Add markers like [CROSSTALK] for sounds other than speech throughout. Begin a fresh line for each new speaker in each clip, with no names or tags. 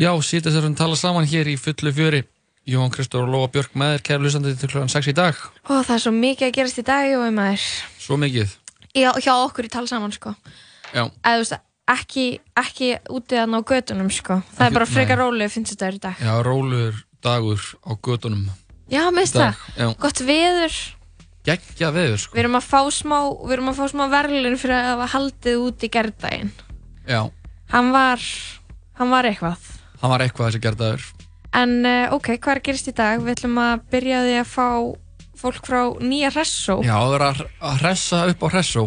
Já, síðdæsarinn tala saman hér í fullu fjöri. Jóhann Kristóf og Lóa Björk með þér, kæru lusandi til kl. 6 í dag.
Og það er svo mikið að gerast í dag og maður
Svo mikið.
Já, hjá okkur í tala saman sko
Já,
Eða þú veist, ekki, ekki úti að ná götunum sko Það
Ekki-
er bara frekar
nei.
rólega finnst þetta er í dag
já, rólur dagur á gödunum.
Já, minnst það,
Já,
gott veður
geggja veður, sko.
Við erum að fá smá, við erum að fá smá verðlun fyrir að hafa haldið út í gerdaginn
Já,
Hann var, hann var eitthvað
hann var eitthvað þessi gerðaður.
En uh, ok, hvað er að gerast í dag? Við ætlum að byrja á því að fá fólk frá nýja hressó
Já, það er að að hressa upp á hressó.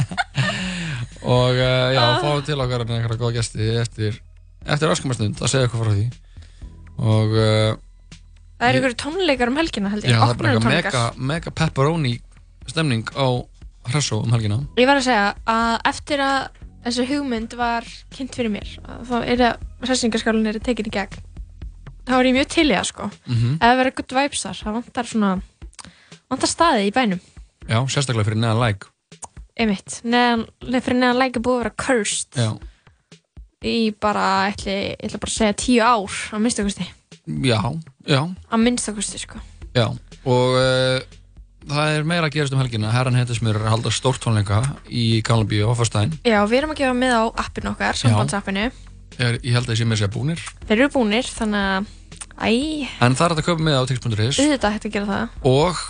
[LAUGHS]
og uh, já,
Ah.
fáum til okkar hérna einhverja góða gesti eftir, eftir öskumastund að segja eitthvað frá því. Og uh,
Það eru ykkur tónleikar um helgina held ég
já, það er bara eitthvað
opnunartónleikar.
mega, mega pepperoni stemning á hressó um helgina.
Ég var að segja að eftir að þessi hugmynd var kynnt fyrir mér að þá er það, hressingarskálinn er tekin í gegn þá er ég mjög til í það sko
Mm
eða vera good vibes þar, það vantar svona vantar staði í bænum,
Já, sérstaklega fyrir neðan læk.
einmitt neðan, neðan fyrir neðan læk er búið að vera cursed
Já.
í bara, ætli, ég ætla bara að segja tíu ár á minnstakosti,
Já, já,
á minnstakosti sko
já og uh, það er meira að gerast um helgina herran heitismur er að halda stórtónleika í Galabíu á fyrstæðin
Já, við erum að gefa með á appinu okkar,
Já.
sambandsappinu
ég held að ég sé með sér búnir
þeir eru búnir, þannig að æ,
en það er hægt að köpa með á tix.is
auðvitað hægt að gera það
og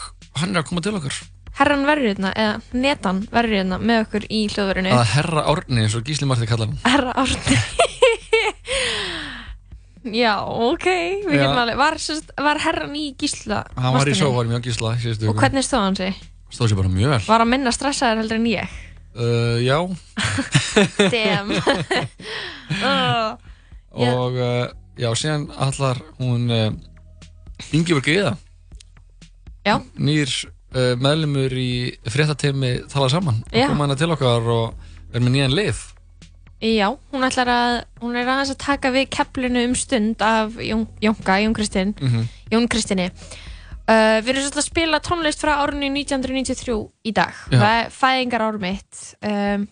hann er að koma til okkar
herran verður hérna, eða netan verður hérna með okkur í hljóðverinu
að herra árni eins og Gísli Marti kallar hann
herra árni [LAUGHS] já, ok við
Já.
getum alveg, var, sem sagt- var herran í gísla
hann var í
vastinni?
sóvarum hjá Gísla síðustu
og
viku.
hvernig stóð hann sig?
stóð sér bara mjög vel
var hann minna stressaður heldur en
[LAUGHS]
ég
uh, já
damn [LAUGHS] oh, Já.
og uh, já síðan allar hún uh, Ingeborg Eða
Já.
nýr uh, meðlumur í fréttateimi tala saman og
Já.
koma hana til okkar og er með nýjan lið
já, hún ætlar að hún er aðeins að taka við keflinu um stund af Jón, Jónka, Jón Kristinn
mm -hmm.
Mm-hmm.
Jón Kristinni uh, Við erum svolítið að spila tónlist frá árunni 1993 í dag
Já.
Það er fæðingar ár mitt um,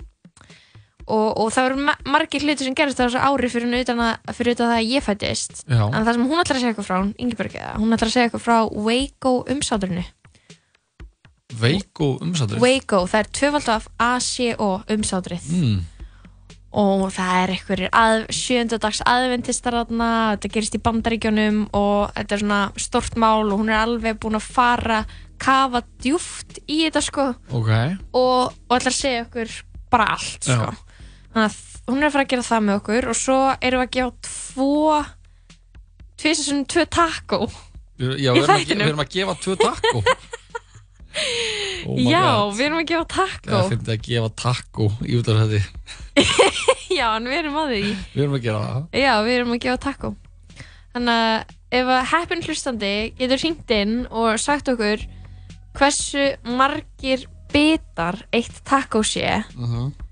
og, og það eru ma margir hluti sem gerast á þessu ári fyrir utan að, fyrir utan það að ég fættist
já,
En það sem hún ætlar að segja eitthvað frá, hún Ingeborg, eða, hún ætlar að segja eitthvað frá Waco umsáturinu.
veik og umsatur
Waco, það er tvöfald af ACO umsátrið
mm.
og það er einhverjir að, sjöndadags aðvendistarðna, þetta gerist í bandaríkjónum og þetta er svona stort mál og hún er alveg búin að fara kafa djúft í þetta sko
ok,
og, og ætlar að segja okkur bara allt
Já.
sko. þannig að hún er að fara að gera það með okkur og svo erum við að gefa tvo tvisasunum tvö taco
Við- já, við,
Í
erum að, ge-
þættinum.
við erum að gefa tvö takko
[LAUGHS]
oh my
já,
god
við erum að gefa taco
það finnst að gefa takko í út af þetta
[LAUGHS] já, en við erum að því
við erum að gera það
Já, við erum að gefa takkó Þannig að ef að heppin hlustandi getur hringt inn og sagt okkur hversu margir bitar eitt takkó sé
uh
Mm-hmm.
-huh.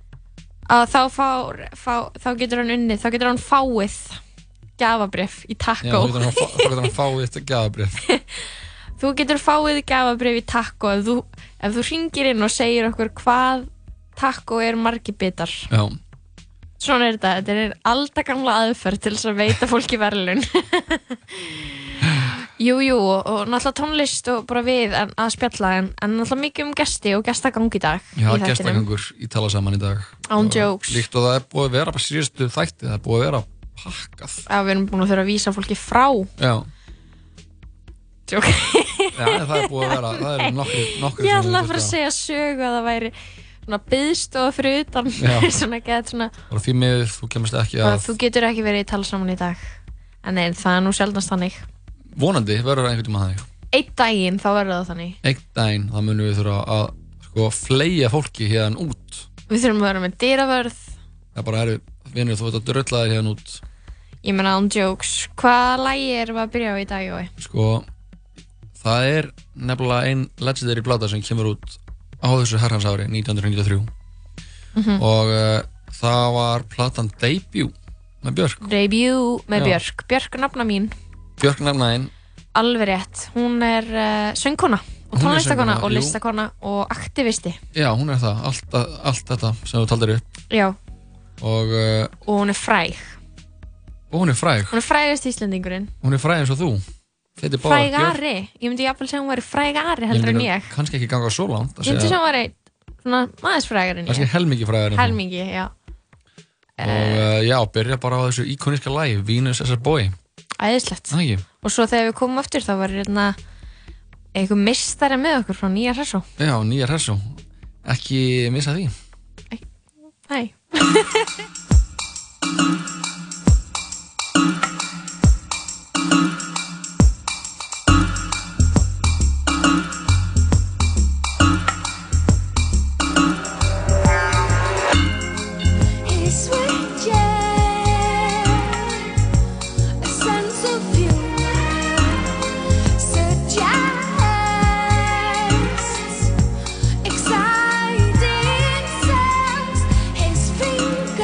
að þá, fá, fá, þá getur hann unnið, þá getur hann fáið gafabrif í
já,
takkó
þá getur hann að fá- þá getur hann að fá þetta gjafabrif
[LAUGHS] Þú getur fáið gafabrif í takkó ef þú, ef þú hringir inn og segir okkur hvað takkó er margir bitar
já,
Svona er þetta, þetta er aldagamla aðferð til þess að veita fólki verðlun. [LAUGHS] jú, jú, og, og náttúrulega tónlist og bara við en, að spjalla, en, en náttúrulega mikið um gesti og gestagang í dag.
já
í þættinum.
gestagangur í tala saman í dag
Án
Og
jokes.
líkt og það er búið að vera bara síðustu þætti það er búið að vera pakkað
Að við erum búin að þurfa að vísa fólki frá.
já,
Jók.
já en það er búið að vera það er nokkri, nokkri
Ég ætla að fara að segja sögu að það væri svona byðstofa fyrir utan.
Já.
[LAUGHS] svona get, svona,
og því miður þú kemst ekki
að
að
þú getur ekki verið í tala saman í dag. En nei, það er nú sjaldnast þannig.
vonandi verður einhvern tíma þannig
Eitt daginn þá verður það þannig.
einn daginn þá munum við þurfa að sko fleia fólki hérna út
Við þurfum að vera með dyravörð
Það bara eru, vinur, þú ert að drölla þér hérna út
Ég meina án jokes Hvaða lægi erum við að byrja á í dag, Jói?
Sko, það er nefnilega ein legendary plata sem kemur út á þessu herrhansári 1993 og uh, það var platan Debut með Björk
Debut með
Já.
Björk Björk er nafna mín,
Björk nefnaðinn
alveg rétt Hún er uh, söngkona og
Hún er
tónlistakona
söngkona,
og
jú.
listakona og aktivisti
Já, hún er það, allt, allt þetta sem þú taldir upp
Já,
og, uh,
og hún er fræg
og hún er fræg
Hún er frægast Íslendingurinn
hún er fræg eins og þú Þetta er báðar Björk
Frægari, ég myndi jafnvel segja hún væri frægari heldur en
myndi
ég
kannski ekki ganga svo langt að
Ég myndi segja
segja
hún væri svona aðeins frægari en
kannski
ég
helmingi frægar en þú.
Helmingi, eh. já
og uh, já, byrja bara á þessu íkoníska lagi Venus as a boy,
Æðislegt
það ekki
Og svo þegar við komum aftur þá var hérna einhver mistari með okkur frá nýja hressó
Já, nýja hressu ekki missa því
Nei
[LAUGHS]
Exciting sounds, his fingers.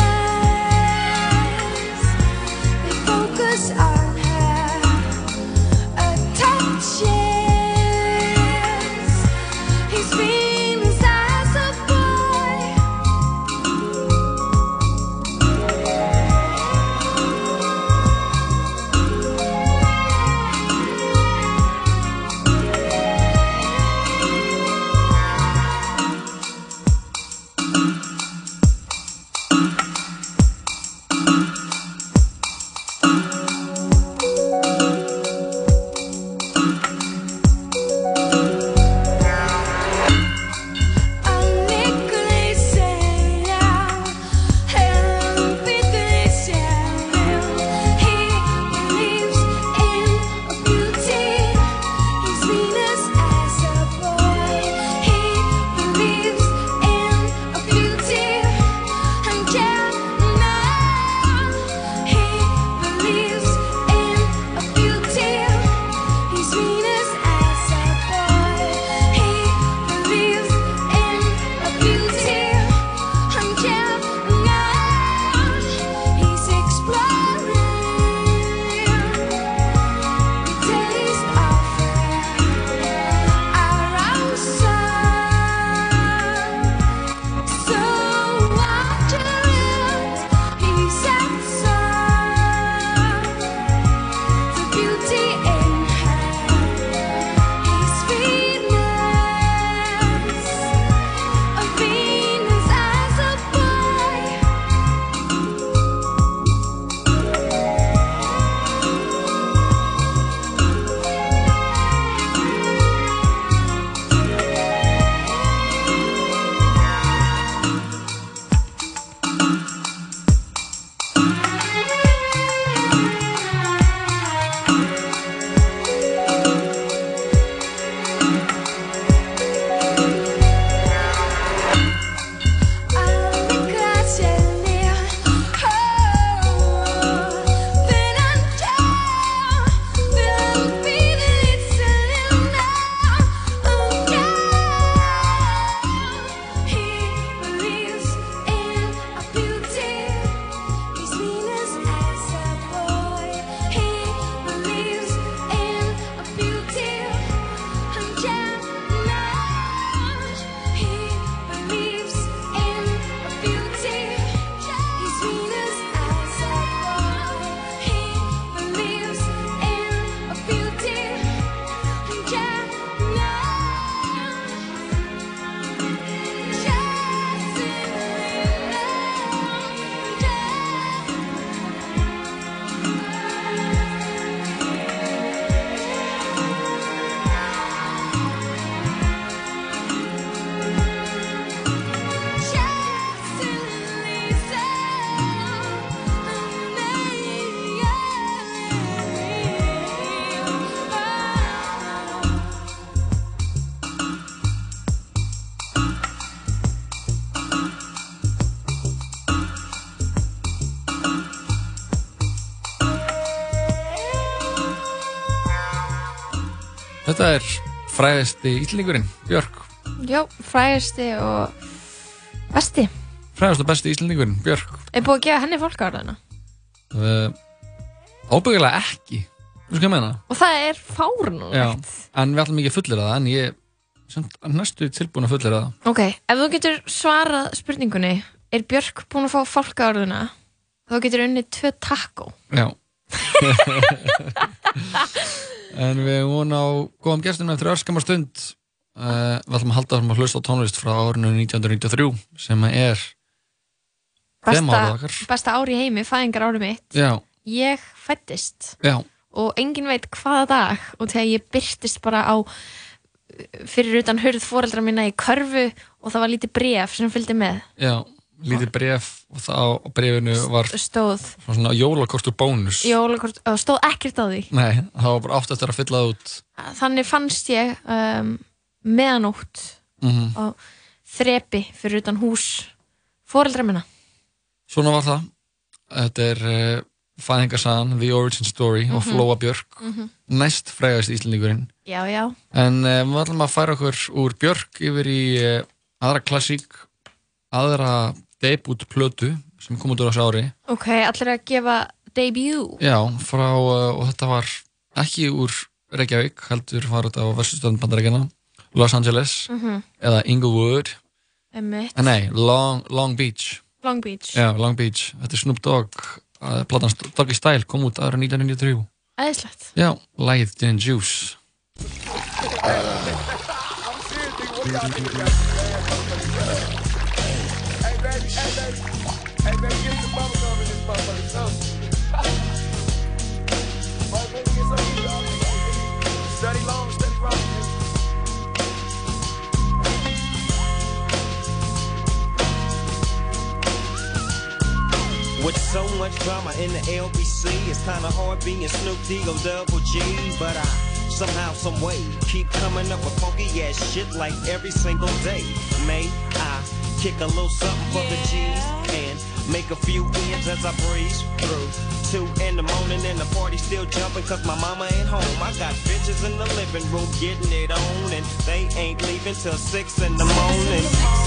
[LAUGHS]
Þetta er fræðasti íslendingurinn, Björk
já, frægasti og besti
Fræðast og besti íslendingurinn, Björk
er búið að gefa henni fólk áraðina
uh, Ábyggilega ekki Þú veist hvað ég meina?
og það er fárunulegt
En við ætlum ekki að fullera það En ég er samt næstu tilbúin að fullera það
ok, ef þú getur svarað spurningunni er Björk búin að fá fólk áraðina þá getur unni tvö takkó
Já [LAUGHS] En við erum vona á góðum gestum eftir örskamar stund uh, Við ætlum að halda þessum að hlusta á tónlist frá árinu 1993 sem er Þemaárið
besta,
okkar.
besta ári í heimi, fæðingar ári mitt
Já,
ég fættist
já,
og engin veit hvaða dag og þegar ég byrtist bara á fyrir utan hurð fóreldra mína í körfu og það var lítið bref sem fylgdi með
já Lítið bref og það á brefinu var
stóð,
svona jólakortur bónus
jólakort, og stóð ekkert á því
Nei, það var bara átt eftir að fylla það út
þannig fannst ég um, meðanótt
mm
Mhm.
og þrepi fyrir utan hús fóreldra mína
Svona var það Þetta er uh, fæðingarsagan The Origin Story og Flóa Björk næst frægast íslendingurinn
Mhm. já, já,
en uh, við ætlum að færa okkur úr Björk yfir í uh, aðra klassík aðra debutplötu sem kom út úr þessu ári
ok, allir að gefa debut
Já, frá, uh, og þetta var ekki úr Reykjavík, heldur var þetta á Vestustöðum Bandaríkjana, Los Angeles eða Inglewood,
Mhm. Einmitt.
en nei, Long, Long Beach
Long Beach,
Já, Long Beach, þetta er Snoop Dogg uh, platan St- Doggy Style kom út aðra 1993
æðislegt
Já, lagið Gin and Juice
[LAUGHS]
With so much drama in the LBC, it's kinda hard being Snoop D O double G. But I somehow, some way, keep coming up with funky ass shit like every single day. May I kick a little something for the G's and make a few ends as I breeze through. Two in the morning and the party still jumping cause my mama ain't home. I got bitches in the living room getting it on and they ain't leaving till six in the morning.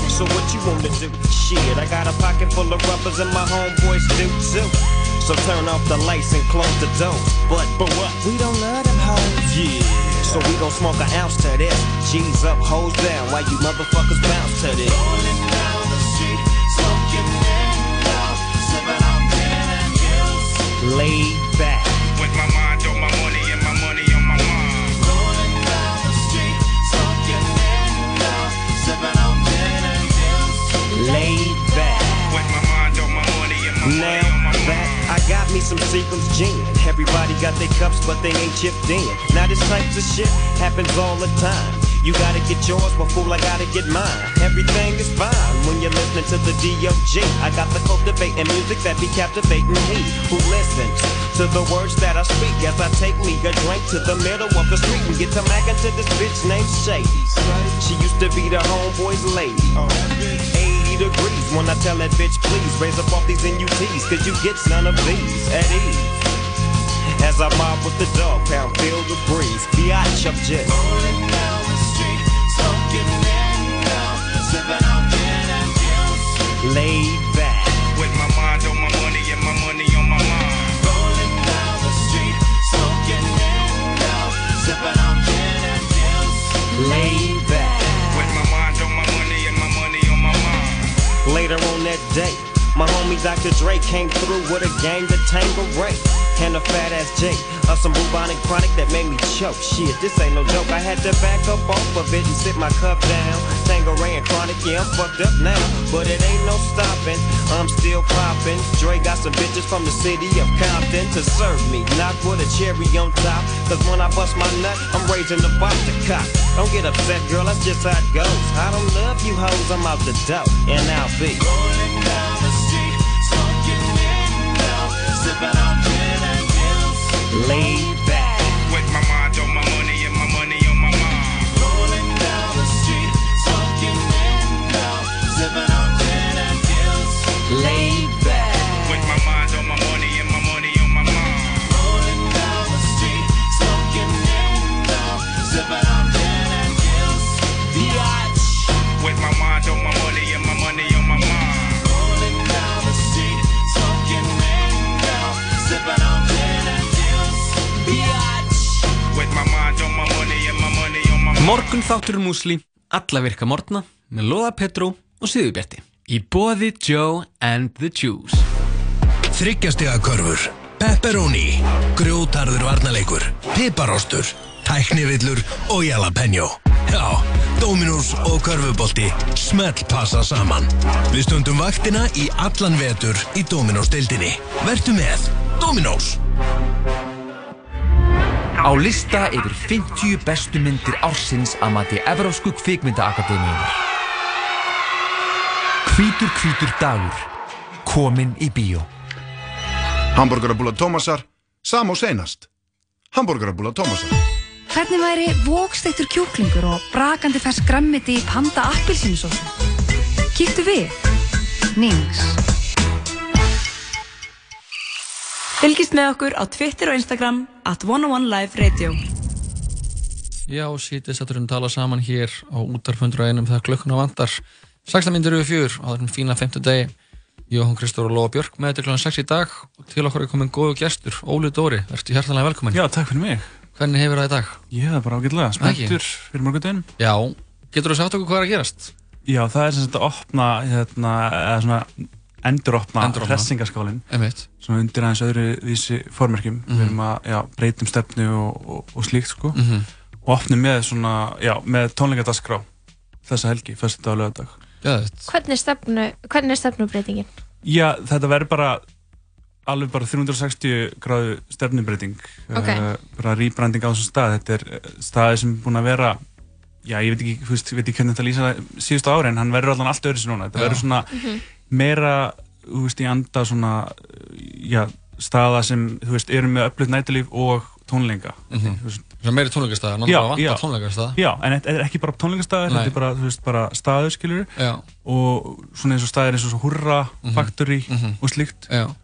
So what you wanna do? Shit, I got a pocket full of rubbers and my homeboys do too. So turn off the lights and close the door. But but what? We don't love them hoes. Yeah. So we gon' smoke an ounce to this. G's up, hoes down. Why you motherfuckers bounce to this? Laid back.
With my mind on my money and my money on my mind.
laid back.
With my mind on my money and my money on
Now
my
that
mind.
I got me some Seagram's gin. Everybody got their cups, but they ain't chipped in. Now this type of shit happens all the time. You gotta get yours, but fool, I gotta get mine. Everything is fine when you're listening to the D.O.G. I got the cultivating music that be captivating he who listens to the words that I speak as I take me a drink to the middle of the street and get to mackin' to this bitch named Shady. She used to be the homeboy's lady. 80 degrees when I tell that bitch, please raise up off these NUTs, cause you get none of these at ease. As I mob with the dog pound, feel the breeze. Biatch, I'm just. Laid back.
With my mind on my money and my money on my mind.
Laid back.
With my mind on my money and my money on my mind.
Later on that day, my homie Dr. Dre came through with a gang to Tangeray and a fat ass J of some bubonic chronic that made me choke. Shit, this ain't no joke. I had to back up off of it and sit my cup down. Tangeray and chronic, yeah, I'm fucked up now, but it ain't no stopping. I'm still popping. Dre got some bitches from the city of Compton to serve me, not with a cherry on top. Cause when I bust my nut, I'm raising the box to cop. Don't get upset, girl, that's just how it goes. I don't love you hoes, I'm out the dough, and I'll be. laid back.
With my mind on my money and my money on my mind.
Laid back.
With my mind on my money and my money on my mind.
Rolling down the street, smoking in now, sipping
Morgun þáttur músli, alla virka morgna með Lóða Petró og Sýðubjarti í boði Joe and the Juice
Þryggjastega körfur, pepperoni, grjótarður varnalegur, piparostur, tæknivillur og jalapeno. Já, Dominos og körfubolti smell passa saman. Við stundum vaktina í allan vetur í Dominos-deildinni. Vertu með Dominos.
Á lista yfir 50 bestu myndir ársins að mati Evrósku kvikmyndaakademíunar. Hvítur hvítur dagur. Komin í bíó.
Hamburgerabúla Tómasar, sam og seinast. Hamburgerabúla Tómasar.
Hvernig væri vóksteiktur kjúklingur og brakandi fersk grammiti í panda appilsinusósu? Kíktu við. Nings.
Fylgist með okkur á Twitter og Instagram at 101 Live Radio
Já, sítið satturum tala saman hér á útarfundur og einum þegar klukkuna vantar. Sextamyndir eru fjör á þessum fína femtudegi. Jóhann Kristór og Lóa Björk með þetta kl. 6 í dag og til okkur er komin góðu gestur, Óli Dóri, ertu hjartanlega velkomin.
Já, takk fyrir mig.
Hvernig hefur það í dag?
Ég það bara ágætlega, spenntur fyrir morgundin.
Já, getur þú sagt okkur hvað er að gerast?
Já, það er sem sagt að opna, hérna, eða svona enduropna,
Enduropna.
enduropna. hressingaskálin.
Einmitt.
Svona undir aðeins öðru vísi formerkjum.
Mhm.
Við erum að, já, breytum stefnu og, og, og slíkt, sko.
Mhm.
Og opnum með svona, já, með tónleikardaskrá þessa helgi, fyrstu dag og lögadag.
Gæðið.
Hvernig er, stefnu, hvernig er stefnubreitingin?
Já, þetta verður bara alveg bara 360 gráðu stefnumbreyting
Ok.
Eh, bara rýbranding á þessum stað þetta er eh, staði sem er búin að vera já, ég veit ekki, þú veist, ég veit ekki hvernig þetta lýsa það síðustu ári en hann verður allan allt öðru sem núna þetta
Já.
verður svona
Mhm.
meira þú veist, í anda svona eh, já, staða sem, þú veist, eru með öflut nætulíf og tónleika
Mhm.
Þú veist,
Svona meiri tónleikastaðar, náttúrulega vantar tónleikastaða.
Já, en þetta er ekki bara tónleikastaðar,
Nei.
þetta er bara, þú veist, bara staður, skilur
Já.
og svona eins og staðir eins og svo Hurra,
Mhm.
Factory
Mhm.
og slíkt
Já.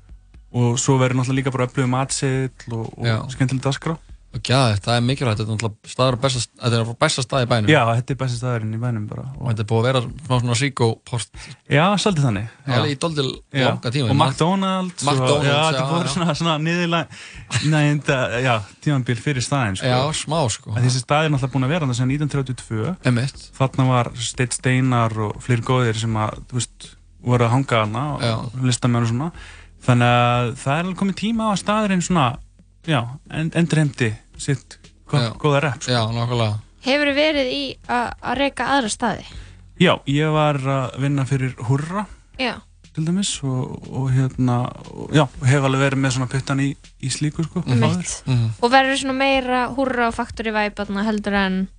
og svo verður náttúrulega líka bara öflugum matseðill og,
Já.
og skemmtileg dagskrá
Og gæðið, það er mikilvægt, þetta er náttúrulega staður og besta, þetta er bara besta stað í bænum.
Já, þetta er besti staðurinn í bænum bara
Og þetta er búið að vera smá svona síkópost
Já, svolítið þannig Já.
Alveg í doldil
Já.
langa tíma
Og McDonalds og,
McDonald's,
Já,
já,
þetta
já.
voru svona, svona niðurlega Næginda, já, tímanbíl fyrir staðin sko.
Já, smá sko
En Þessi staðir er náttúrulega búin að vera þannig sem 1932
Emmett
Þarna var Steit Steinar og fleiri góðir sem að, þú veist, voru að hanga hana og listamenn og svona Þannig að það er alveg komið tíma á að staðurinn svona, já, end, endurheimdi sitt gott, góða rep sko.
Já, nokkulega
Hefur verið í að að reyka aðra staði?
Já, ég var að vinna fyrir Hurra
Já.
til dæmis og, og hérna og, já, og hef alveg verið með svona puttan í, í slíku sko
Mhm.
áður.
Og verður svona meira húrra og faktori væparna heldur en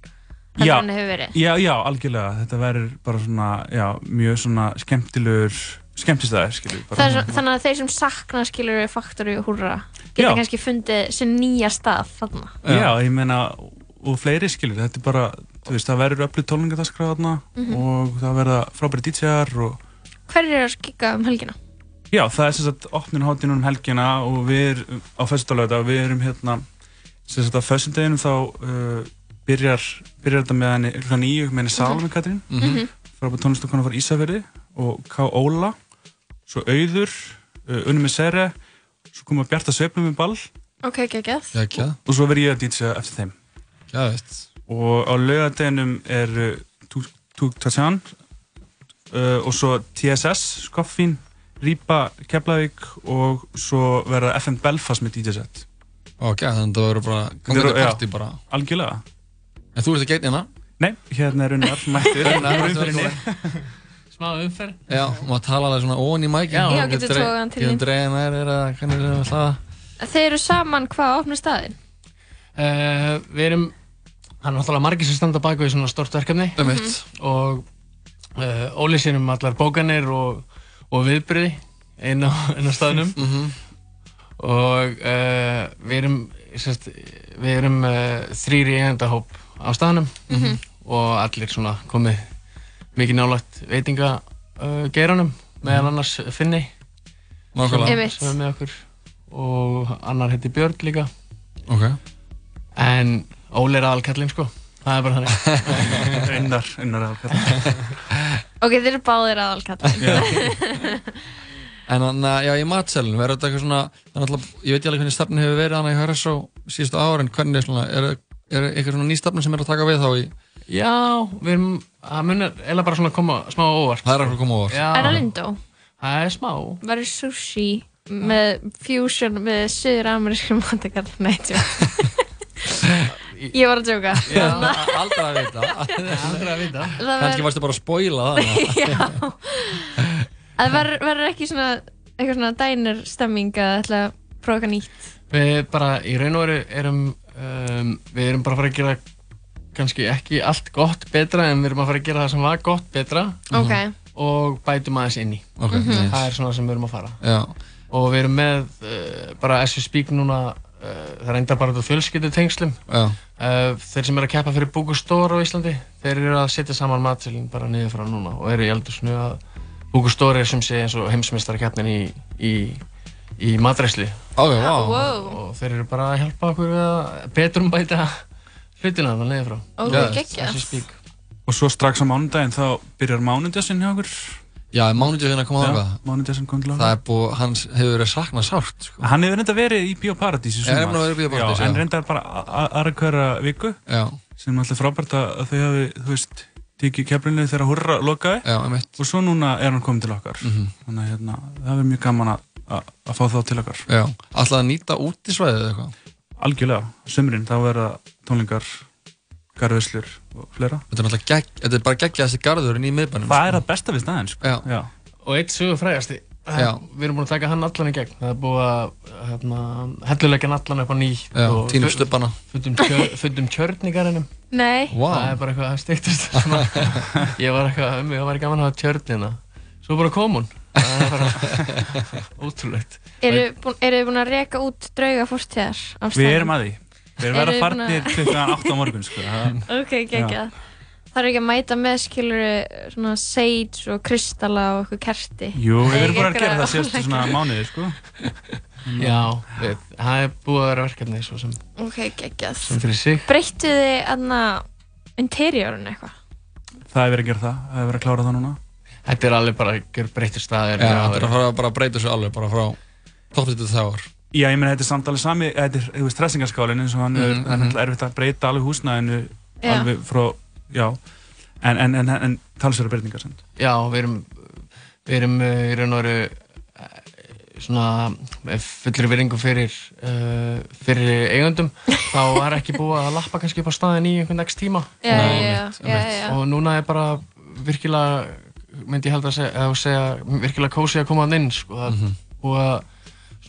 heldur
Já,
en hefur verið?
já, já, algjörlega þetta verður bara svona, já, mjög svona skemmtilegur, skemmtistæðir skilur við, bara
Það er,
svona-
svo- þannig að þeir sem sakna skilur við faktori og húrra geta
Já.
kannski fundið sinn nýja stað þarna.
já, ég meina, og fleiri skilur þetta er bara, þú veist, það verður öflug tólningadaskráð þarna
Mhm.
og það verða frábæri DJ-ar og
Hverjir eru að skikka um helgina?
Já, það er sem sagt opnun hátíð núna um helgina og við erum á föstudalöðu og við erum hérna sem sagt á föstudeginum þá uh, byrjar, byrjar þetta með henni klukkan nýju með henni Salome Katrín
Mhm.
frá bara tónlistakonu frá Ísafjörði og K. Óla svo Auður, uh, Unni með Sere svo koma Bjarta Sveifnum með ball
Ok, geggjað.
Gekja
og svo verð ég að DJ eftir þeim
Gæðið
og á lögadeginum er uh, Tug- Tug Tatjan uh, og svo TSS Skoffín, Rípa Keflavík og svo verða FM Belfast með DJ set
Og gæðið, þannig að það verður bara
Þetta
gangandi
eru- já.
partí bara
algjörlega
En þú ert ekki einn hérna
Nei, hérna er unnar, mættur
Unnar,
Úr
mættur,
umferðinni.
Smá umferð.
Já, og maður tala alveg svona ón í mækin
Já. Já, getur togað hann til þín.
Getur dreigðan þær er að hvernig er að hlaða
Þeir eru saman hvað opnir staðin?
Uh, við erum, það er náttúrulega margir sem standa bak við svona stort verkefni. Mhm.
Einmitt.
Og uh, Óli sér um allar bókanir og, og viðbriði inn á, inn á staðnum.
Mhm.
Og uh, við erum, sérst, við erum uh, þrýri eigendahóp á staðnum
Mhm.
og allir svona komið mikið nálægt veitinga uh, geiranum,
Mhm.
meðal annars Finni.
Nákvæmlega.
sem-
Einmitt.
Sem er með okkur og annar heiti Björn líka.
Ok
En Óli er aðalkallinn sko Það er
[LAUGHS]
bara þannig
Unnar, unnar aðalkallinn
Ok, þeir eru báðir aðalkallin.
En þannig að, já, í matselin verður þetta eitthvað svona Það er náttúrulega, ég veit ekki alveg hvernig stefnin
[LAUGHS]
hefur verið Þannig að ég höra svo síðustu ára En hvernig er svona, er, er eitthvað svona ný stefnin sem er að taka við þá í
[LAUGHS] Já, við erum, það munir eða bara svona að koma smá á óvart
Það er að koma á
[LAUGHS]
óvart
Já,
Er það lindó?
það er smá
Verður sushi með fusion með söður-amerískum matakall? Nei, tjók. Ég var að tjóka.
Já, aldrei að
[LAUGHS]
vita Aldrei
að vita
var-
Kannski varstu bara að spoila
[LAUGHS]
það
[LAUGHS] Já. Það verður- verður ekki svona, eitthvað svona dænir stemming að ætla að prófa eitthvað nýtt.
Við bara í raun og veru erum um, við erum bara að fara að gera kannski ekki allt gott betra en við erum að fara að gera það sem var gott betra
Ok.
og bætum aðeins inn í
Ok, nice.
það er svona sem við erum að fara
Já.
og við erum með uh, bara as we speak núna uh, það reyndar bara út á fjölskyldutengslum
Já.
Uh, þeir sem eru að keppa fyrir Búkustóra á Íslandi þeir eru að setja saman matselin bara niður frá núna og eru í eldur svona að Búkustóra er sem sé eins og heimsmeistar keppnin í, í, í matræsli
oh, já, vá.
og, og þeir eru bara að hjálpa okkur við að betrumbæta hlutina þannig niður frá
Ok,
Geðveikt,
geggjað.
as we speak.
Og svo strax á mánudaginn þá byrjar mánudaginn hjá okkur.
Já, mánudaginn að koma
Já,
þangað.
Mánudaginn kom til
Það er búið, hans hefur verið saknað sárt sko.
Hann hefur reynda verið í Bíóparadís í
Já, hann
sumar.
hefur verið í Bíó Paradís,
Já, En
já.
reyndar bara a- a- aðra hverja viku.
Já.
Sem er alltaf frábært að að þau hafi, þú veist, tekið keflinu þegar hurra lokaði.
Já, einmitt. Mhm.
Og svo núna er hann komið til okkar. Þannig að hérna, það er mjög gaman að- að að fá þá til okkar.
Já, alltaf að nýta út í svæðið eitthvað
Algjörlega, sumrin, þá verða tónlingar, garðvislur og fleira.
Þetta er náttúrulega gegg, þetta er bara geggjaðasti garðurinn í miðbænum
Það er að besta við staðinn
sko. Já.
og eitt sögur frægasti Það-
Já.
við erum búin að taka hann allan í gegn það er búið að hérna, helluleggja hann allan upp á nýtt
Já,
og
tínum
fu-
stubbana.
fullum
[LAUGHS]
kjör- fullum kjörningarinnum
Nei.
Vá.
það er bara eitthvað að steiktast
[LAUGHS]
svona. ég var eitthvað um mig, það væri gaman að hafa tjörnina svo bara kom hún það er
[LAUGHS]
bara ótrúlegt
Eru búin- eru þið búin að reka út drauga fórstíðar af
Við
staðnum?
erum að því. Við
Eru
erum verið
þið
að
búin
farnir
að-
klukkan 8 á morgun, sko. Það-
[LAUGHS] Ok,
Já.
geggjað. Það er ekki að mæta með skiluru svona sage og kristalla og eitthvað kerti.
Jú, við
Nei,
erum bara að
einhverja
gera það síðustu
óleggja.
svona mánuði, sko.
já, við, það er búið að vera verkefni svo sem,
Ok, geggjað.
sem fyrir sig
Breyttu þið aðna interiorun eitthvað?
Það er verið að gera það, það er verið að klára það núna.
Þetta er alveg bara að gera breyttur
Já,
staðir
þetta er að fara að bara breyta þessu alveg bara frá toppritið þegar
Já, ég meina, þetta er samt alveg sami, þetta er, þú veist, stressingarskálinn eins og hann er,
Mhm,
það er
mhm.
náttúrulega erfitt að breyta alveg húsnæðinu,
Já.
alveg frá, já, en, en, en, en talsverða breytingar sem.
Já, við erum, við erum uh, í raun og veru uh, svona með fullri viringu fyrir, uh, fyrir eigundum þá er ekki búið að lappa kannski upp á staðin í einhvern x tíma
Já, Nei, já, einmitt, já, einmitt. já.
og núna er bara virkilega myndi ég held að segja, að segja virkilega kósi að koma hann inn sko, það er
Mhm.
búið að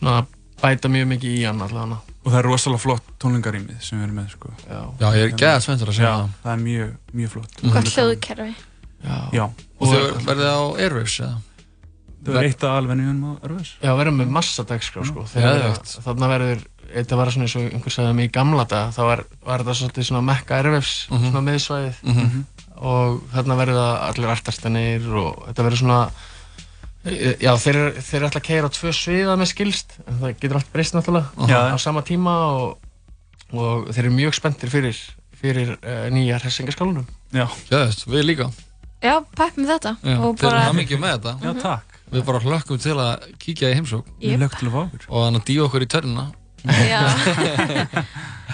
svona bæta mjög mikið í hann allavega
Og það er rosalega flott tónlingarýmið sem við erum með, sko.
Já,
Já, ég er geðsveintur að segja
Já,
það.
það er mjög, mjög flott.
Hvað hljóðkerfi?
Já.
Og þau verðið á Airwaves eða?
Það er eitt að alveg nýjum á erfis.
Já, við erum með massa dagskrá sko.
Geðveikt.
Þannig verður, þetta var svona eins og einhver sagði mig í gamla dag, þá var, var þetta svolítið svona mekka erfefs,
Mhm.
svona miðsvæðið
Mhm.
og þarna verða allir artastanir og þetta verður svona Já, þeir, eru- þeir eru alltaf að keira á tvö sviða með skilst, en það getur allt breyst náttúrulega
Mhm.
Já.
á sama tíma og, og þeir eru mjög spenntir fyrir, fyrir uh, nýja hressingaskálunum.
Já,
Geðist, við líka
Já, pepp með þetta.
Já,
Og
Þeir eru
bara- Mhm.
það mikið með þetta
Já, takk
Við bara hlökkum til að kíkja í heimsók
Við Jöp.
lökkum til að fá okkur
Og þannig að dýja okkur í törnina
Já.
[LAUGHS]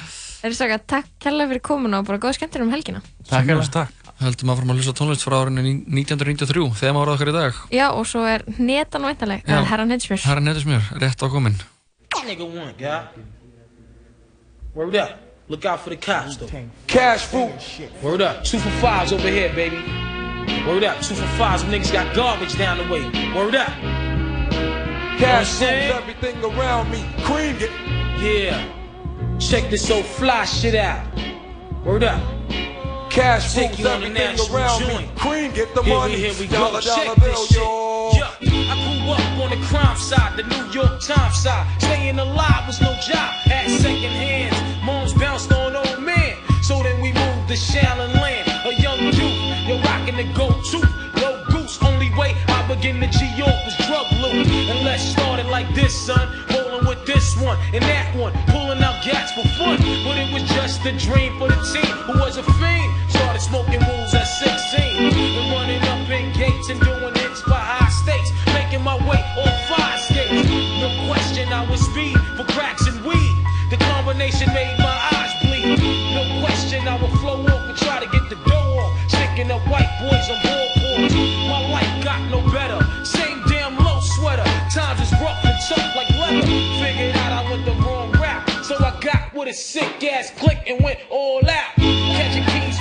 Þeir sagði að takk kærlega fyrir komuna og bara góða skemmtir um helgina.
Sömuleiðis, takk Heldum áfram að hlusta á tónlist frá árinu 1993 Þegar maður okkar í dag
Já, og svo er netan væntaleg,
Já.
eða herran heitsmjör.
Herra Netusmjör, rétt á komin
Nigga one, guy. Word up. Look out for the cops, though. Cash fruit. Word up. Two for fives over here, baby. Word up. Two for fives. Them niggas got garbage down the way. Word up. Cash rules everything around me. Cream it. Yeah. Check this old fly shit out. Word up. Cash Take you on the national joint. Cream, get the here
money.
We, here we
Dollar, dollar
go. Check
bill,
this shit. Yeah. I grew up on the crime side, the New York Times side. Staying alive was no job. Had second hands. Moms bounced on old men. So then we moved to Shallon Land. A young youth, you're rocking the go-to. Low goose, only way I begin to G York was drug loot. And let's start it like this, son. Rolling with this one and that one. Pulling out gats for fun. But it was just a dream for the team who was a fiend. Started smoking rules at 16. And running up in gates and doing hits by high stakes. Making my way on five skates. No question, I was speed for cracks and weed. The combination made my eyes bleed. No question, I would flow off and try to get the dough.
his sick ass click and went all out. Catching keys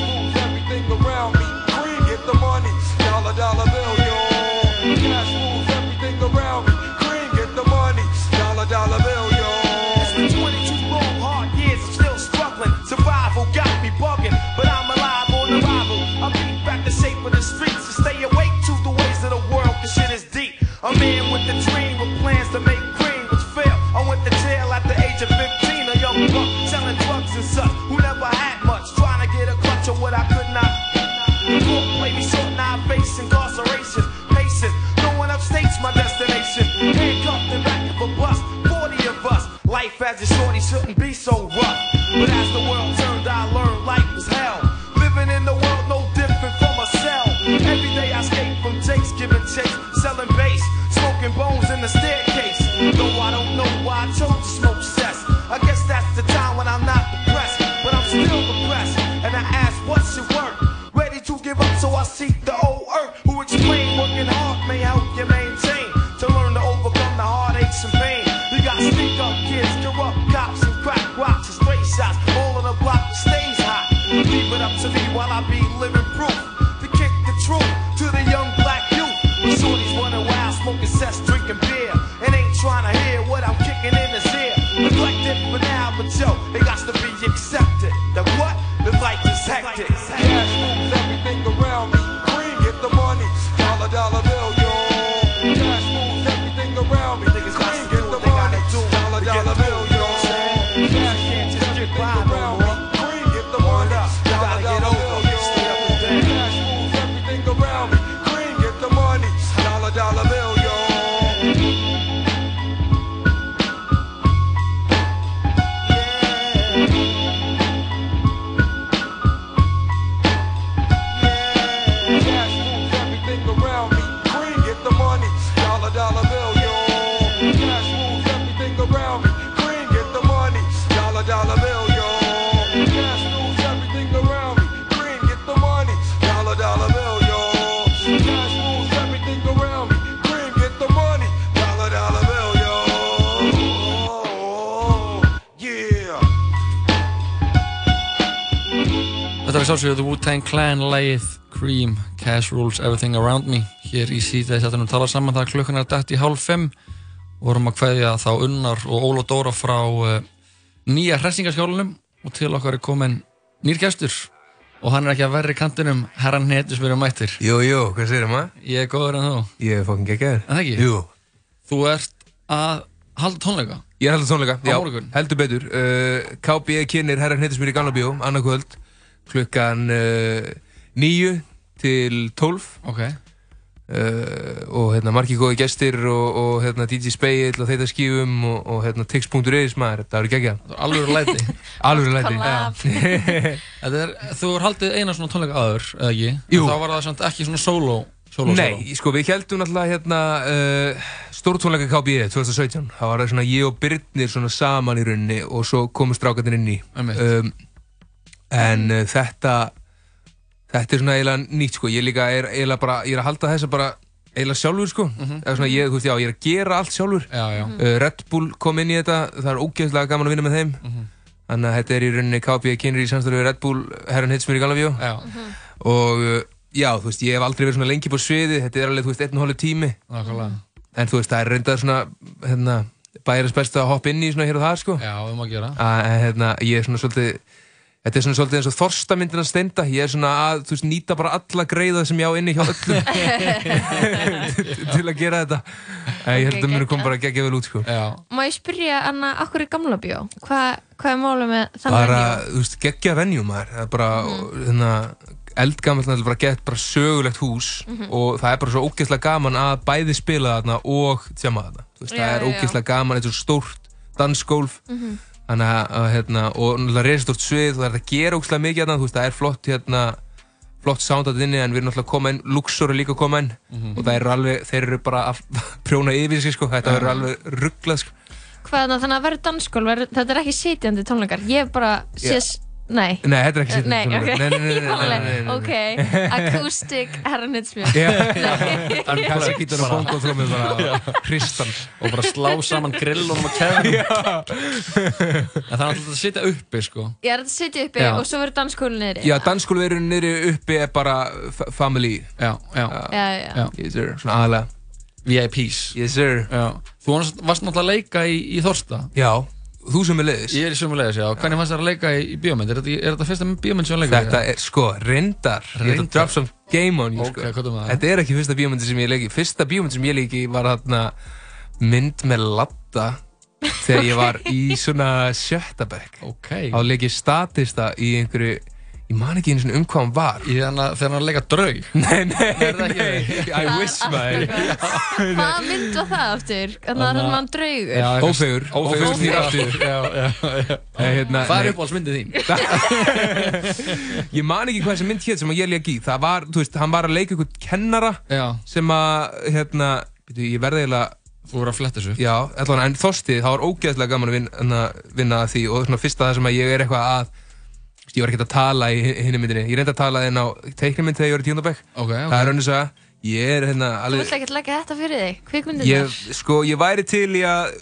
moves everything around me. Green, get the money. Dollar, dollar bill, yo. Cash moves everything around me. Green, get the money. Dollar, dollar bill, yo. It's been 22 long, hard years. I'm still struggling. Survival got me bugging, but I'm alive on arrival. I beat back the shape of the streets to stay awake to the ways of the world, cause shit is deep. A man with a dream with plans to make green was fail. I went to jail at the age of 15, a young buck selling drugs and such, who never had much, trying to get a crutch of what I could not. Court played me short, now I face incarceration. Patient, no one upstates my destination. Handcuffed and back of a bus, 40 of us. Life as a shorty shouldn't be so rough. But as the world turned, I learned life was hell. Living in the world no different from a cell. Every day I skate from Jake's, giving chase, selling bass, smoking bones in the staircase. Though I don't know why I chose to smoke cess. I guess that's the time when I'm not depressed, but I'm still depressed. And I ask, what should work? Ready to give up, so I seek the old earth. Who explain working hard may help you maintain to learn to overcome the heartaches and pain. You got sneak up kids, corrupt cops, and crack rocks and straight shots. All on the block that stays hot. Leave it up to me while I be living proof to kick the truth to the young black youth. But shorties running wild, smoking cess, drinking beer, and ain't trying to hear what I'm kicking in his ear. Neglected for now, but yo, it got to be accepted. That what? The life is hectic. Cash moves everything around me. Green, get the money. Dollar, dollar bill, yo. Cash moves everything around me. Niggas Green, get the money. Dollar, dollar bill, yo. Cash can't just get by no more. Green, get the money. Dollar, dollar bill, yo. Cash moves everything around me. Green, get the money. Dollar, dollar bill, yo. Cash moves everything around me. Green, get the money. Dollar, dollar bill, yo. Cash moves everything around me. Green, get the money. Dollar, dollar bill, yo. Cash moves everything around me. Green, get the money. Dollar, dollar bill, yo. Cash moves everything around me. Green, get the money. Dollar, dollar bill, yo. Yeah.
Þetta var sjálfsögðu The Wu-Tang Clan lagið Cream, Cash Rules, Everything Around Me hér í síðdegi þettanum tala saman það klukkan er dætt í hálf 5 og vorum að kveðja þá Unnar og Óla Dóra frá uh, nýja hressingaskjólunum og til okkar er komin nýr gestur og hann er ekki að verri kantinum herran netus verið mættir
Jú, jú, hvað segir maður?
Ég er góður en þú
Ég er fokkin geggjaður
En það ekki?
Jú
Þú ert að halda tónleika
Ég er heldur tónleika,
Á morgun.
heldur betur uh, KB kynir herra hnettismýr í Gamla bíó annað kvöld klukkan uh, 9 til 12
Ok
uh, og hérna margir góði gestir og, og hérna DJ Speill og þeirra skífum og, og hérna tix.is maður, þetta verður geggja
Alvöru læti
[LAUGHS] Alvöru læti
Collab.
[LAUGHS] já.
Þetta er, [LAUGHS] þú er haldið eina svona tónleika aður, eða ekki? Jú. Þá var það samt ekki svona solo, solo
Nei, sko, við heldum alltaf hérna uh, stórtónleika KB 2017 það var það svona ég og Birnir svona saman í rauninni og svo komu strákarnir inn í um, en uh, þetta þetta er svona eiginlega nýtt sko, ég líka er eiginlega bara ég er að halda þessa bara eiginlega sjálfur sko eða svona ég, þú veist, já, ég er að gera allt sjálfur
Mhm. já, já.
Uh, Red Bull kom inn í þetta það er ógeðslega gaman að vinna með þeim
Mhm.
þannig að þetta er í rauninni KB kynir í samstæðu við Red Bull, herran Hitsmur í Galafjó
já.
og uh, já, þú veist, ég hef aldrei verið svona lengi på sviði, þetta er alveg, þú veist, einn og hálf tími
Nákvæmlega.
en þú veist, það er reyndað svona hérna, bæjarins best að hoppa inn í svona hér og það sko
Já, við má gera
að að, hérna, ég er svona svolítið þetta er svona svolítið eins og þorstamyndin að steinda ég er svona að, þú veist, nýta bara alla greiða sem ég á inni hjá
[LAUGHS]
öllum [LAUGHS] til að gera þetta okay, ég held að mér kom bara að gegja vel út sko
já.
Má ég spyrja, Anna, akkur er gamla bjó? Hva, hvað er málum með þannig
bara,
bjó?
þú veist, geggja venjum maður það er bara,
Mhm.
mm. hérna eldgamall náttúrulega bara gett bara sögulegt hús
Mhm.
og það er bara svo ógeðslega gaman að bæði spila þarna og tjama þarna Þú veist, það
Já,
er
já, já.
ógeðslega gaman, þetta er svo stórt dansgólf
Mhm.
þannig að, að, hérna, og náttúrulega reisastort svið og það er að gera ógeðslega mikið þarna, þú veist, það er flott hérna, flott sound að inni en við erum náttúrulega koma inn, Luxor er líka að koma inn
Mhm.
og það er alveg, þeir eru bara að [LAUGHS] prjóna yfir sig sko, þetta
Ah.
verður alveg rugglað sko.
Hvað er það þannig að verður dansskól? Verður, þetta er ekki sitjandi tónleikar. Ég bara sé
Já.
yeah. Nei Eh,
Nei, þetta er ekki sýttin
Nei, ok
Nei, nei, nei, nei, nei, nei, nei, nei.
Ok,
[LAUGHS]
acoustic herranitsmjör
Já.
Nei.
Hann kassi gítar og bongo þrjómið bara hristan
og bara slá saman grillunum og keðunum en það er alltaf að sitja uppi sko
Ég er að sitja uppi
Já.
og svo verður danskólin niðri
Já, danskólverun niðri uppi er bara f- family Uh,
Já, já,
Já, já. Já.
Yes sir, svona aðalega
VIPs
Yes sir
já. Þú varst varst náttúrulega að leika í, í Þorsta
Já, þú sem er leiðis
Ég er sem er leiðis, já Hvernig fannst þér að leika í, í bíómynd? Er þetta, er þetta fyrsta bíómynd sem þú leika?
Þetta er, sko, reyndar Ég ætla að
Reyndar?
drop some game on you,
Ok, hvað er
sko
maður?
Þetta er ekki fyrsta bíómyndi sem ég leiki Fyrsta bíómyndi sem ég leiki var þarna mynd með latta þegar ég var
[LAUGHS]
í svona sjötta bekk
Ok
Þá leik ég statista í einhverju Ég man ekki einu svona um hvað hann var
Í þannig að þegar hann leika draug
Nei, nei,
Er það ekki
nei I wish maður
[LAUGHS]
Hvaða mynd var það aftur? Þannig að
Þarna-
hann var draugur
Ófegur Ófegur snýr aftur
Já, [LAUGHS] já, já
Nei, hérna,
Hvað er
nei.
uppáhaldsmyndið þín?
[LAUGHS] Ég man ekki hvað þessi mynd hétt sem ég leik í Það var, þú veist, hann var að leika einhvern kennara
Já.
sem að, hérna, byrju, ég verði eiginlega
Þú voru að fletta þessu
Já, allan, en þorstið, það var ógeðslega gaman að vinna, hérna, vinna að því og svona fyrsta það sem að ég er eitthvað að þú veist, ég var ekkert að tala í hin- hinni myndinni ég reyndi að tala þinn á teiknumynd þegar ég var í tíundabæk
okay,
það er önnur saga, ég er hérna
Þú
alveg,
vilt ekkert leggja þetta fyrir þig Kvikmyndir
ég, sko, ég væri til í að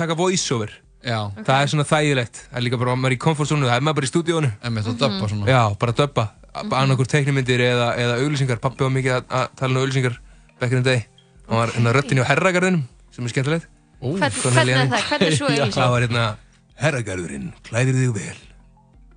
taka voiceover
Já.
það er svona þægilegt, það er líka bara maður er í komfortzónu, það er maður bara í stúdíónu
Emmett að döbba svona
Já, bara döbba,
Mhm.
mm -hmm. annarkur teiknumyndir eða, eða auglýsingar, pappi var mikið að, að tala um auglýsingar back in the day, hann var hérna röttinni á herragarðinum, sem er skemmtilegt
Ó,
Hvern- hvernig er það? Hvernig er
[LAUGHS]
svo auglýsing?
Það var hérna, herragarðurinn, klæðir þig vel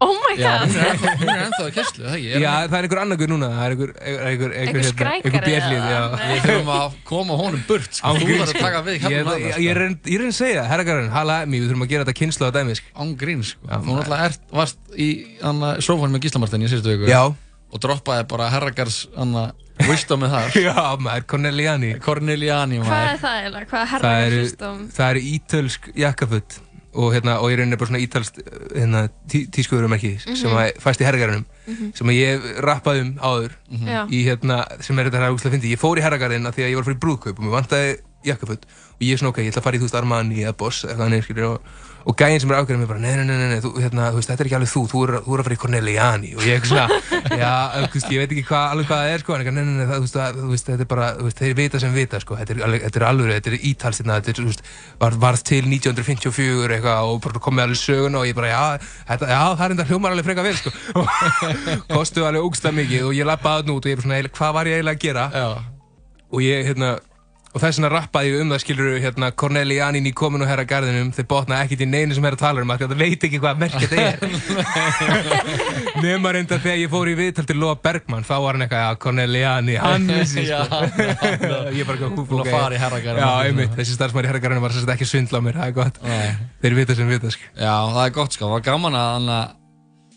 Oh my
Já.
god
Hún er ennþá að kesslu, það ekki?
Já, það er einhver annarkur núna, það er einhver einhver, einhver,
Einhver
hérna,
skrækari
einhver bjellið,
eða-
já
Við þurfum að koma honum burt sko. Þú þarf að taka við sko.
Ég,
kallum
ég, ég, reynd- ég reyndi að segja, herragarðurinn, hala emmi, við þurfum að gera þetta kynslu á dæmi sko.
Án grín, sko Þú náttúrulega ert, varst í hana, sófann með Gíslamartin í síðustu viku
Já.
Og droppaði bara herragars hana, wisdom með þar
[LAUGHS] Já, maður, Corneliani
Corneliani,
Hvað er það eiginlega? Hvað herra
það
er
eru,
hlustum?
það eru ítölsk jakkafutt og, hérna, og ég raunin er bara svona ítalst hérna, tí, tískuverumerki sem
Mhm.
að fæst í herragarðinum
Mhm.
sem að ég rappaði um áður
Mhm. Já.
í, hérna, sem er þetta hræðuguslega fyndi ég fór í herragarðin af því að ég var fyrir brúðkaup og mér vantaði jakkafutt og ég er svona ok, ég ætla að fara í þú veist Armani eða Boss eða þannig skilur og, og gæinn sem er ákveðin mér bara nei, nei, nei, nei, nei þú, hérna, þú veist, þetta er ekki alveg þú þú er, þú er að fara í Corneliani og ég er eitthvað svona já, þú veist, ég veit ekki hva, alveg hvað það er sko, en eitthvað, nei, nei, nei, það, þú veist, það, þú veist, þetta er bara þú veist, þeir vita sem vita, sko, þetta er, alveg, þetta er alveg þetta er ítalstina, þetta er, þú veist, var, varð til 1954 eitthvað og bara komið alveg söguna og ég bara, já, þetta, já, það er enda hljómar alveg freka vel, sko [LAUGHS] og kostuð alveg ógsta mikið og ég lappaði þarna út og ég bara svona, eiginlega, hvað var ég eiginlega að gera já. og ég, hérna og þess vegna rappaði ég um það skilur hérna, Corneli Janín í kominu herra garðinum þeir botna ekkert í neinu sem herra talar um af því að það veit ekki hvað merkja þetta er
[LAUGHS]
Nefna reynda þegar ég fór í viðtal til Lóa Bergmann, þá var hann eitthvað, já, Corneliani, hann vissi,
[LAUGHS] Já,
sko. [LAUGHS] ég bara eitthvað, hú,
Búin að fara í herragarðinn.
Já, einmitt, þessi starfsmæri herragarðinu var sérst ekki að svindla á mér, það er gott. Þeir vita sem vita, sko.
Já, það er gott sko, það var gaman að hann að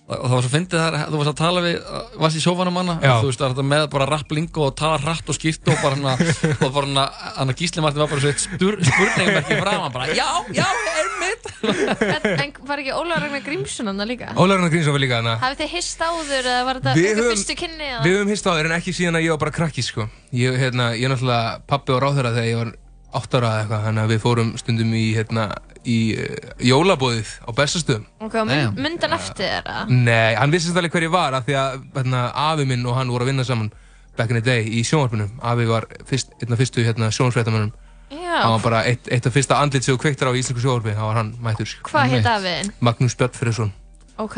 og það var svo fyndið þar, þú varst að tala við varst í sjófanum hana,
Já.
þú veist það var þetta með bara rapplingu og tala hratt og skýrt og bara hann að, og bara hann að, hann að gíslimartin var bara svo eitt spur, spurningmerki frá hann bara, já, já, einmitt
En en var ekki Ólafur Ragnar Grímsson hann líka?
Ólafur Ragnar Grímsson var líka þarna.
Hafið þið hist áður eða var þetta
Við
ykkur
höfum-
fyrstu kynni? eða?
Við höfum hist á þér en ekki síðan að ég var bara krakki, sko. Ég, hérna, ég er náttúrulega pappi og ráðherra þegar ég var átt ára eða eitthvað, þannig að við fórum stundum í, hérna, í uh, jólabóðið á bestastöðum.
Ok, og mynd, myndan eftir þeirra?
Nei, hann vissi samt alveg hver ég var af því að hérna, afi minn og hann voru að vinna saman back in the day í sjónvarpinu afi var fyrst, einn af fyrstu hérna, sjónvarsfréttamönnum
Já,
hann var bara eitt, eitt af fyrsta andlit sem þú kveiktar á í íslensku sjónvarpi þá var hann mættur sko.
hvað heit afiðin?
Magnús Björnfriðsson,
Ok,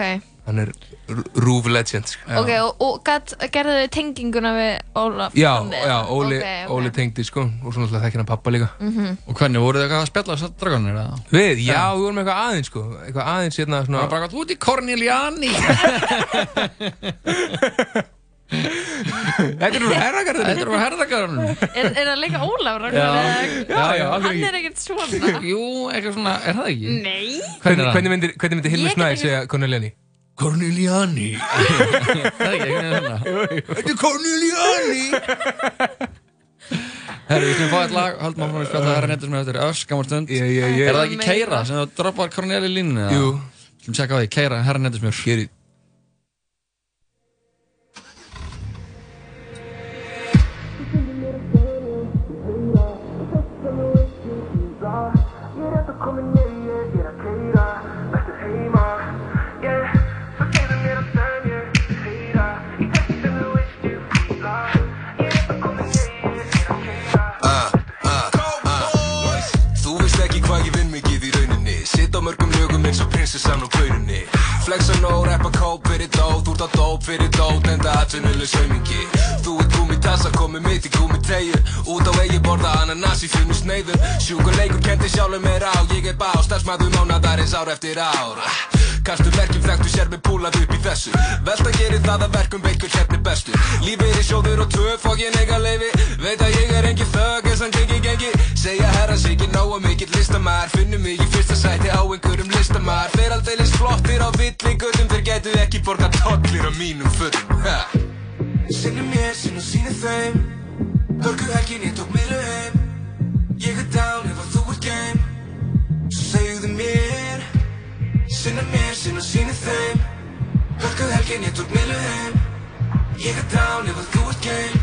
hann er rúf legend sko.
ok, og, og gat, gerðu þið tenginguna við Ólaf?
já,
þannig?
já, Óli,
Ok, ok.
Óli tengdi sko, og svona alltaf þekkir hann pappa líka
Mhm.
Mm. Og hvernig, voruð þið eitthvað að spjalla þessar dragonir eða?
Við, já, við vorum eitthvað aðeins sko eitthvað aðeins hérna svona
Bara gott út í Corneliani
[LAUGHS] Þetta er úr herragarðinum
Þetta er úr herragarðinum
Er, er það líka
Já.
Ólafur Ragnar? eða-
Já, já, alveg
Hann
ekki.
er ekkert svona
Jú, eitthvað svona, er það ekki?
Nei
Hvernig, hvernig myndi, hvernig myndi Hilmi
Ég get
Snæ
ekki-
segja Corneliani? Corneliani
[LAUGHS] Það er ekki, ekki þannig
Þetta er Corneliani
Herru, við skulum fá eitt lag, höldum áfram að spjalla herra netur sem er eftir öskamar stund
yeah, yeah, yeah.
Er það ekki Keira sem það droppar Corneli línu?
Jú.
Skulum tjekka á því, Keira, herra netur sem er
Keiri
Ég er rétt að koma nýja, ég er að keira, vestur heima, yeah Svo kemur flexan úr bauninni Flexan og rappa kóp fyrir dót, þú ert á dóp fyrir dót, enda atvinnuleg saumingi Þú ert gúmi tassa, komið mitt í gúmi treyju Út á eigi borða ananas í fínu sneiðum Sjúkur leikur kendi sjálfur mér á, ég er bá Starfsmæðu mánadarins ár eftir ár Kastu verkjum þekktu sér með púlað upp í þessu Velta gerir það að verkum beikur hrefni bestu Lífið er sjóður og tvö fók ég nega leifi Veit að ég er engin þög eins hann gengi gengi Segja herra sig ekki nógu mikill listamær Finnum mig í fyrsta sæti á einhverjum listamær Þeir aldeilis flottir á villi göttum Þeir gætu ekki borga tollir á mínum fötum ha. Sinnum mér, sinnum sínu þeim Hörgu helgin ég tók miðlu heim Ég er down ef að þú ert game Svo segjuðu mér Sinna mér, sinna sínu þeim Hörkuð helgin, ég tók miðlu heim Ég er down ef að þú ert game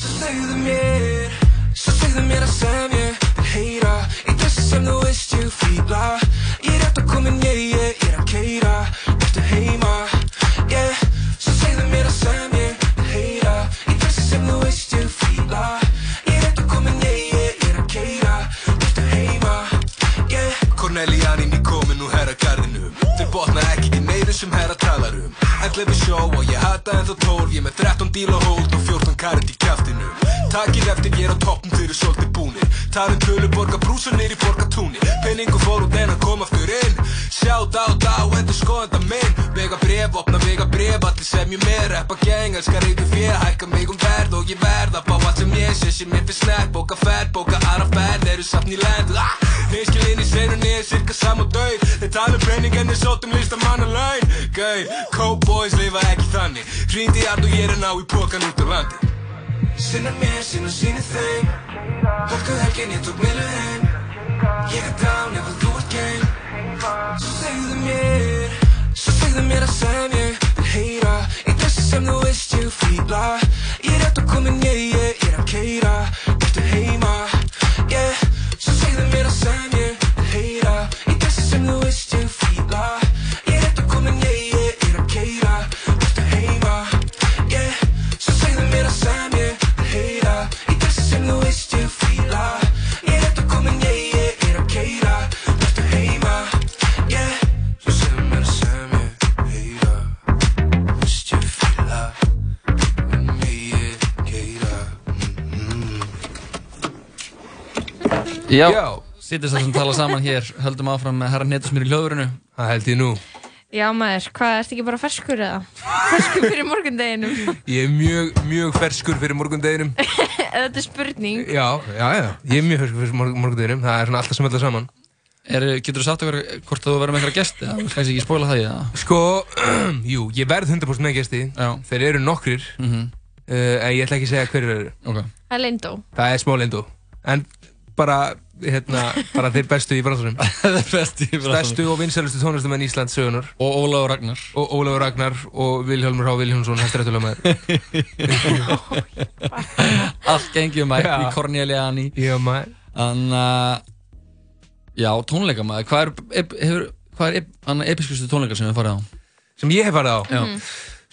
Svo segðu mér Svo segðu mér að sem ég Þeir heyra Í þessu sem þú veist ég fýbla Ég er eftir að komin, ég, ég er að keira Ertu heima, yeah Svo segðu mér að sem ég Þeir heyra Í þessu sem þú veist ég fýbla Ég er eftir að komin, ég, ég er að keira Ertu heima, yeah Cornelianin í komin úr herragarðinu Þeir botna ekki í neyðu sem herra talar um 11 sjó og ég hata en þó 12 Ég er með 13 díl og hold og 14 karat í kjaftinu Takir eftir ég er á toppum þeir eru svolítið búnir Talum tölu borga brúsa nýri borga túni Penningu fór út en hann kom aftur inn Sjátt á þá endur skoðanda minn Vega bref, opna vega bref, allir sem ég með Rappa gang, elskar reyðu fjö, hækka mig um verð Og ég verð að fá allt sem ég sé, sem ég fyrir snert Bóka ferð, bóka aðra ferð, eru samt í land ah! Nýskilinn í senunni er cirka sam og döið Þeir tala um penning en þeir sótum listamanna laun Gau, cowboys lifa ekki þannig Hringdi í art og ég er að ná í pokan út af landi Sinna mér, sinna sínu þeim Hörkuð helgin, ég tók miðlu heim Ég er down ef að þú ert game Svo segðu mér Svo segðu mér að sem ég vil heyra Í þessu sem þú veist ég fýbla Ég er eftir komin ég, ég er að keira Ertu heima, yeah Svo segðu mér að sem ég vil heyra Í þessu sem þú veist ég fýbla Ég er eftir komin ég, ég er að keira Ertu heima, yeah Svo segðu mér að sem ég vil heyra Í þessu sem þú veist ég fýbla Ég er eftir komin ég, ég er að keira Ertu heima, yeah Svo segðu mér að sem ég heyra Vist ég fýla En mig ég keira
Já, Já. sittir þess að tala saman hér Höldum áfram með herra netusmýr í hljóðurinu
Það held ég nú
Já maður, hvað, ertu ekki bara ferskur eða? [LAUGHS] Ferskur fyrir [LAUGHS] morgundeginum
Ég er mjög, mjög ferskur fyrir morgundeginum
Þetta er spurning
Já, já, já, ég er mjög ferskur fyrir morg morgundeginum Það er svona alltaf sem alltaf saman
er, Getur þú sagt okkur hvort þú verður með einhverja gesti? Það kannski ekki spóla það í það
Sko, [CLEARS THROAT] jú, ég verð 100% með gesti já. Þeir eru nokkrir
Mhm.
uh, En ég ætla ekki að segja hverju eru
okay.
Það er lindó
Það er smá lindó En bara, hérna, bara þeir bestu í
[LAUGHS]
bransunum Þeir
bestu í bransunum.
Bestu og vinsælustu tónlistamenn Íslands sögunar
Og Ólafur Ragnar
Og Ólafur Ragnar og Vilhjálmur H. Vilhjálmsson Hestarættulegmaður
[LAUGHS] Allt gengjum mætt
Já. um
í Corneliani
Já mætt
Þannig að Já, tónleika maður Hvað er, ep, hefur, hvað er ep, annað episkustu tónleika sem við farið á?
Sem ég hef farið á?
Já
Mhm.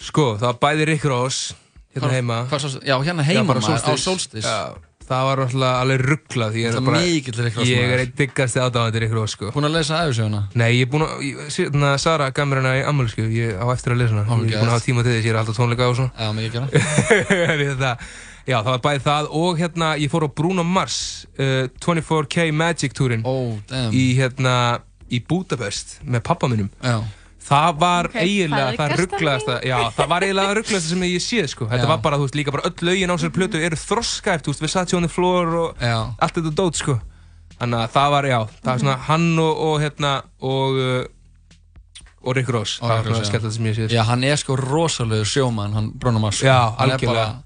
Sko, það var bæði Rick Ross Hérna
Hvar-
heima
hvar sástu- já, hérna heima
bara
maður, á
Solstice.
Solstice.
Já, Það var alltaf alveg rugglað Ég
Þetta
er
er
bara
mikill Rick Ross
Ég
maður.
er eitt diggasti aðdáðandi Rick Ross sko
Búin að lesa hérna? æfisöguna?
Nei, ég er búin að ég- Sérna Sara gaf mér hana í ammálskjöf Ég á eftir að lesa hana Ég er búin að hafa tíma til þess Ég er alltaf tónleika og svona
Já, mikið gera
[LAUGHS] Þetta, já, það var bæði það og hérna, ég fór á Bruno Mars uh, 24K Magic túrin
oh,
í hérna, í Budapest með pappa minnum
já.
það var
Ok,
eiginlega
það er gert
það
að
rugglaðasta já, það var eiginlega það rugglaðasta sem ég séð sko. þetta
Já.
var bara, þú veist, líka bara öll lögin á
Mhm.
sér plötu eru þroskaæft, þú veist, Versace on the floor og
já.
allt þetta dót, sko þannig að það var, já, það var
Mhm.
svona hann og, og hérna, og uh, og Rick Ross, það var svona skemmt sem ég séð
Já, hann er sko rosalegu sjómann, hann Bruno Mars sko.
Já,
Hann er
algjörlega.
bara-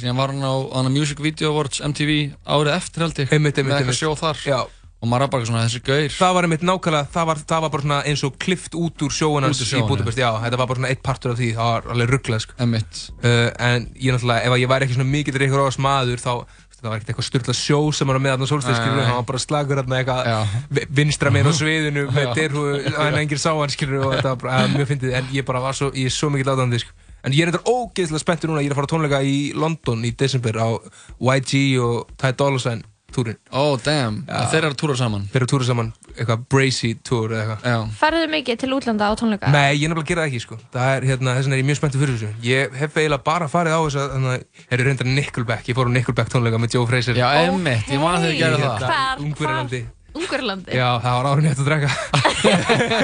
Síðan var hann á hann á Music Video Awards MTV árið eftir held ég
einmitt, einmitt,
Með eitthvað
einmitt.
sjó þar
já.
Og maður er bara svona þessi gaur
Það var einmitt nákvæmlega, það var, það var bara svona eins og klift út úr sjóunans
Út úr
í
sjóunum.
Budapest, já, þetta var bara svona eitt partur af því, það var alveg rugglað, sko.
Einmitt.
Uh, en ég náttúrulega, ef að ég væri ekki svona mikill reykur ás maður, þá, það var ekkert eitthvað styrla sjó sem var með
Nei,
þarna
nei,
sólstæðskilur,
nei.
það var bara slagur þarna eitthvað vi- vinstra meginn á sviðinu með
Já.
derhúðu, en engir sáhanskilur og þetta var bara, eh, mjög fyndið, en ég bara var svo, ég er svo mikill aðdæðandi, sko. En ég er þetta ógeðslega spenntur núna, ég er að fara á tónleika í London í desember á YG og Ty Dolla Sign túrin Oh damn, ja. þeir eru að túra saman Þeir eru að túra saman, eitthvað Brazy túr eða eitthvað Já
Færðu mikið til útlanda á tónleika?
Nei, ég nefnilega gera það ekki sko Það er hérna, þess vegna er ég mjög spenntið fyrir þessu Ég hef eiginlega bara farið á þess að Þannig að eru reyndar Nickelback Ég fór á Nickelback tónleika með Joe Fraser Já,
einmitt, ég man að þau gerðu það.
Hvar-
Ungverjalandi
Ungurlandi?
Já, það var árið nætt að drekka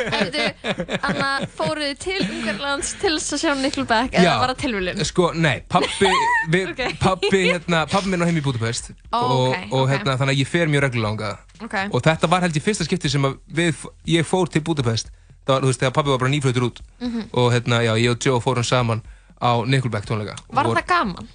Anna, fóruðu til Ungurlands til þess að sjá Nickelback
Já.
eða var það tilviljun?
Sko, nei,
[LAUGHS]
pabbi, vi,
Ok.
pabbi, hérna, pabbi minn á heim í Budapest
Ó,
og,
ok,
og
ok.
hérna, þannig að ég fer mjög reglulega angað
Ok.
og þetta var held ég fyrsta skipti sem að við, ég fór til Budapest það var, þú veist, þegar pabbi var bara nýflutur út
Mhm.
og hérna, já, ég og Joe fórum saman á Nickelback tónleika
Var
og
það gaman?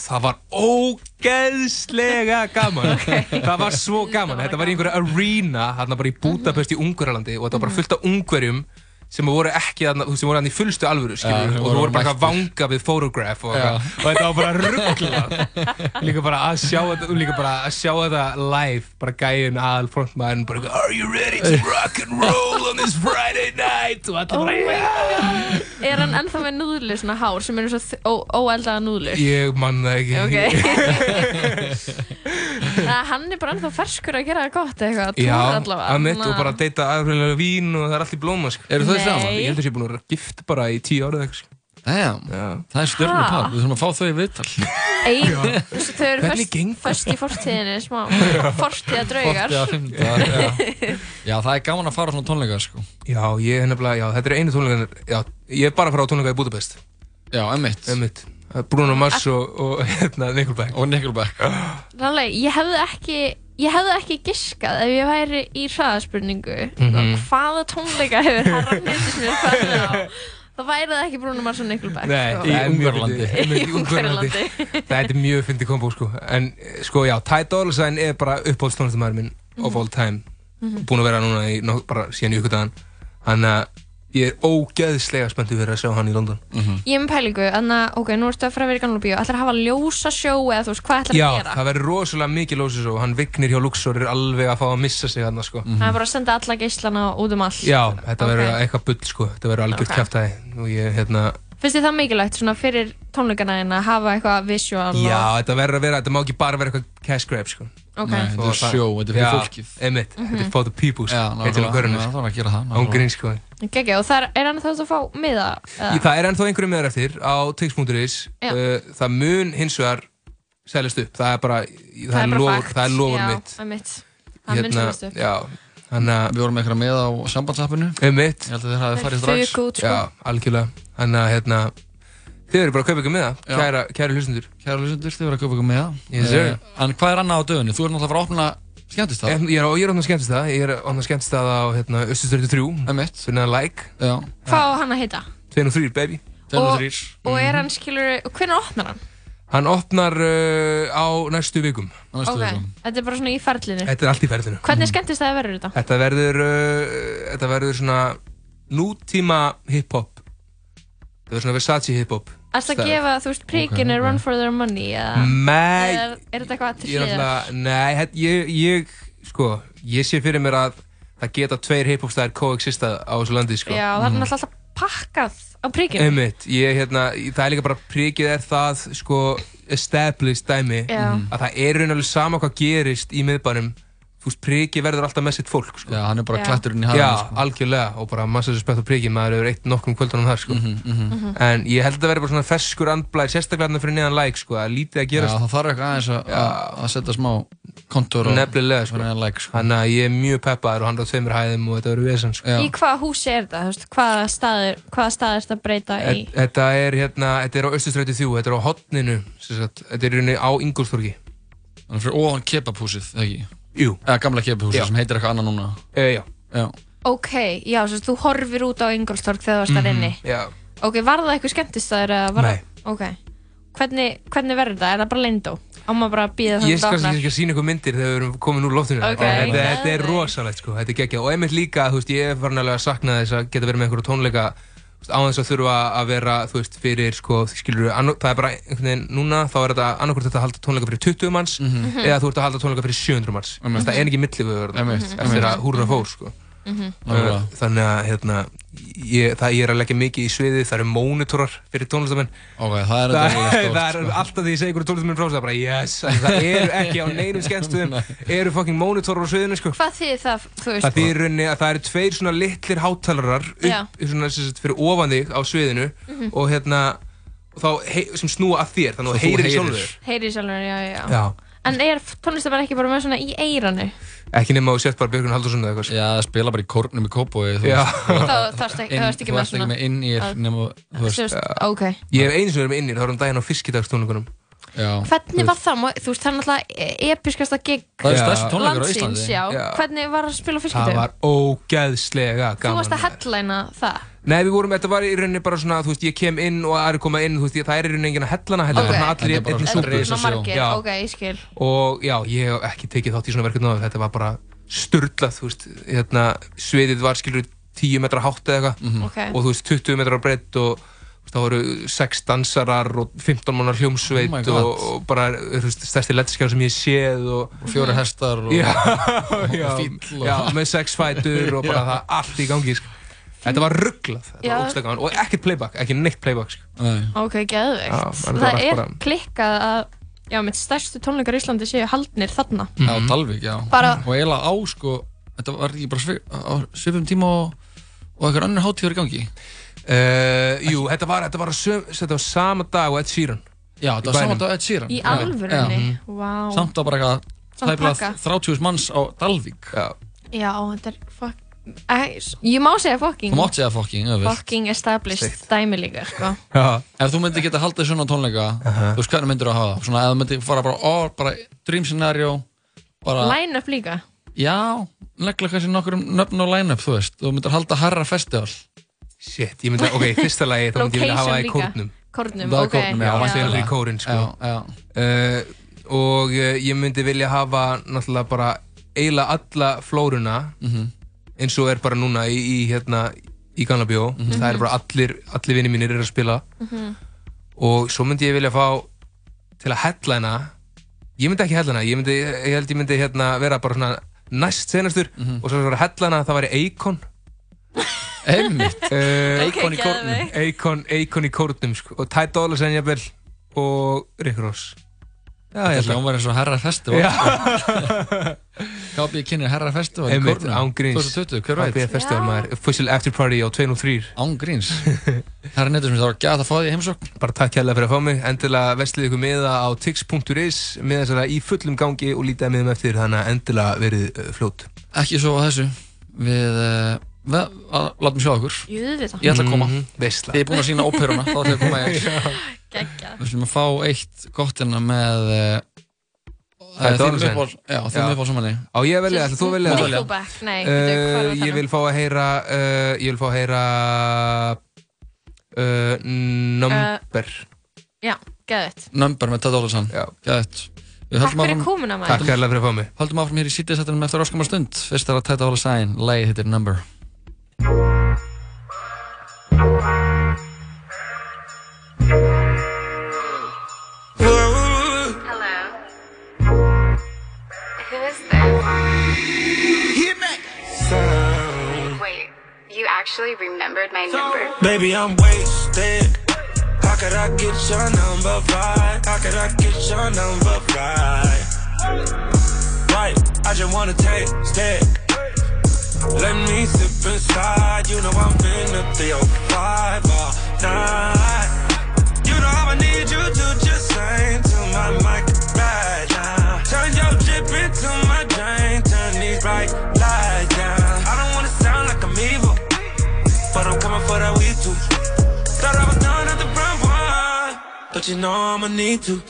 það var ógeðslega gaman það var svo gaman, þetta var í einhverja arena hérna bara í Budapest í Ungverjalandi og þetta var bara fullt af ungverjum sem voru ekki þarna, þú veist, sem voru hann í fullstu alvöru skilur,
Já,
og þú
voru
voru bara að
mættir.
vanga við photograph og,
Já.
eitthvað. og þetta var bara ruggla [LAUGHS] líka bara að sjá þetta líka bara að sjá þetta live bara gæin aðal frontmann bara eitthvað, are you ready to rock and roll on this Friday night og allir bara
Er hann ennþá með núðlu svona hár sem eru svo þ- ó- óeldaða núðlu?
Ég man það ekki [LAUGHS]
Það hann er bara ennþá ferskur að gera það gott eitthvað,
Já,
túr allavega.
að mitt og
Þannig að-
bara að deyta aðfélagilega vín og það er allt í blóma sko.
Eru þau Nei. saman?
Ég held að ég er búin að vera gift bara í tíu árið eitthvað sko.
Damn, það er stjörnupar,
Ha?
við þurfum að fá þau í viðtal
Ei, þú veist, þau eru
Hvernig
föst,
gengur
föst í fortíðinni,
[LAUGHS]
smá fortíða [LAUGHS] draugar.
Fortíða fimmtudar, já. Já, það er gaman að fara á svona tónleika sko.
Já, ég er nefnilega, já, þetta er einu tónleika Já, ég er bara að fara á tónleika í Budapest
Já, emmitt
Emmitt Bruno Mars og, og hérna, Nickelback
Og Nickelback
Rannleik, ég hefði ekki, ég hefði ekki giskað ef ég væri í hraðaspurningu.
[GASPS] Mhm.
Hvaða tónleika hefur Harald Nýttismjörn farið á? Það væri það ekki Bruno Mars og Nickelback.
Nei,
sko.
það er mjög fyndið. Einmitt,
Í Ungverjalandi.
Þetta er mjög fyndi kombo sko En eh, sko já, Ty Dolla Sign er bara uppáhaldstónlistamæður minn of all time
Mhm.
Búin að vera núna í, nok- bara síðan í ykkur dagann Þannig að ég er ógeðslega spenntið fyrir að sjá hann í London
Mhm.
Ég er með pælingu, þannig að, ok, nú ertu að fara að vera í gamla bíó, ætlar að hafa ljósa sjó eða þú veist, hvað ætlar að
Já,
gera?
það verður rosalega mikið lósis og hann vignir hjá Luxor er alveg að fá að missa sig hann sko
Mhm. Það er bara að senda alla geislana út um allt.
Já, þetta verður
Ok.
eitthvað bull sko, þetta verður algjört
Ok.
okay. og ég, hérna,
Finnst þið það mikilvægt svona fyrir tónleikana en að hafa eitthvað visual
já, þetta verður að vera, þetta má ekki bara vera eitthvað cash grab sko
Ok. Nei,
þetta er
Og
sjó,
það-
þetta er fyrir
Já,
fólkið.
einmitt, þetta
Mhm.
er for the people sko,
Já,
heitir
nákvæmlega,
á körunni
já,
sko.
það var að gera það,
Án
nákvæmlega.
grín sko
og geggjað og það er, er hann þá að fá miða
Í,
eða?
Það er ennþá einhverju meðar eftir á tix.is
Ah. Já.
uh, Það mun hins vegar seljast upp, það er bara, það,
bara
er, lofur,
fakt.
það er lofur
já,
mitt Hérna,
Það er mitt Það mun sem veistu
já, þannig að
Við vorum með eitthvað með á sambandsappinu
Einmitt
Ég held að þeir hafi farið
Þeir
strax
fuku út, sko.
Já, algjörlega Þannig að hérna Þið eru bara að kaupa ykkur með
Já.
það Kæra, kæra hlustendur
Kæra hlustendur, þið voru að kaupa ykkur með það
Yes, sir.
En hvað er annað á dögunni? Þú ert náttúrulega að fara að opna skemmtist það
En Ég er á- ég er ofna skemmtist það Ég er ofna skemmtist það á hérna, Östusturðu 3
Emmett
Fyrir neðan like
Já
Hvað á hann að heita?
2 og 3 baby
og, og
Mhm.
er hann skilur Og hvernig opnar hann?
Hann opnar uh, á næstu Mhm. vikum Á
Ok, þetta er bara svona í ferlinu
Þetta er allt í ferðinu
Hvernig skemmtist það að verður þetta?
Þetta verður, uh, þetta verður svona nútíma hiphop Þetta verður svona Versace hiphop
Ætla að gefa, þú veist, príkinu
Ok, Mm, ok.
Run for their money eða
Nei.
eða Er þetta eitthvað til
Ég er
hliðar?
alltaf, nei, hætt- ég, ég, sko, ég sé fyrir mér að það geta tveir hiphopstæðir coexistað á þessu landi, sko.
Já, það er náttúrulega alltaf pakkað á príkinu
Einmitt, ég, hérna, í- það er líka bara prikið er það, sko, established dæmi,
Já. Mhm.
að það er raun og alveg sama hvað gerist í miðbænum, þú veist, prikið verður alltaf með sitt fólk, sko.
Já, hann er bara
Já.
klætturinn í hafinu,
Já,
sko.
algjörlega, og bara massa þessu spett á prikið, maður hefur eitt nokkrum kvöldunum þar, sko.
mhm.
En ég held að það verður bara svona ferskur andblæð, sérstaklega hérna fyrir neðan læk, sko, það er lítið
Já,
að gerast.
það þarf eitthvað aðeins að- að að setja smá kontur
Nefnilega sko.
like, sko.
Þannig að ég er mjög peppaður og hann er á tveimur hæðum og þetta verður vesen sko.
Í hvaða húsi er þetta? Þú veist, Hvaða staður, hvaða staður er þetta að breyta í?
Þe- Þetta er hérna, þetta er á Östustræti 3, þetta er á hotninu sem sagt. Þetta er í rauninni á Ingolstorgi
Þannig fyrir ofan kebabhúsið, eða ekki?
Jú
Eða gamla kebabhúsið
Já.
sem heitir eitthvað annað núna
e, Já
Já
Ok, já, svo þú horfir út á Ingolstorg þegar þú varst þar inni
Já
Ok, var það eitthvað skemmtistæður eða var
Mhm. Nei.
Ok, hvernig, hvernig verður þetta? Er það bara leyndó? Á maður bara að býða þannig
Ég skal
að
kannski
opnar?
ekki að sína ykkur myndir þegar við erum komin úr loftinu
Ok,
En þetta, þetta er
geðveikt.
rosalegt sko, þetta er geggjað Og einmitt líka, þú veist, ég er farin alveg að sakna þess að geta verið með einhverju tónleika þú veist, Á þess að þurfa að vera, þú veist, fyrir sko, skilur, annað, það er bara einhvern veginn núna Þá er þetta annarkvort þetta að halda tónleika fyrir 20 manns
Mhm.
Eða þú ert að halda tónleika fyrir 700 manns Þú veist, Það er ekki millivöður
Einmitt,
eftir að húrra fór sko.
Mhm. Mhm.
uh, þannig að hérna, ég, það, ég er að leggja mikið í sviði það eru mónitorar fyrir tónlistamenn
okay, það er þetta
það,
alveg stórt, sko.
er alltaf því ég segi hverju tónlistamenn frá það bara yes, það eru ekki á neinum
[LAUGHS]
skemmstuðum eru fucking mónitorar á sviðinu sko.
Hvað þýðir það, þú veist?
það þýr rauninni að það eru tveir svona litlir hátalarar
Já.
upp svona, sem sagt, fyrir ofan þig á sviðinu
Mhm.
og hérna og þá, hei, sem snúa að þér þannig að
Svo þú
þú heyrir í
heyrir.
sjálfur þér.
Heyri sjálfur, já, já, já.
Já.
En er tónlistamenn ekki bara með svona í eiranu?
[LAUGHS] ekki nema að þú sett bara Björgun Haldursson eða eitthvað sko.
já, spila bara í kórnum í kópói
já.
Þá þarfst ekki,
Inn-
þarfst ekki
þú
með
ert ekki
svona
með inn í þér
að-
nema, þú veist.
Þú veist, ok
ég hef einu sem verið með innir, þá erum daginn á fiskidagstónleikunum
Hvernig var það? Má- Þú veist, það er náttúrulega e- episkasta gig
Það eru stærstu tónleikar á
landsins,
Íslandi.
já.
Já.
Hvernig var að spila á
það
fiskindum?
var ógeðslega
Þú
gaman
varst að headlina það
Nei, við vorum, þetta var í rauninni bara svona, þú veist, ég kem inn og aðri koma inn, þú veist, ég, það er í rauninni enginn að hellana, þetta
Ok.
er bara allir í
Þetta er bara
einni
svona
súpu.
svona margir,
Já,
ok, ég skil
og já, ég hef ekki tekið þátt í svona verkefni áður, þetta var bara sturlað, þú veist, hérna, sviðið var skilur 10 metra hátt eða eitthvað
Mhm. Ok.
og þú veist, 20 metra breytt og þú veist, þá voru 6 dansarar og 15 mannar
Oh my
hljómsveit
God.
og, og bara, þú veist, stærsti lettskjár sem ég hef séð og,
Og fjórir hestar og- [LAUGHS]
já,
og
já,
fíll og-
já, með 6 fætur og bara
Já.
það allt í gangi, sko. Þetta var rugglað, þetta
Já.
var ógstlega gaman og ekkert playback, ekki neitt playback, sko.
Nei.
Ok,
Já,
geðveikt
þetta var
Það er
bara-
klikkað að Já, mitt stærstu tónleikar í Íslandi séu haldnir þarna
Já,
Mhm.
Dalvík, já.
Bara-
Og eiginlega á, sko, þetta var ekki bara svip, á svipum tíma og, og eitthvað annar hátíður í gangi.
Uh, jú, þetta var, þetta var, söm, þetta var sama dag og Ed Sheeran.
Já, þetta var sama dag og Ed Sheeran.
Í
Já.
alvörunni,
Já.
vá
Samt að bara eitthvað,
Samt
það er bara
pakka.
30 manns á Dalvík.
Já.
Já, þetta er fuck Æ, s- Ég má segja fucking
Þú mátt segja fucking, ef við.
Fucking established dæmi líka, sko
Já.
Ef þú myndir geta haldið svona tónleika, þú veist hvernig myndir þú að hafa það? Svona, ef þú myndir fara bara, ó, bara, dream scenario, bara...
Line up líka
Já, negla kannski nokkur um nöfn og line-up, þú veist. Þú myndir halda harra festival.
Shit, ég myndi, ok, í fyrsta lagi, þá myndi ég vilja hafa það í kórnum.
Kórnum,
Það er
ok
kórnum, já.
Það var
Já.
steinlega fyrir kórinn, sko.
Já,
Uh, og uh, ég myndi vilja hafa, náttúrulega, bara eiginlega alla flóruna,
Mhm.
eins og er bara núna í, í hérna, í Gamla Bíó.
Mhm.
Það er bara allir, allir vinni mínir eru að spila.
Mhm.
Og svo myndi ég vilja fá til að headlina, ég myndi ekki headlina, ég myndi, ég held ég myndi hérna vera bara svona næst senastur
Mhm.
og svo vera headlina, það væri Eikon.
[LAUGHS] Einmitt.
uh,
Akon í Ok, kórnum. geðveikt.
Akon, Akon í kórnum sko. og Ty Dolla Sign jafnvel og Rick Ross
Þetta
ég
er
ætla-
hljómar eins og herra festival sko.
Já.
KB kynir herra festival í
Einmitt,
Kórnum
án gríns
2020, hver veit
Happy Festival maður Official After Party á 203
Án
[LAUGHS]
gríns Það er neitt sem það var gæt að fá því heimsókn
Bara takk hérlega fyrir að fá mig Endilega veslið ykkur miða á tix.is með þessara í fullum gangi og lítið að miðum eftir þannig að endilega verið uh, fljót
Ekki svo að þessu Við, uh, við að, látum sjá okkur
Jú, við það.
Ég ætla að koma
Mhm, veisla.
Þið er búin að sína óperuna Þá ætla ég að koma ég
[LAUGHS] Já.
Geggjað.
Við slum að fá eitt gott hérna með eh,
Það er Donovan.
Já, þeim
Já.
upp á samanli
Á ég að velja, ætla þú að velja
Þú
það?
velja.
Nickelback, nei, bíddu, hvað
uh,
var það
ég
nú?
vil fá að heyra uh, ég vil fá að heyra uh, number
Já, geðveikt
Number með Ted Olsson Gæt
Takk fyrir komuna, maður. Takk
hérlega fyrir að fá mig
Haldum áfram hér í sítið eftir áskamar stund Fyrst er að Ted Olsson Lægið hittir Number
Hello. Who is this? Hear me. Wait, you actually remembered my number?
Baby, I'm wasted. How could I get your number right? How could I get your number right? Right, I just wanna taste it. Let me sip inside. You know I'm finna feel five all night. You know I'ma need you to just sing to my mic right now. Turn your drip into my drink. Turn these bright lights down. I don't wanna sound like I'm evil, but I'm coming for that weed too. Thought I was done at the brown one, but you know I'ma need to.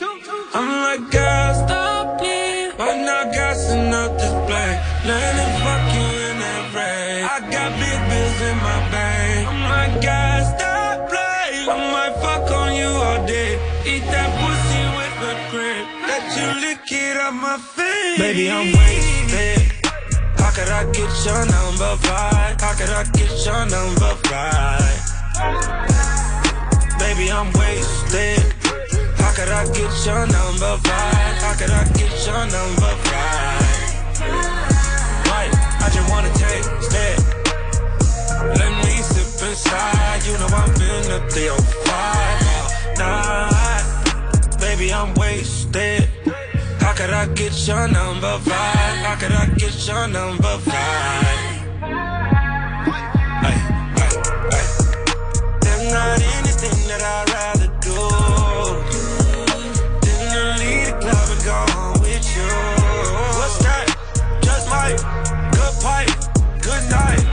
I'm like, girl, stop playing. Why not gassing up this plane? Learning fuck you in that rain. I got big bills in my bank. I'm like, girl, stop playing. I might fuck on you all day. Eat that pussy with a grip. Let you lick it up my face. Baby, I'm wasted. How could I get your number right? How could I get your number right? Baby, I'm wasted. How could I get your number right? How could I get your number right? Right, I just wanna taste it. Let me sip inside. You know I'm finna feel fine. Night, baby, I'm wasted. How could I get your number right? How could I get your number right? Ay, ay, ay. There's not anything that I'd rather do than to leave the club and go home with you. What's that? Just my good pipe, good night.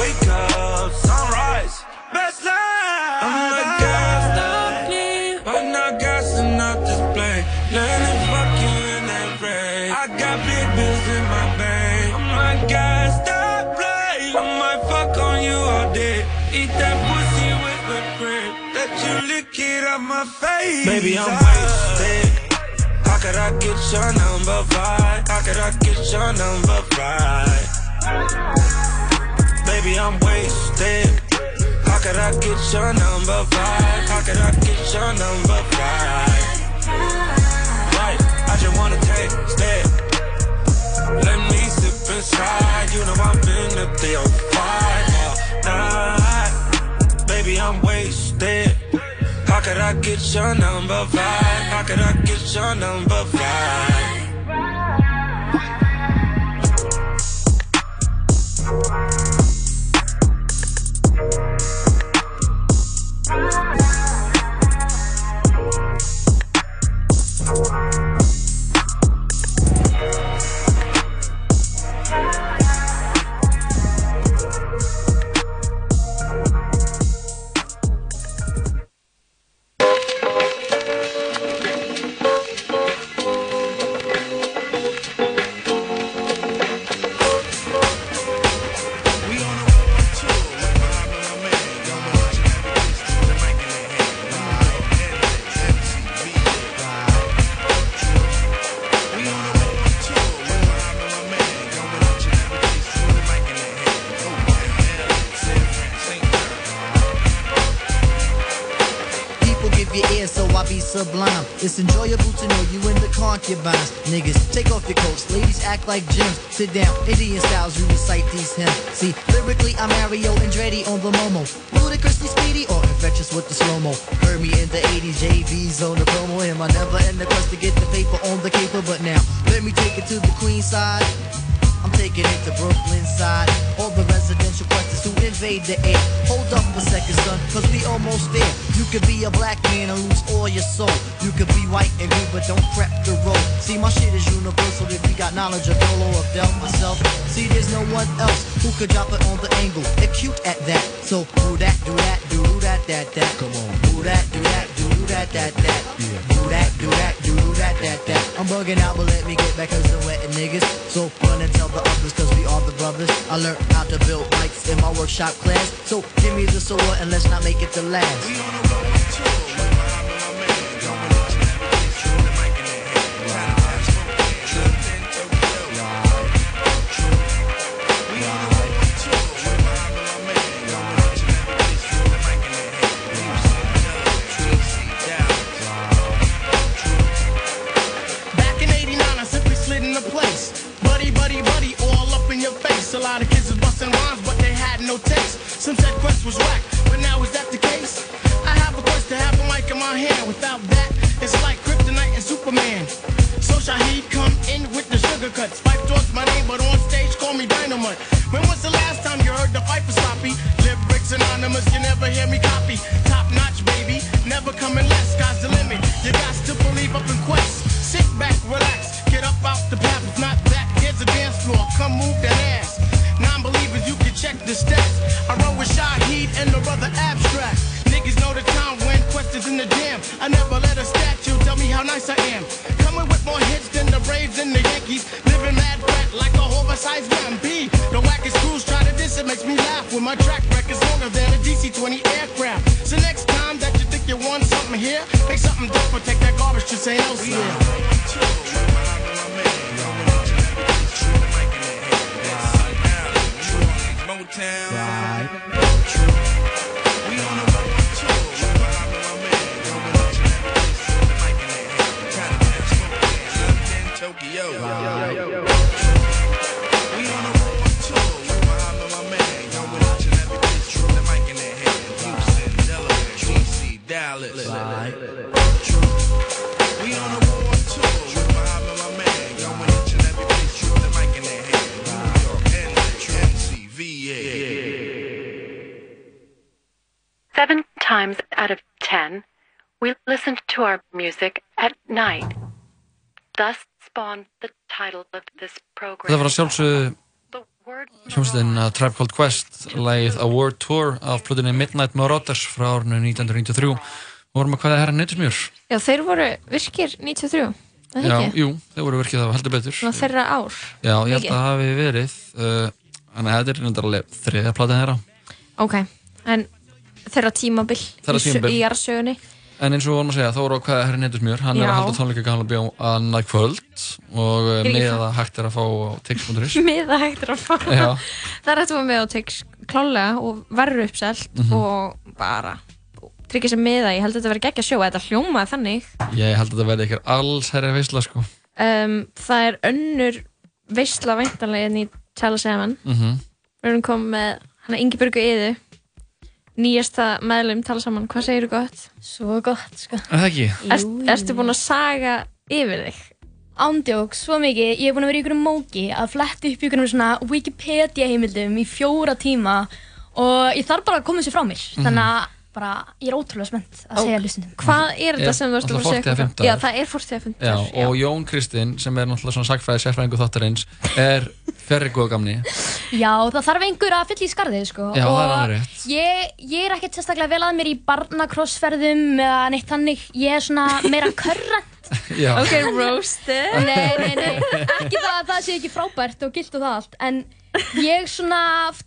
Wake up, sunrise, best life. I'm not gassed up, yeah. I'm not gassed and not just plain. Let me fuck you in that rain. I got big bills in my bank. Oh I'm not gassed up, play. I might fuck on you all day. Eat that pussy with whipped cream. Let you lick it up my face. Baby, I'm wasted. How could I get your number right? How could I get your number right? Baby, I'm wasted. How could I get your number right? How could I get your number right? Right, I just wanna taste it. Let me sip inside. You know I'm finna feel fine all night. Baby, I'm wasted. How could I get your number right? How could I get your number right?
People give you ear, so I be sublime. It's enjoyable to know you in the concubines. Niggas, take off your coats. Ladies, act like gems. Sit down, Indian styles, you recite these hymns. See, lyrically, I'm Mario Andretti on the Momo. Ludicrously speedy or infectious with the slow mo. Heard me in the 80s, JV's on the promo. Him, I never in the quest to get the paper on the caper. But now, let me take it to the Queen side. I'm taking it to Brooklyn side. All the residential questions to invade the air. Hold up a second, son, cause we almost there. You could be a black man and lose all your soul. You could be white and blue, but don't prep the road. See, my shit is universal if you got knowledge of Dolo or Del myself. See, there's no one else who could drop it on the angle. Acute at that. So, do that, do that, do that, that, that. Come on. Do that, do that, do that, that, that. Do that, do that, do that, that, that. I'm bugging out, but let me get back cause I'm wetting niggas. So run and tell the others cause we are the brothers. I learned how to build bikes in my workshop class. So give me the sword and let's not make it the last.
Back in 89, I simply slid in the place. Buddy, buddy, buddy, all up in your face. A lot of kids was busting rhymes, but they had no taste. Some said Quest was whack, but now is that the case? I have a quest to have a mic in my hand. Without that, it's like kryptonite and Superman. So Shaheed come in with the sugar cuts. Fife towards my name, but on stage call me Dynamite. When was the last time you heard the fight was sloppy? Lyrics anonymous, you never hear me copy. Top notch, baby, never coming less. Sky's the limit. You got to believe up in quest. Sit back, relax, get up out the path. If not that, here's a dance floor. Come move that ass. Non-believers, you can check the stats. I roll with Shaheed and the brother Abstract. Niggas know the time when Quest is in the jam. I never let a statue tell me how nice I am. Coming with more hits than the Braves and the Yankees. Living mad fat like a oversized man. B. The wackest crews try to diss it, makes me laugh. When my track record's longer than a DC-20 aircraft. So next time that you think you want something here, make something different. Take that garbage to say elsewhere.
Motown. Tokyo. We on a road to
Seven times out of ten, we listened to our music at night. Thus spawned the title of this
Þetta var
program.
að sjálfsögðu hljómsveitin að Tribe Called Quest lagið A World Tour af plutinni Midnight Marauders frá árinu 1993 og vorum að hvaða herra neytismjör
Já, þeir voru virkir 93 Það
Já,
ekki?
jú, þeir voru virkið það heldur betur
Svona þeirra ár
Já, ég held að
Mikið.
það hafi verið uh, Þannig að þetta er reyndar alveg þriðja plata þeirra
Ok, en þeirra tímabil
Þeirra
í sö-
tímabil.
Í jarðsögunni
En eins og við vorum að segja, Þóra og hvaða herri Neytismjör hann er
Já.
að halda tónleika gamla bjó annað kvöld og
Ég er ekki
með
fan.
að hægt er að fá á
[LAUGHS]
tix.is
Miða hægt er að fá
Já.
Það er hægt að fá með á tix klálega og verður uppselt
Mhm.
og bara tryggja sér miða, ég held að þetta verði geggja sjó þetta hljómaði þannig
Ég held að þetta verði ekkert alls herri veisla sko
um, Það er önnur veistla væntanlega en í tala saman
Mhm.
Við erum komið með hana Ingeborgu Yðu nýjasta meðlum tala saman, hvað segirðu gott?
Svo gott, sko.
Er það ekki?
Ert, ertu búin að saga yfir þig?
Ándjók, svo mikið, ég hef búin að vera í ykkur móki að fletta upp ykkur svona Wikipedia heimildum í fjóra tíma og ég þarf bara að koma þessu frá mér
Mhm.
þannig að bara, ég er ótrúlega spennt að
Ó,
segja hlustundum
Hvað er þetta
Er-
sem þú ert búin að
náttúrulega
segja?
40 eða 15
Já,
er.
það er 40 að 50
Já, og Jón Kristinn, sem er náttúrulega svona sagfræði sérfræðingu þáttarins, er ferri góð gamni.
Já, það þarf einhver að fylla í skarðið, sko
Já, það er
Og
alveg rétt.
ég, ég er ekkert sérstaklega vel að mér í barnakrossferðum eða neitt þannig, ég er svona meira
[LAUGHS]
körrant
Já.
Ok, roasted
Nei, nei, nei, ekki það að það sé ekki frábært og gilt og það allt En ég svona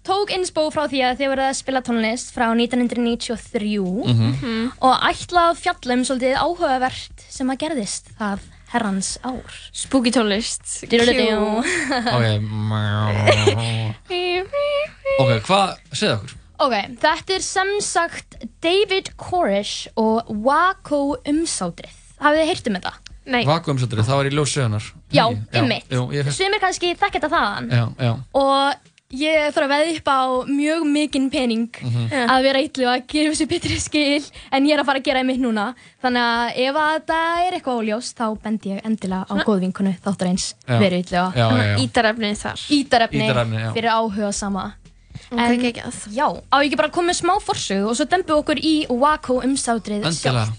tók innspó frá því að þið voruð að spila tónlist frá 1993
Mhm.
Og ætlaði að fjalla um svolítið áhugavert sem að gerðist það herrans ár
Spooky tónlist,
Dú-dú-dú.
Ok, mjá.
[LAUGHS]
ok, hvað, segðu okkur.
Ok, þetta er sem sagt David Koresh og Waco umsátrið Hafið þið heyrt um þetta? Nei
Vakuumsöndrið, það var í ljósöðunar.
Já, einmitt.
Jú, ég fyrst.
Sumir kannski þekkja þetta þaðan
Já, já.
og ég þarf að veða upp á mjög mikinn pening
Mhm. Já.
að vera eitlu að gefa þessu betri skil en ég er að fara að gera einmitt núna þannig að ef að þetta er eitthvað óljós þá bend ég endilega á góðvinkunu þáttur eins
Já.
verið eitlu að
Já, já, já.
ítarefni þar ítarefni,
Ítarefni, já.
fyrir áhuga sama En, já, á ég ekki bara að koma með smá forsög og svo dembum við okkur í Waco um umsátrið sjálft.
Endilega.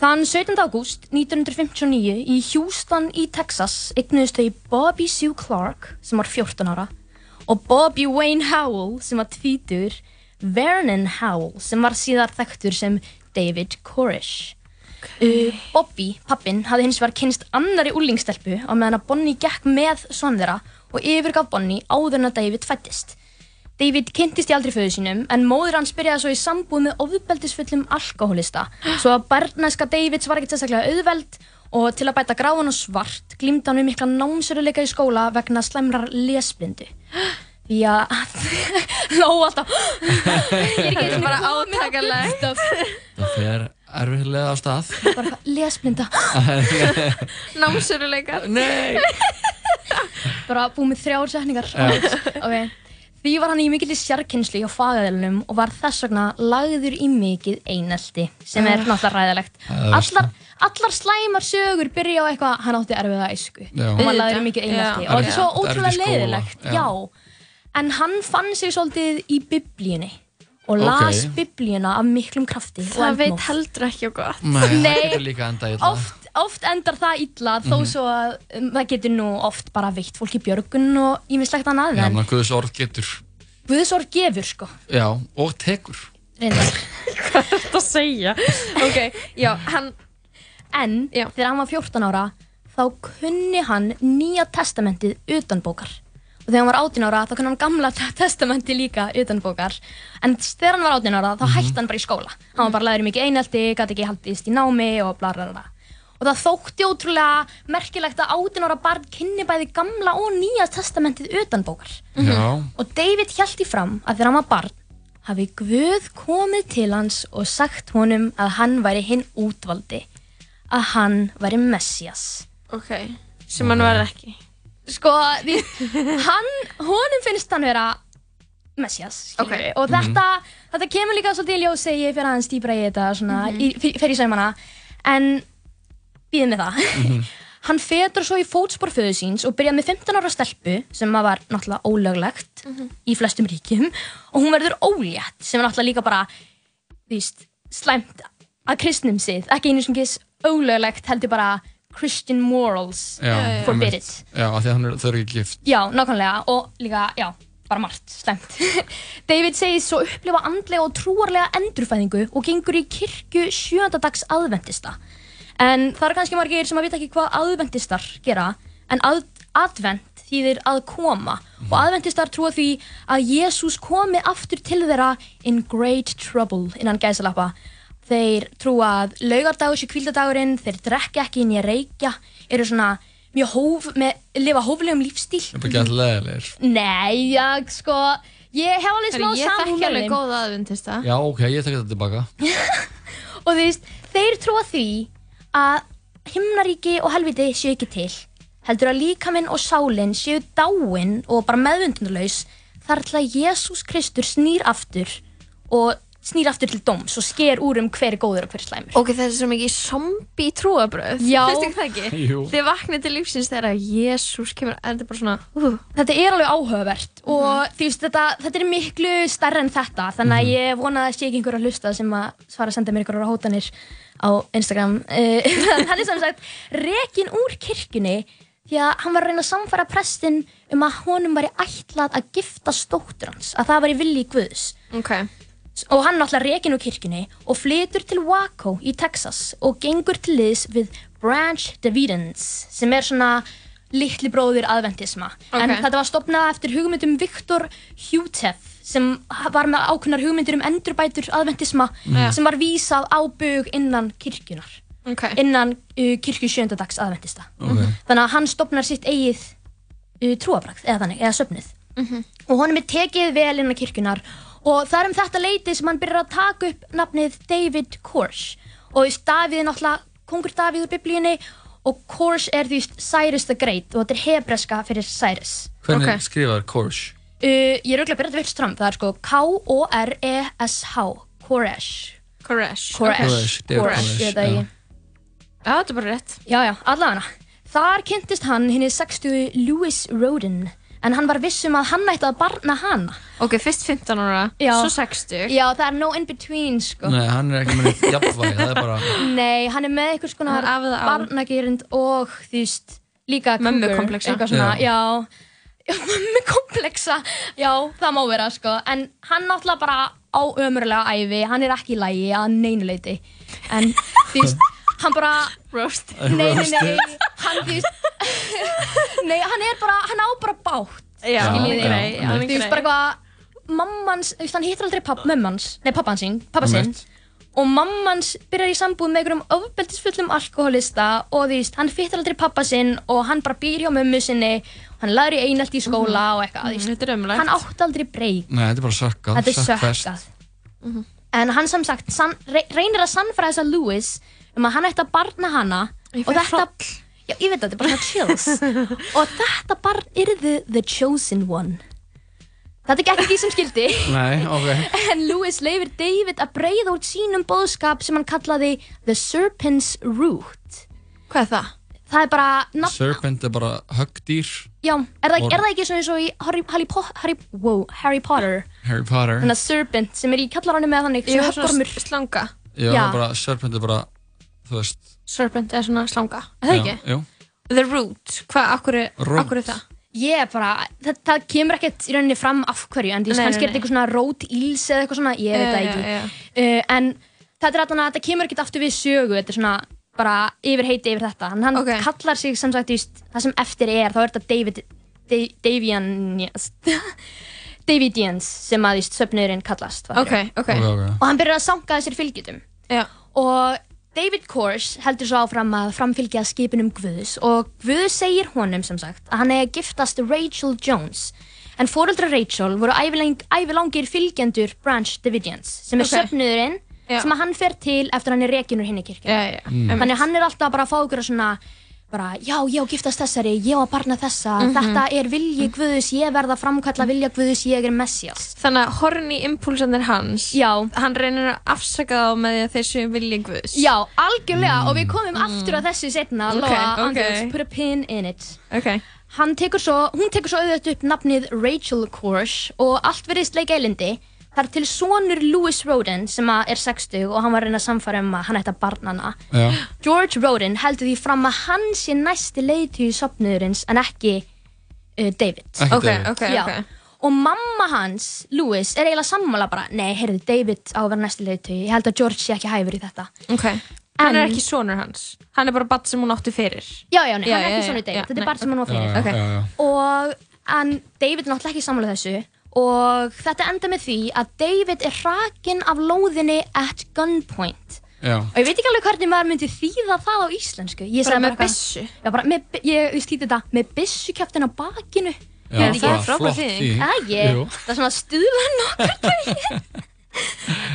Þann 17. ágúst 1959 í Houston í Texas eignuðust þau Bobby Sue Clark sem var 14 ára og Bobby Wayne Howell sem var tvítur, Vernon Howell sem var síðar þekktur sem David Koresh. Uh, Bobby, pappinn, hafði hins vegar kynst annari úlingstelpu á meðan að Bonnie gekk með son þeirra og yfirgaf Bonnie áður en að David fættist. David kynntist í aldrei föðu sínum en móður hans byrjaði svo í sambúð með ofbeldisfullum alkohólista svo að barnæska Davids var ekkert sérstaklega auðveld og til að bæta gráan og svart glýmdi hann um mikla námsöruleika í skóla vegna slemrar lesblindu því að [LAUGHS] hló alltaf [LAUGHS] ég er ekki einu sinni
Bara
komin á
átakanlegt.
Gustav.
Það fer erfiðlega á stað. [LAUGHS]
bara eitthvað, lesblinda [LAUGHS]
Námsöruleikar
Nei
bara búið með þrjár setningar
Já.
ok Því var hann í mikilli sérkynnslu hjá fagaðilunum og var þess vegna lagður í mikið einelti sem
Ah.
er náttúrulega ræðilegt.
Það er verst.
Allar, allar slæmar sögur byrja á eitthvað hann átti erfiða æsku
Já.
og var lagður í mikið einelti
Já.
og þetta er svo
Erfitt- erfitt í
ótrúlega
skóla.
leiðilegt.
Já.
Já. En hann fann sig svolítið í biblíunni og
Ok.
las biblíuna af miklum krafti og
Það veit
endmóð.
heldur ekki og gott
Nei, það
Nei.
getur líka enda í
oft, oft endar það illa þó
Mhm.
svo að um, það getur nú oft bara veitt fólk í björgun og ímislegt annað
Já,
en
ná, Guðs orð getur.
Guðsorg gefur sko
Já, og tekur.
reyndar
Þetta segja Ok, já, hann
En þegar hann var 14 ára þá kunni hann nýja testamentið utanbókar og þegar hann var 18 ára þá kunni hann gamla te- testamentið líka utanbókar en þegar hann var 18 ára þá hætti hann bara í skóla hann var bara laður í mikið einelti, gæti ekki haldist í námi og bla bla bla og það þótti ótrúlega merkilegt að 18 ára barn kynni bæði gamla og nýja testamentið utanbókar
Já.
og David hjælti fram að þegar hann var barn hafi Guð komið til hans og sagt honum að hann væri hinn útvaldi að hann væri Messias
Ok, sem hann var ekki
sko, því, hann, honum finnst hann vera Messias okay. og þetta, þetta kemur líka svolítið í ljós þegar ég fyrir aðeins dýbra í þetta svona, mm
Mhm.
í, fyrir í saumana en býðum við það [LAUGHS] Hann fetur svo í fótspor föðu síns og byrjar með 15 ára stelpu sem að var náttúrulega ólöglegt í flestum ríkjum og hún verður ólétt sem er náttúrulega líka bara víst, slæmt að kristnum sið, ekki einu sem gis ólöglegt heldur bara Christian morals
já,
forbidden.
einmitt. Já, af því að hann er, þau eru ekki gift
Já, nákvæmlega og líka, já, bara margt, slæmt. [LAUGHS] David segist svo upplifa andlega og trúarlega endurfæðingu og gengur í kirkju sjöndadags aðventista. En það eru kannski margir sem að vita ekki hvað aðventistar gera, en að, advent þýðir að koma og aðventistar trúa því að Jésús komi aftur til þeirra in great trouble innan gæsalappa. Þeir trúa að laugardagur sé kvíldadagurinn, þeir drekka ekki nýja reykja, eru svona mjög hóf, með, lifa hóflegum lífstíl.
Það er bara ekki alltaf leðilegir
Nei, já, sko Ég hef alveg smá
Heyrðu, ég
samúð
þekki
með
alveg
þeim.
góða aðventista
Já, ok, ég tek þetta tilbaka
Og þú veist, þeir trúa því að himnaríki og helviti séu ekki til heldur að líkaminn og sálinn séu dáinn og bara meðvundunarlaus þar til að Jésús Kristur snýr aftur og snýr aftur til dóms og sker úr um hver er góður og hver er slæmur
Ok, það er svo mikið zombie trúabröð
Já.
Finnst ekki það ekki?
Jú.
Þið vaknið til lífsins þegar Jésús kemur En þetta er bara svona
Þetta er alveg áhugavert
Mhm.
og þú veist þetta, þetta er miklu stærra en þetta þannig að ég vona að það sé ekki einhver að hlusta sem að svara að senda mér einhverjar hótanir á Instagram [LAUGHS] Eh, hann er sem sagt rekin úr kirkjunni því að hann var að reyna að samfara prestinn um að honum var í ætlað að gifta stóttur hans að það var í vilji Guðs
okay.
og hann náttúrulega rekin úr kirkjunni og flytur til Waco í Texas og gengur til liðs við Branch Davidans sem er svona litli bróðir aðventisma en
Ok.
þetta var stopnað eftir hugmyndum Viktor Hjútef sem var með ákunnar hugmyndir um endurbætur aðventisma
Mm.
sem var vísað á bug innan kirkjunar
okay.
innan uh, kirkju sjöndadags aðventista
Ok.
þannig að hann stopnar sitt eigið uh, trúabragð eða þannig, eða söfnuð og honum er tekið vel innan kirkjunar og það er um þetta leiti sem hann byrjar að taka upp nafnið David Kors og þú veist, Davíð er náttúrulega kongur Davíð úr biblíunni og Kors er því Cyrus the Great og þetta er hebreska fyrir Cyrus
Hvernig skrifar Korsh?
uh, Ég er auðvitað að byrja þetta virkt fram það er sko K-O-R-E-S-H E Koresh
Koresh
Koresh
David
Koresh, ég veit það ekki
Já, þetta er bara rétt
Já, já, allavega Þar kynntist hann henni 60 Lewis Roden En hann var viss um að hann ætti að barna hana
Ok, fyrst 15 ára,
já.
svo 60
Já, það er no in between, sko
Nei, hann er ekki með neitt jafnvægi, það er bara
Nei, hann er með einhvers konar barnagerind og þú veist líka
Mömmukomplexa.
eitthvað svona, já, [LAUGHS] já mömmukomplexa, já, það má vera sko, en hann náttúrulega bara á ömurlega æfi, hann er ekki í lægi að neynuleiti, en þú veist, hann bara
Roast
Nei, nei, nei,
Roasted.
hann þú veist [LAUGHS] Nei, hann er bara, hann á bara bátt
Já,
skiljiði.
hann er grei, já, hann er
Þú veist
grei.
bara eitthvað mammans, þú veist, hann hittir aldrei papp, mömmans, nei pappan sín, pappa sinn
Einmitt.
og mammans byrjar í sambúð með einhverjum ofbeldisfullum alkoholista og þú veist, hann fyttar aldrei pappa sinn og hann bara býr hjá mömmu sinni hann laður í einelt í skóla og eitthvað mm -hmm. hann átti aldrei breyk
Nei, þetta er bara sökkað
þetta er
sökkfest.
sökkað en hann sem sagt san, re, reynir að sannfæra þessa Lewis um að hann ætti að barna hana
Ég
og
fæ
þetta já, ég veit það, þetta er bara svona chills
[LAUGHS]
og þetta barn yrði the chosen one þetta gekk ekki sem skildi
Nei, ok
En Lewis leifir David að breyða út sínum boðskap sem hann kallaði The Serpent's Root.
Hvað er það?
Það er bara, na,
Serpent er bara höggdýr
já, er það,
Or-
er það ekki svona eins og í Harry, Harry, Po- Harry, wow, Harry Potter?
Harry Potter
Þannig að Serpent sem er í kallaranum með þannig,
Jú,
sem
svona
höggormur.
Slanga
Já,
já.
bara serpent er bara, þú veist
Serpent er svona slanga, er það
já,
ekki?
Jú,
The root, hvað, akkur er,
Root.
akkur er það?
Ég er bara, það, það kemur ekkert í rauninni fram af hverju, en þú veist,
Nei,
kannski er
nei, nei.
þetta eitthvað svona rót íls eða eitthvað svona, ég veit
Já,
það
já,
ekki.
já.
Uh, en þetta er alltaf, þetta kemur ekkert aftur við sögu, þetta er svona bara yfir heiti yfir þetta. En hann kallar sig sem sagt, þú veist, það sem eftir er, þá er þetta David, Da- Davian, [LAUGHS] Davidians sem að, þú veist, söfnurinn kallast. fattar
Ok,
ég.
ok. Ok, ok.
Og hann byrjar að sanga þessir fylgjutum.
Já.
Og David Kors heldur svo áfram að framfylgja skipunum Guðs og Guðs segir honum sem sagt að hann er að giftast Rachel Jones. En fóreldra Rachel voru ævilang, ævilangir fylgjendur Branch Davidians sem er
Ok.
söfnuðurinn
Já.
sem að hann fer til eftir að hann er rekinur hinn í kirkja.
Já, já. Mm.
Þannig að hann er alltaf bara að fá ykkur svona bara, já, ég á að giftast þessari, ég á að barna þessa,
Mhm.
þetta er vilji Guðs, ég verð að framkalla vilja Guðs, ég er messias.
Þannig að horni impulsanir hans
Já
Hann reynir að afsaka þá með því að þeir séu vilja guðs
Já, algjörlega og við
Mm.
komum aftur að þessu setna
Ok,
Lóa
ok.
Andrews, put a pin in it
okay.
Hann tekur svo, hún tekur svo auðvitað upp nafnið Rachel Kors og allt verðist leik eilindi Það er til sonur Louis Roden sem að er 60 og hann var að reyna að samfara um að hann ætti að barna hana.
Já.
George Roden heldur því fram að hann sé næsti leiðtíu sopnuðurins en ekki uh, David.
Ekki Ok, David. ok,
Já.
ok.
Og mamma hans, Louis, er eiginlega sammála bara, nei, heyrðu, David á að vera næsti leiðtíu, ég held að George sé ekki hæfur í þetta.
Ok, hann er ekki sonur hans Hann er bara badd sem hún átti fyrir
Já, já, nei, hann er ekki sonur David, þetta er bara sem hann á fyrir.
Uh,
Ok,
og en David er náttúrulega ekki sammála þessu og þetta enda með því að David er rakin af lóðinni at gunpoint
Já.
og ég veit ekki alveg hvernig maður myndi þýða það á íslensku ég
Bara
sagði með
bara
byssu já, bara, með, bi- ég, ég skýti þetta með byssu kæftin á bakinu
Já, Já, það er bara frábær flott þýðing. þýðing.
það er
Jú.
það er svona stuðla nokkur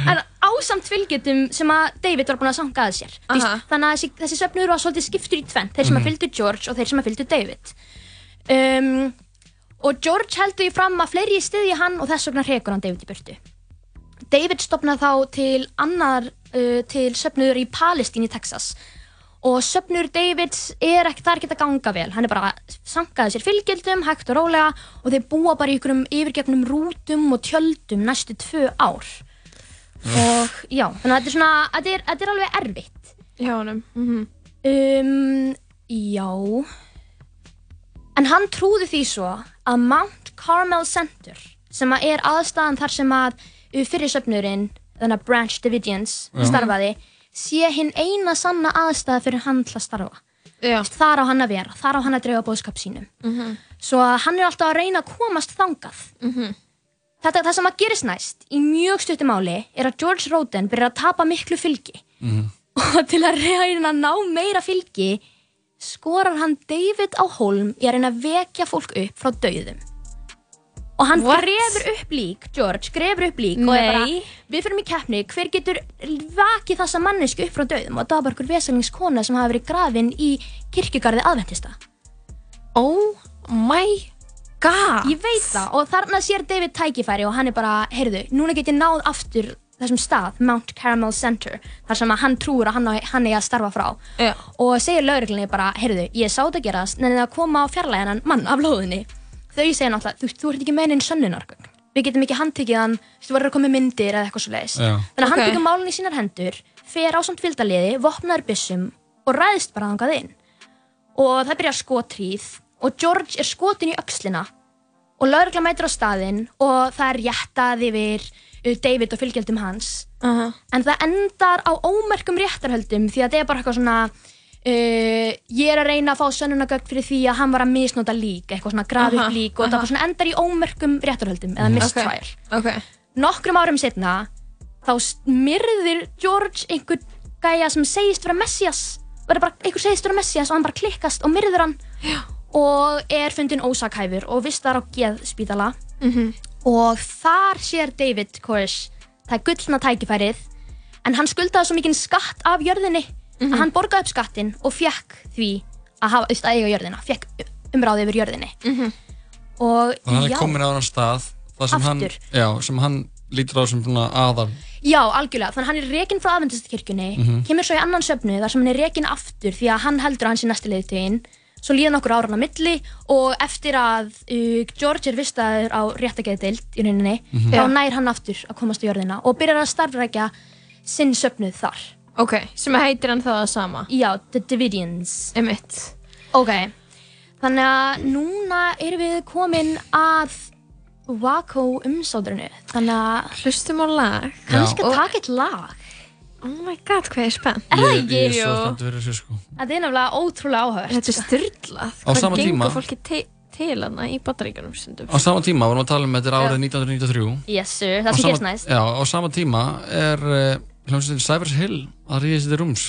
en ásamt fylgjöldum sem að David var búin að sanga að sér Þú veist, þannig að þessi, þessi söfnur var svolítið skiptur í tvenn þeir sem að
Mhm.
fylgdu George og þeir sem að fylgdu David um, og George heldur í fram að fleiri stiði hann og þess vegna hrekur hann David í burtu David stopnaði þá til annar uh, til söfnur í Palestín í Texas og söfnur Davids er ekki, það er ekki að ganga vel hann er bara sankaði sér fylgjöldum, hægt og rólega og þeir búa bara í ykkurum yfirgefnum rútum og tjöldum næstu tvö ár og já, þannig að þetta er svona þetta er, þetta er alveg erfitt
Já, honum Mhm. mm
um, já en hann trúði því svo að Mount Carmel Center sem að er aðstæðan þar sem að uh, fyrir söfnurinn, þannig að Branch Davidians
Já.
starfaði, sé hinn eina sanna aðstæða fyrir hann til að starfa
Já.
þar á hann að vera, þar á hann að dreifa bóðskap sínum
Mm-hmm.
-hmm.
svo að hann er alltaf að reyna að komast þangað Þetta, það sem að gerist næst í mjög stuttum máli er að George Roden byrjar að tapa miklu fylgi
Mm-hmm.
og til að reyna að ná meira fylgi skorar hann David á holm í að reyna að vekja fólk upp frá dauðum og hann
What?
grefur upp lík George grefur upp lík og er bara
Nei.
við fyrir mig keppni, hver getur vakið þessa mannesku upp frá dauðum og það var bara einhver vesalingskona sem hafi verið grafin í kirkjugarði aðventista Oh my god Ég veit það og þarna sér David tækifæri og hann er bara, heyrðu, núna get ég náð aftur þessum stað, Mount Caramel Center þar sem að hann trúur að hann, á- hann eigi að starfa frá
Já.
og segir lauruglinni bara, heyrðu, ég sá þetta gerast en það koma á fjarlæginan mann af lóðinni þau segja náttúrulega, þú, þú ert ekki með einn sönnunargögn við getum ekki handtekið hann þú verður að koma með myndir eða eitthvað svo leiðis
Já.
þannig að hann
Ok.
tekur málun í sínar hendur fer á samt fylgdaliði, vopnaður byssum og ræðist bara þangað inn og það byrjar skotríð og George er skotin í öxlina og laurugla mætir á staðinn og það er jættað yfir uh, David og fylgjöldum hans
Aha.
en það endar á ómerkum réttarhöldum því að það er bara eitthvað svona uh, ég er að reyna að fá sönnunagögn fyrir því að hann var að misnota lík eitthvað svona grafið
Aha,
upp lík og það
aha.
bara svona endar í ómerkum réttarhöldum eða
Mhm.
mistrial
Ok,
nokkrum árum setna þá myrðir George einhver gæja sem segist vera Messias verður bara, einhver segist vera Messias og hann bara klikkast og myrðir hann Já. og er fundin ósakhæfur og vistar á geðspítala
Mhm.
og þar sér David Koresh það er gullna tækifærið en hann skuldaði svo mikinn skatt af jörðinni að hann borgaði upp skattin og fekk því að hafa auðvitað eiga jörðina fekk umráði yfir jörðinni -hmm. og
Þannig að hann
já,
er komin á hann stað það sem hann,
Aftur.
já, sem hann lítur á sem svona aðal
Já, algjörlega, þannig að hann er rekinn frá aðvendistakirkjunni,
Mhm.
kemur svo í annan söfnu þar sem hann er rekinn aftur því að hann heldur að hann sé næsti leiðtögin, svo líða nokkur ára á milli og eftir að uh, George er vistaður á réttageðdeild í rauninni,
Mhm.
þá
Já.
nær hann aftur að komast á jörðina og byrjar að starfrækja sinn söfnuð þar.
ok, sem heitir hann það að sama
Já, The Davidians.
Emitt
Ok, þannig að núna erum við komin að Waco umsátrinu, þannig að
Hlustum á lag
kannski
Og-
að taka eitt lag.
Oh my god, hvað ég er spennt
Er það
Ég- Ég er
ekki?
svo
Jú.
spennt fyrir þessu sko
Þetta er nefnilega ótrúlega áhört
Þetta er styrlað
Á sama tíma-
fólki te til hana í bandaríkjunum stundum
Á sama tíma vorum við að tala um þetta er
Já.
árið 1993
Jessu,
Á
það sem
sama-
gerst næst
Já, á sama tíma er uh, hljómsveitin Cybers Hill að ríða sér til rúms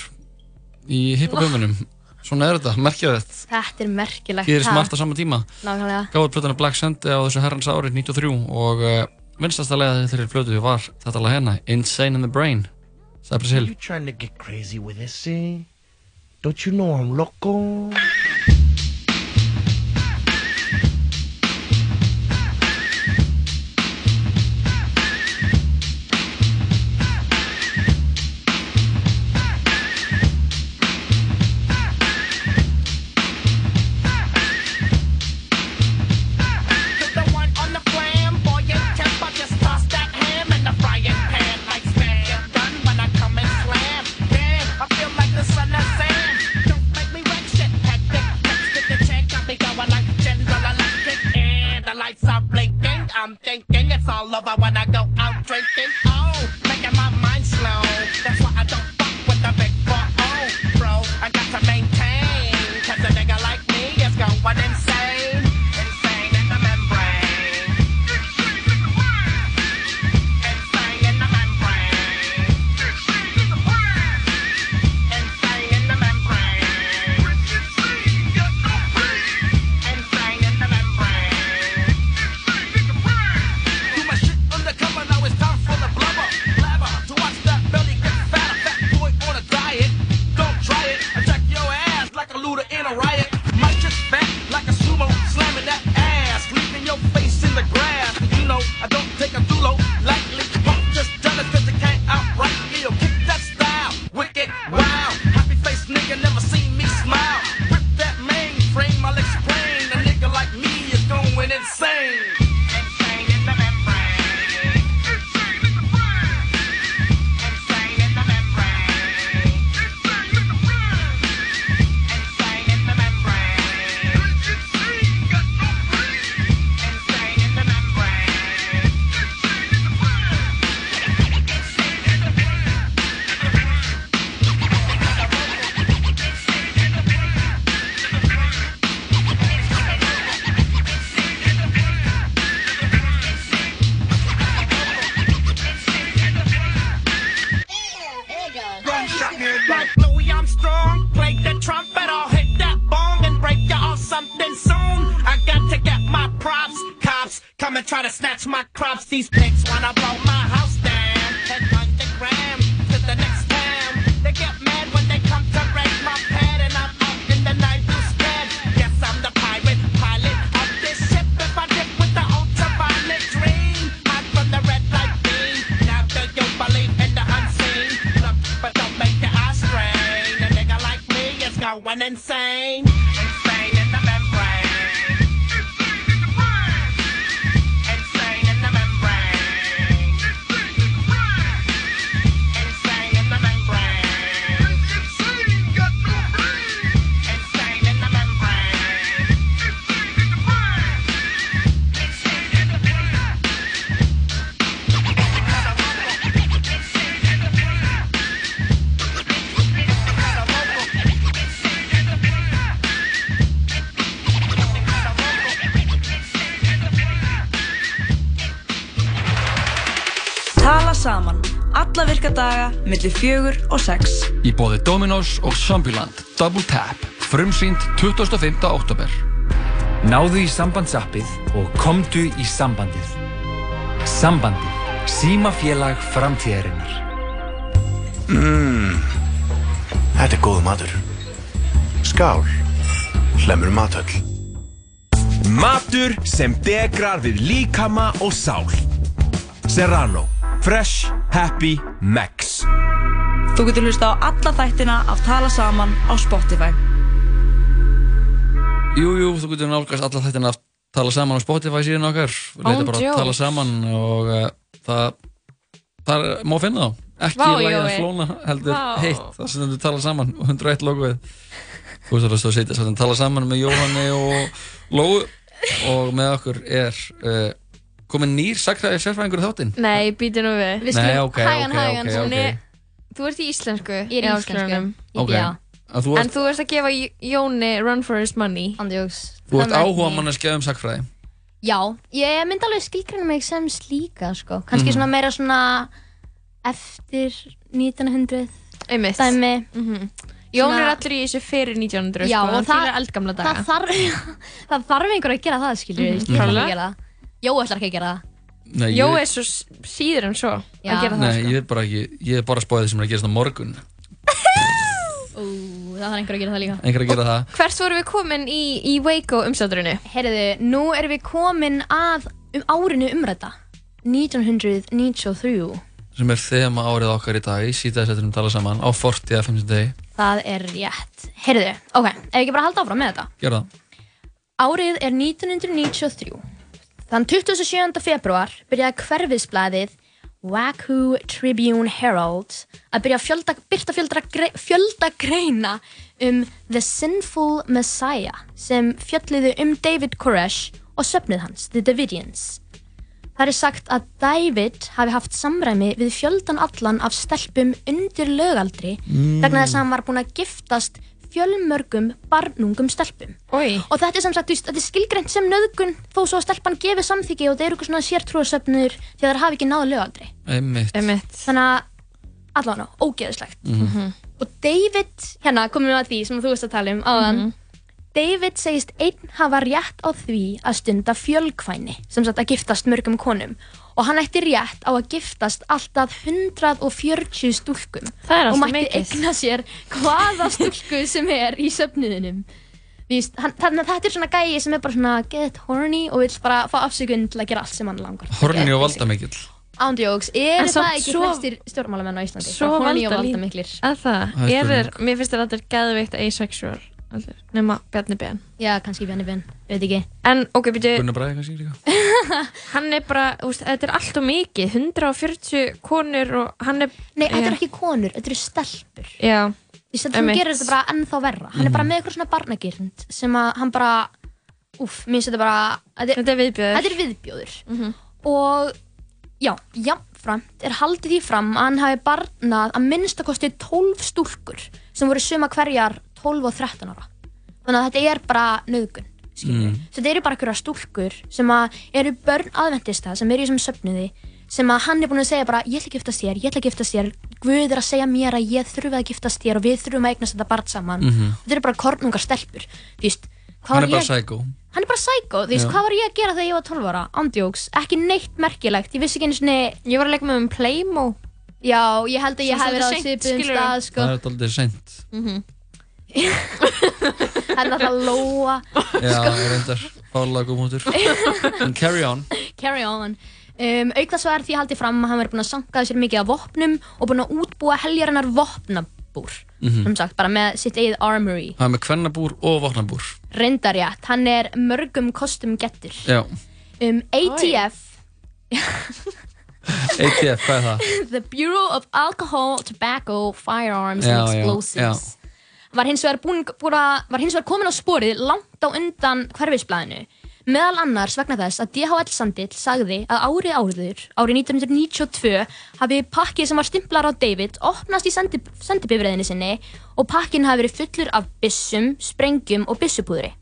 í hippogöfunum Svona er þetta, merkja þetta
Þetta er merkilegt
Gerist
ha?
margt á sama tíma
Nákvæmlega
Gáður plötuna Black Sunday á þessu herrans árið 93 og uh, vinstasta leiða þeirri plötu var þetta lag hérna Insane in the Brain Cybers Hill
You trying to get crazy with this, eh? Don't you know I'm loco?
You're the one on the flam, boy, your temper just toss that ham and Oh, Oh,
Mm-hmm. like Louis Armstrong. Play the trumpet, I'll hit that bong and break you off something soon. I got to get my props. Cops, come and try to snatch my crops. These pigs wanna blow my house down. Head underground to the next town. They get mad when they come to wreck my pad, and I'm up in the night to spread. Guess I'm the pirate pilot of this ship. If I dip with the ultraviolet dream, hide from the red light beam. Now do you believe in the unseen? Look, but don't make your eyes strain. A nigga like me is going insane. Insane in the membrane. Insane in the membrane. Insane in the membrane. Insane in the membrane.
Tala saman. Alla virka daga millir fjögur og sex.
Í bóði Dominos og Zombieland Double Tap Frumsýnd 25. oktober
Náðu í sambandsappið og komdu í sambandið Sambandið, símafélag framtíðarinnar
Mmm, Mm. þetta er góð matur. Skál, hlemur matöll.
Matur sem degrar við líkama og sál Serrano Fresh Happy Max
Þú getur hlusta á alla þættina af Tala saman á Spotify.
Jú, jú, þú getur nálgast alla þættina að tala saman á Spotify síðan okkar Leita bara að
jokes.
tala saman og uh, það, það er, má finna þá Ekki
Vá,
Vá, lægja
Jói.
flóna heldur
Vá.
heitt Það sem þú tala saman og 101 logoið Þú veist að það setja saman tala saman með Jóhanni og Lóu Og með okkur er uh, komin nýr sakræði sérfræðingur í þáttinn
Nei, býti nú við
Við skulum- Nei, ok,
hægan,
ok,
hægan,
ok,
hún
ok.
er- Þú ert í íslensku
Ég er í íslensku. Ég
Ok,
byrja.
að þú
En
ert,
þú ert að gefa J- Jóni run for his money Andjóks
þú ert áhuga manneskja um sakræði
Já, ég myndi alveg skilgræna mig sem slíka, sko.
Mhm.
Kanski svona meira svona eftir 1900.
Einmitt. Mhm.
Dæmi.
Jón
Svona-
er allir í þessu fyrir 1900
Já,
sko,
og
hann
það-
fílar eldgamla daga
Það þarf, [LAUGHS] það þarf einhver að gera það, skilur
Mhm.
við. Mm
Klárlega.
-hmm. Jó, ætlar ekki að gera það.
Nei, ég-
Jói er svo s- síður en svo
Já.
að gera það sko.
Nei, ég er bara ekki, ég er bara að spáði því sem er að gerast á morgun
Ú, það þarf einhver að gera það líka.
Einhver að gera það
Hvert vorum við komin í, í Waco umsátturinu?
Herðu, nú erum við komin að um árinu umræta. 1993.
sem er þema árið okkar í dag í síðaðsettunum tala saman á 40 að 50 degi
Það er rétt. Herðu, ok, ef ekki bara að halda áfram með þetta.
gera það
Árið er 1993. Þann 27. februar byrjaði hverfisblæðið Wahoo Tribune Herald að byrja að fjölda, byrta fjölda, grei, fjölda greina um The Sinful Messiah sem fjölliðu um David Koresh og söfnið hans, The Davidians. Það er sagt að David hafi haft samræmi við fjöldan allan af stelpum undir lögaldri
Mm.
vegna þess að hann var búinn að giftast fjölmörgum barnungum stelpum.
Oi.
Og þetta er sem sagt, þú veist, þetta er skilgrænt sem nöðgun þó svo að stelpan gefi samþyggi og það eru eitthvað svona sértrúasöfnur því að það hafi ekki náðu lögaldri.
einmitt
Einmitt.
Þannig að allan á, ógeðislegt.
Mhm.
Og David, hérna komum við að því sem þú veist að tala um áðan.
Mhm.
David segist einn hafa rétt á því að stunda fjölkvæni, sem sagt að giftast mörgum konum. Og hann ætti rétt á að giftast alltaf 140 stúlkum.
Það er
Og
alltaf
mætti
mikið.
eigna sér hvaða stúlku sem er í söfniðinum. Víst, hann, þannig að þetta er svona gæi sem er bara svona get horny og vill bara fá afsökun til að gera allt sem hann langar.
horni og valdamikill
Ándjóks, er
En samt
það ekki
svo-
flestir stjórnmálamenn á Íslandi? Bara
Svo
horny og
valda líka.
valdamiklir.
Er það?
Það er
Er þeir,
spurning.
mér finnst þetta allir geðveikt asexual allir, nema Bjarni Ben
Já, kannski Bjarni Ben, veit ekki
En ok,
Eh,
byrju,
Gunnar Bræði kannski líka
[LAUGHS] hann er bara, úst, þetta er allt og mikið 140 konur og hann er
Nei, þetta eru ekki konur, þetta eru stelpur
Já
Því sem þú gerir þetta bara ennþá verra Hann er
Mhm.
bara með eitthvað svona barnagirnd sem að hann bara Úff, mér finnst þetta bara Þetta er,
þetta er viðbjóður
Þetta er viðbjóður
Mhm.
Og já, jafnframt er haldið því fram að hann hafi barnað að minnstakosti 12 stúlkur sem voru suma hverjar 12 og 13 ára Þannig að þetta er bara nöðgun
Mm.
Svo þetta eru bara einhverja stúlkur sem að eru börn aðventista sem eru í þessum söfniði sem að hann er búinn að segja bara ég ætla að giftast þér, ég ætla að giftast þér Guð er að segja mér að ég þurfi að giftast þér og við þurfum að eignast þetta barn saman
Mhm.
og þeir eru bara kornungar stelpur þú veist, hvað
Hann
var
er bara
ég
psycho
hann er bara sækó, þú veist,
Já.
hvað var ég að gera þegar ég var 12 ára andjóks, ekki neitt merkilegt ég vissi ekki einu sinni
ég var að leika með um Playmo
já, ég held að ég
Svo
hef verið á
svolítið seint,
svipum
skilurðu. Mhm.
stað sko.
Það er alltaf sent
[LAUGHS] hann er alltaf lóa
Já,
Sko.
ég reyndar fálega góð mútur
[LAUGHS]
En carry on
carry on um, auk þess var því haldið fram að hann verið búin að sankaði sér mikið af vopnum og búin að útbúa heljarinnar vopnabúr
Mhm.
sem sagt, bara með sitt eigið armory
Það er með kvennabúr og vopnabúr
reyndarjætt, hann er mörgum kostum gettur
Já,
um, ATF
ATF, hvað er það?
[LAUGHS] The Bureau of Alcohol, Tobacco, Firearms
Já,
and
já,
Explosives var hins vegar, búin, búin að, var hins vegar komin á sporið langt á undan hverfisblæðinu meðal annars vegna þess að DHL Sandill sagði að árið áður, árið 1992 hafi pakkið sem var stimplar á David opnast í sendi, sendibifræðinu sinni og pakkin hafi verið fullur af byssum, sprengjum og byssupúðri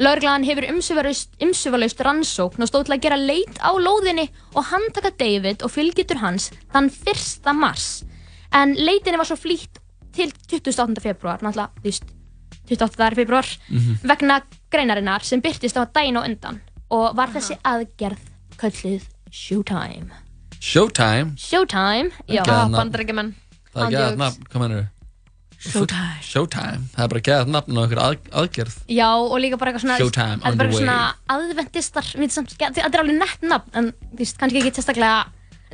Lörglan hefur umsöfalaust rannsókn og stóð til að gera leit á lóðinni og handtaka David og fylgjitur hans þann 1. mars. En leitinni var svo flýtt til 28. februar, náttúrulega, þú veist, 28. februar,
Mhm.
vegna greinarinnar sem byrtist á daginn og undan og var þessi aðgerð kölluð Showtime.
Showtime
Showtime, já.
Ekki að Ah, nafn.
bandarækjumann.
Það er gæðat nafn, hvað mennur
Showtime.
Showtime, það er bara gæðat nafn á einhver að, aðgerð
Já, og líka bara eitthvað svona
Showtime
Þetta
on
er bara
the
svona aðventistar við samt- Þetta er alveg nett nafn En þú veist, kannski ekki sérstaklega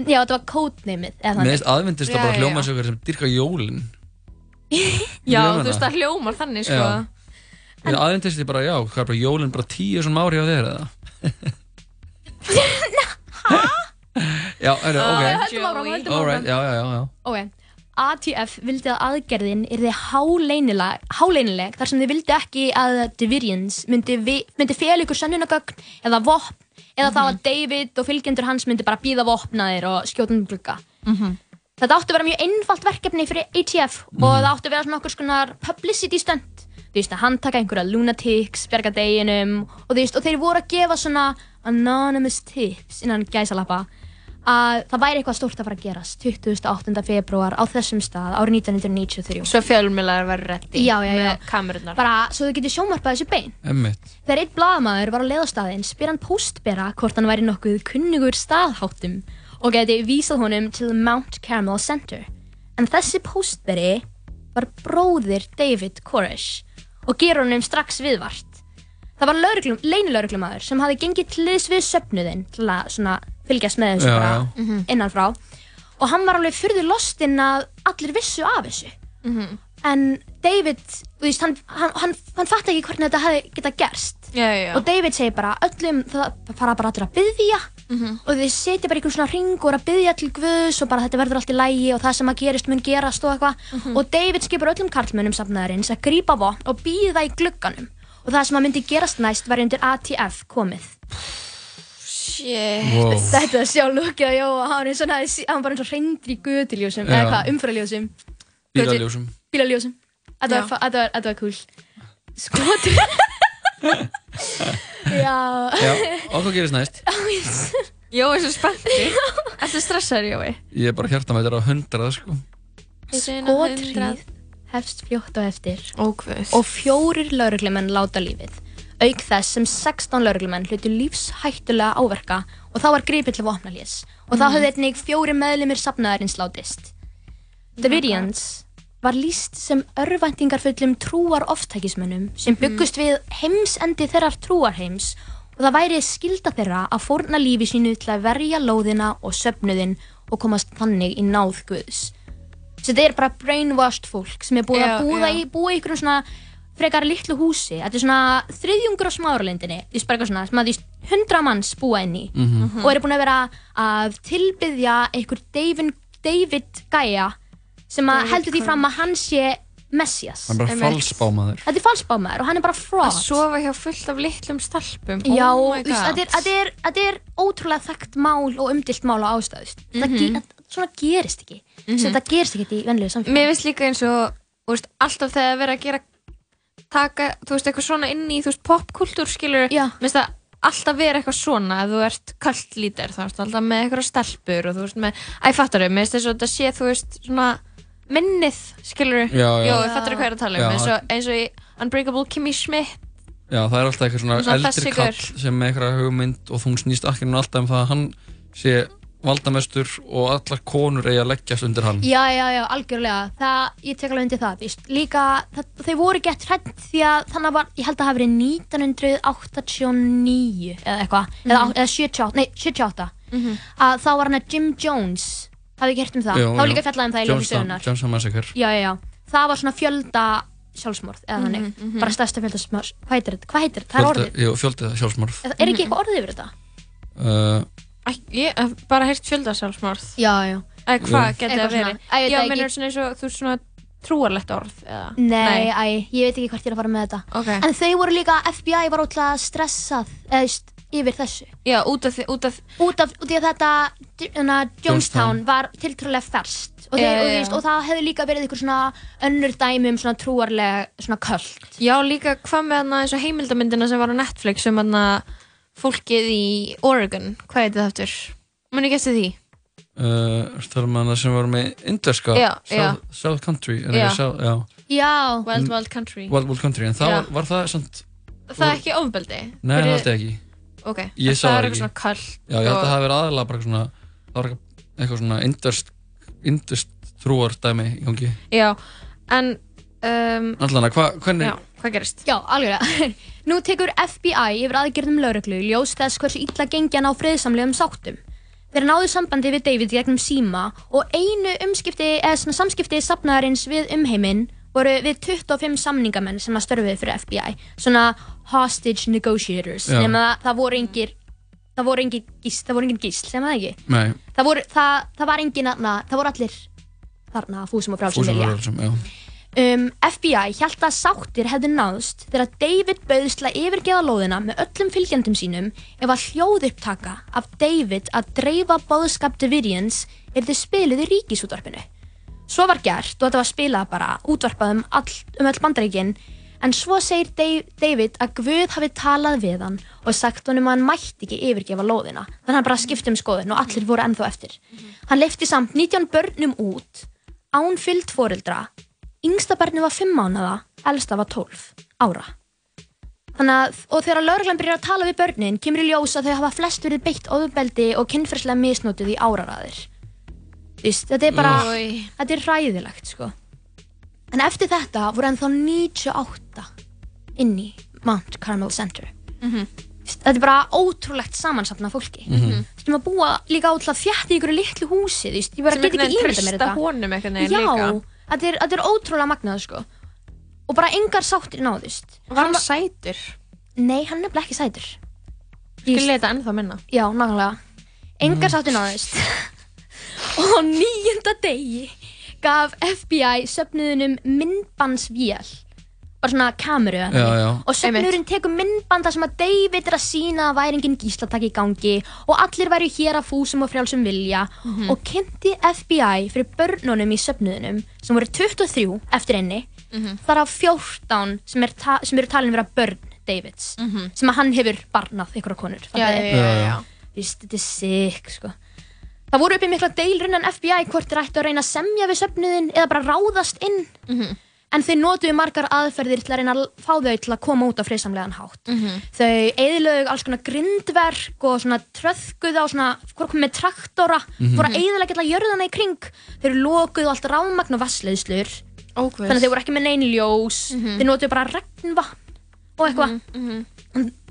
Já, þetta var kótneymið eða
Mér
þannig.
finnst aðvendist að bara hljóma sér sem dyrka jólin
já,
Hljómar
þú veist
það hljómar þannig
sko
Já. En aðvendist er bara, já, hvað er bara jólin bara tíu svona ári á þér
[LAUGHS]
eða? Já, er
Ah,
það, ok
höldum áfram, höldum
All
áfram.
right, já, já, já, já
Ok, ATF vildi að aðgerðin yrði háleinileg, háleinileg þar sem þið vildi ekki að Divirians myndi, vi- myndi fel ykkur sönnunagögn eða vopn eða þá að David og fylgjendur hans myndi bara býða vopnaðir og skjóta um glugga. Þetta áttu að vera mjög einfalt verkefni fyrir ATF og
Mhm.
það áttu að vera svona okkur skonar publicity stunt. Þú veist, að handtaka einhverja lunatics, berga deginum og þú veist, og þeir voru að gefa svona anonymous tips innan gæsalappa að það væri eitthvað stórt að fara að gerast 28. februar á þessum stað árið 1993
svo fjölmiðlar var reddi
Já, já, já.
með kamerunar
bara svo þau getur sjómarpað þessu bein
Emmitt
Þegar einn blaðamaður var á leiðastæðin spyr hann postbera hvort hann væri nokkuð kunnugur staðháttum og geti vísað honum til Mount Carmel Center en þessi postberi var bróðir David Koresh og gerur honum strax viðvart Það var lögreglum, leynilögreglumæður sem hafi gengið til liðs við söfnuðinn til að svona fylgjast með þessu
Já,
bara
já.
Mhm. innanfrá og hann var alveg fyrðu lostinn að allir vissu af þessu en David, þú veist, hann, hann, hann, hann fatt ekki hvernig þetta hefði getað gerst
já, já, já.
og David segir bara öllum það fara bara allir að byðja
Mhm.
og þið setja bara einhvern svona ring og eru að byðja til Guðs og bara þetta verður allt í lægi og það sem að gerist mun gerast og eitthvað
Mhm.
og David skipur öllum karlmönnum safnaðarins að grípa vopn og býða í glugganum og það sem að myndi gerast næst var undir ATF komið
Shit.
Wow. Þetta er sjálf lukkið að Jóa, hann var eins og hann, hafði- hann var eins og reyndir í göduljósum,
Já.
eða hvað, umfæraljósum, [LAUGHS]
Bílaljósum
bílaljósum. Þetta var,
Já.
fa- þetta var, þetta var cool. Skotur. Já.
Já,
[LAUGHS]
og hvað gerist næst?
Jói er svo spennti Ertu stressaður Jói?
Ég er bara hjarta með þetta á hundrað, sko
Skotrið hefst fljótt á eftir Ókveð. og fjórir lauruglumenn láta lífið. Auk þess sem 16 lauruglumenn hlutu lífshættulega áverka og þá var gripið til vopnalés og þá
Mhm.
höfðu einnig fjóri meðlumir safnaðarins látist. Davidians var líst sem örvæntingarfullum trúar oftækismönnum sem
Mhm.
byggust við heimsendi þeirrar trúarheims og það væri skilda þeirra að fórna lífi sínu til að verja lóðina og söfnuðin og komast þannig í náð Guðs. Svo þetta er bara brainwashed fólk sem er búið
Já,
að búa
já.
í, búa í einhverjum svona frekar litlu húsi. Þetta er svona þriðjungur á smáralindinni, því spara eitthvað svona, sem að því hundra manns búa inn í
Mhm.
og eru búin að vera að tilbyðja einhver David, David Gaia sem að
David
heldur því
Gaia.
fram að hann sé Messias
Hann er bara falsbámaður
Þetta er falsbámaður og hann er bara fraud
Að sofa hjá fullt af litlum stelpum
Já,
oh
oh
my god.
þetta er, þetta er, þetta er ótrúlega þekkt mál og umdilt mál á ástæðu mm
Mhm.
-hmm. Svona gerist ekki mm
Mhm.
Þetta gerist ekki í venlegu samfélagi
Mér finnst líka eins og þú veist, alltaf þegar það er verið að gera taka, þú veist, eitthvað svona inn í þú veist, popkultúr skilur, Já. minnst það alltaf vera eitthvað svona ef þú ert kallt lítir, þá ertu alltaf með eitthvað stelpur og þú veist með, æ, fattar þau, mér finnst þess að þetta sé, þú veist, svona minnið, skilur
Já, já.
Jó, fattar þau hvað ég er að tala um,
Já.
eins og, eins og í Unbreakable Kimmy Schmidt
Já, það er alltaf eitthvað svona,
Svona þessi
eldri
gaur.
kall sem með eitthvað hugmynd og þú snýst akkinu alltaf um það að hann sé valdamestur og allar konur eigi að leggjast undir hann.
Já, já, já, algjörlega. Það, ég tek alveg undir það, víst. Líka, það, þau voru gett hrætt því að þannig var, ég held að það hafi verið 1989 eða eitthvað, mm
Mhm.
-hmm. eða 78, nei, 78, að þá var hann að Jim Jones, hafið ekki hert um það?
Jú,
það var
jú.
líka fjallað um það í ljóðum
Johnstown-
sögunar.
Johnstown Massacre.
Já, já, já. Það var svona fjölda sjálfsmorð, eða þannig,
Mhm,
bara stærsta fjölda sjálfsmorð. Hvað heitir þetta? Hvað heitir þetta? Það er
Fjöldi-
orðið.
Jú, fjöldið það sjálfsmorð.
Er ekki eitthvað orðið yfir þetta?
Uh,
Æ, ég hef bara heyrt fjöldasjálfsmorð
Já, já
Eða hvað
Jú.
geti
Eitthvað
það verið?
svona. Æ, ég veit
Já,
það ekki.
minnur svona eins og þú veist, svona trúarlegt orð eða?
Nei, æ, ég veit ekki hvert ég er að fara með þetta
Ok.
En þau voru líka, FBI var ótrúlega stressað eða, st- yfir þessu
Já, út af, því- út af
Út af, út af þetta hana, Jonestown
Jonestown.
var tiltrúlega ferst og, þau,
Já, já,
og,
já.
og, og það hefði líka verið ykkur svona önnur dæmi um svona trúarlega svona köll
Já, líka hvað með hana eins og heimildamyndina sem var á Netflix um hana fólkið í Oregon, hvað heitir það aftur? Muni ekki eftir því?
uh, ertu að tala með hana sem var með indverska,
Já, já.
South, South Country, er
Já.
ekki South, já,
Já
Wild Wild Country
Wild Wild Country, en það
Já.
var, var það samt,
Það er ekki ofbeldi?
nei, það var þetta ekki.
Ok,
Ég
en
sá
það
það
er
ekki.
eitthvað svona kallt
Já, ég held að
og-
það hafi verið aðalega bara svona, það var eitthvað svona indverst, indverst trúar dæmi í gangi.
Já, en um,
Allan að, hva- hvernig,
Já.
Hvað gerist?
Já, algjörlega. [LAUGHS] Nú tekur FBI yfir aðgerðum lauruglu í ljós þess hversu illa gengi hann á friðsamlegum sáttum. Þeir náðu sambandi við David gegnum síma og einu umskipti, eða svona samskipti safnaðarins við umheiminn voru við 25 samningamenn sem að störfið fyrir FBI. Svona hostage negotiators.
Já.
Nefna það, það voru engir, það voru engir gísl, það voru engir gísl, sem það ekki.
nei,
Það, voru, það, það var engin, na, það voru allir þarna fúsum og frálsum
fúsum
vilja.
verður sem, já.
Um, FBI hjælt að sáttir hefðu náðst þegar David bauðst til að yfirgeða lóðina með öllum fylgjandum sínum ef að hljóðupptaka af David að dreifa bóðskap Davidians er þið spiluð í ríkisútvarpinu. Svo var gert og þetta var spilað bara útvarpað um, all, um öll bandaríkin en svo segir Dave, David að Guð hafi talað við hann og sagt honum að hann mætti ekki yfirgefa lóðina þannig að hann bara skipti um skoðun og allir voru ennþá eftir. Hann leifti samt 19 börnum út án fyllt foreldra yngsta barni var 5 mánada, elsta var 12 ára. Þannig að, og þegar lauruglan byrjar að tala við börnin, kemur í ljós að þau hafa flest verið beitt ofbeldi og kynferðslega misnótið í áraræðir. Þú veist, þetta er bara,
Oj.
þetta er hræðilegt, sko. En eftir þetta voru ennþá 98 inn í Mount Carmel Center. Þú veist, Þetta er bara ótrúlegt samansapna fólki. Mm
Mhm.
-hmm. Þú veist, maður búa líka út til að fjætti ykkur litlu húsi, þú veist, ég bara
Sem
get
einhvern
ekki
veginn
ímynda mér
treysta
þetta.
honum einhvern veginn
Já,
líka.
þetta er, þetta er ótrúlega magnað, sko. Og bara engar sáttir náðust.
Var hann sætur?
Nei, hann er nefnilega ekki sætur.
Skil leita ennþá minna Mm.
Já, nákvæmlega. Engar sáttir náðust. [LAUGHS] og á nýjunda degi gaf FBI söfnuðunum myndbandsvél. Bara svona kameru. eða
Já,
þannig.
já.
Og söfnuðurinn tekur myndbanda sem að David er að sína að væri engin gíslatak í gangi og allir væri hér að fúsum og frjálsum vilja
Mhm.
og kynnti FBI fyrir börnunum í söfnuðunum sem voru 23 eftir henni
Mhm.
þar af 14 sem, er ta- sem eru talin vera börn Davids
Mhm.
sem að hann hefur barnað ykkur á konur
Já, já, já, já.
Vist, þetta er sick sko Það voru uppi mikla deilur innan FBI hvort þeir ættu að reyna að semja við söfnuðin eða bara ráðast inn
Mhm.
en þeir notuðu margar aðferðir til að reyna að l- fá þau til að koma út á friðsamlegan hátt þau eðilögu alls konar grindverk og svona tröðkuð á svona hvort kom með traktora,
Mhm.
fóru að eðilega alla jörðana í kring, þau eru lokuð á allt ráðmagn og vassleiðslur
Ókvist.
þannig að þau voru ekki með neyn ljós
Mhm.
þau notuðu bara regnvatn og eitthvað en,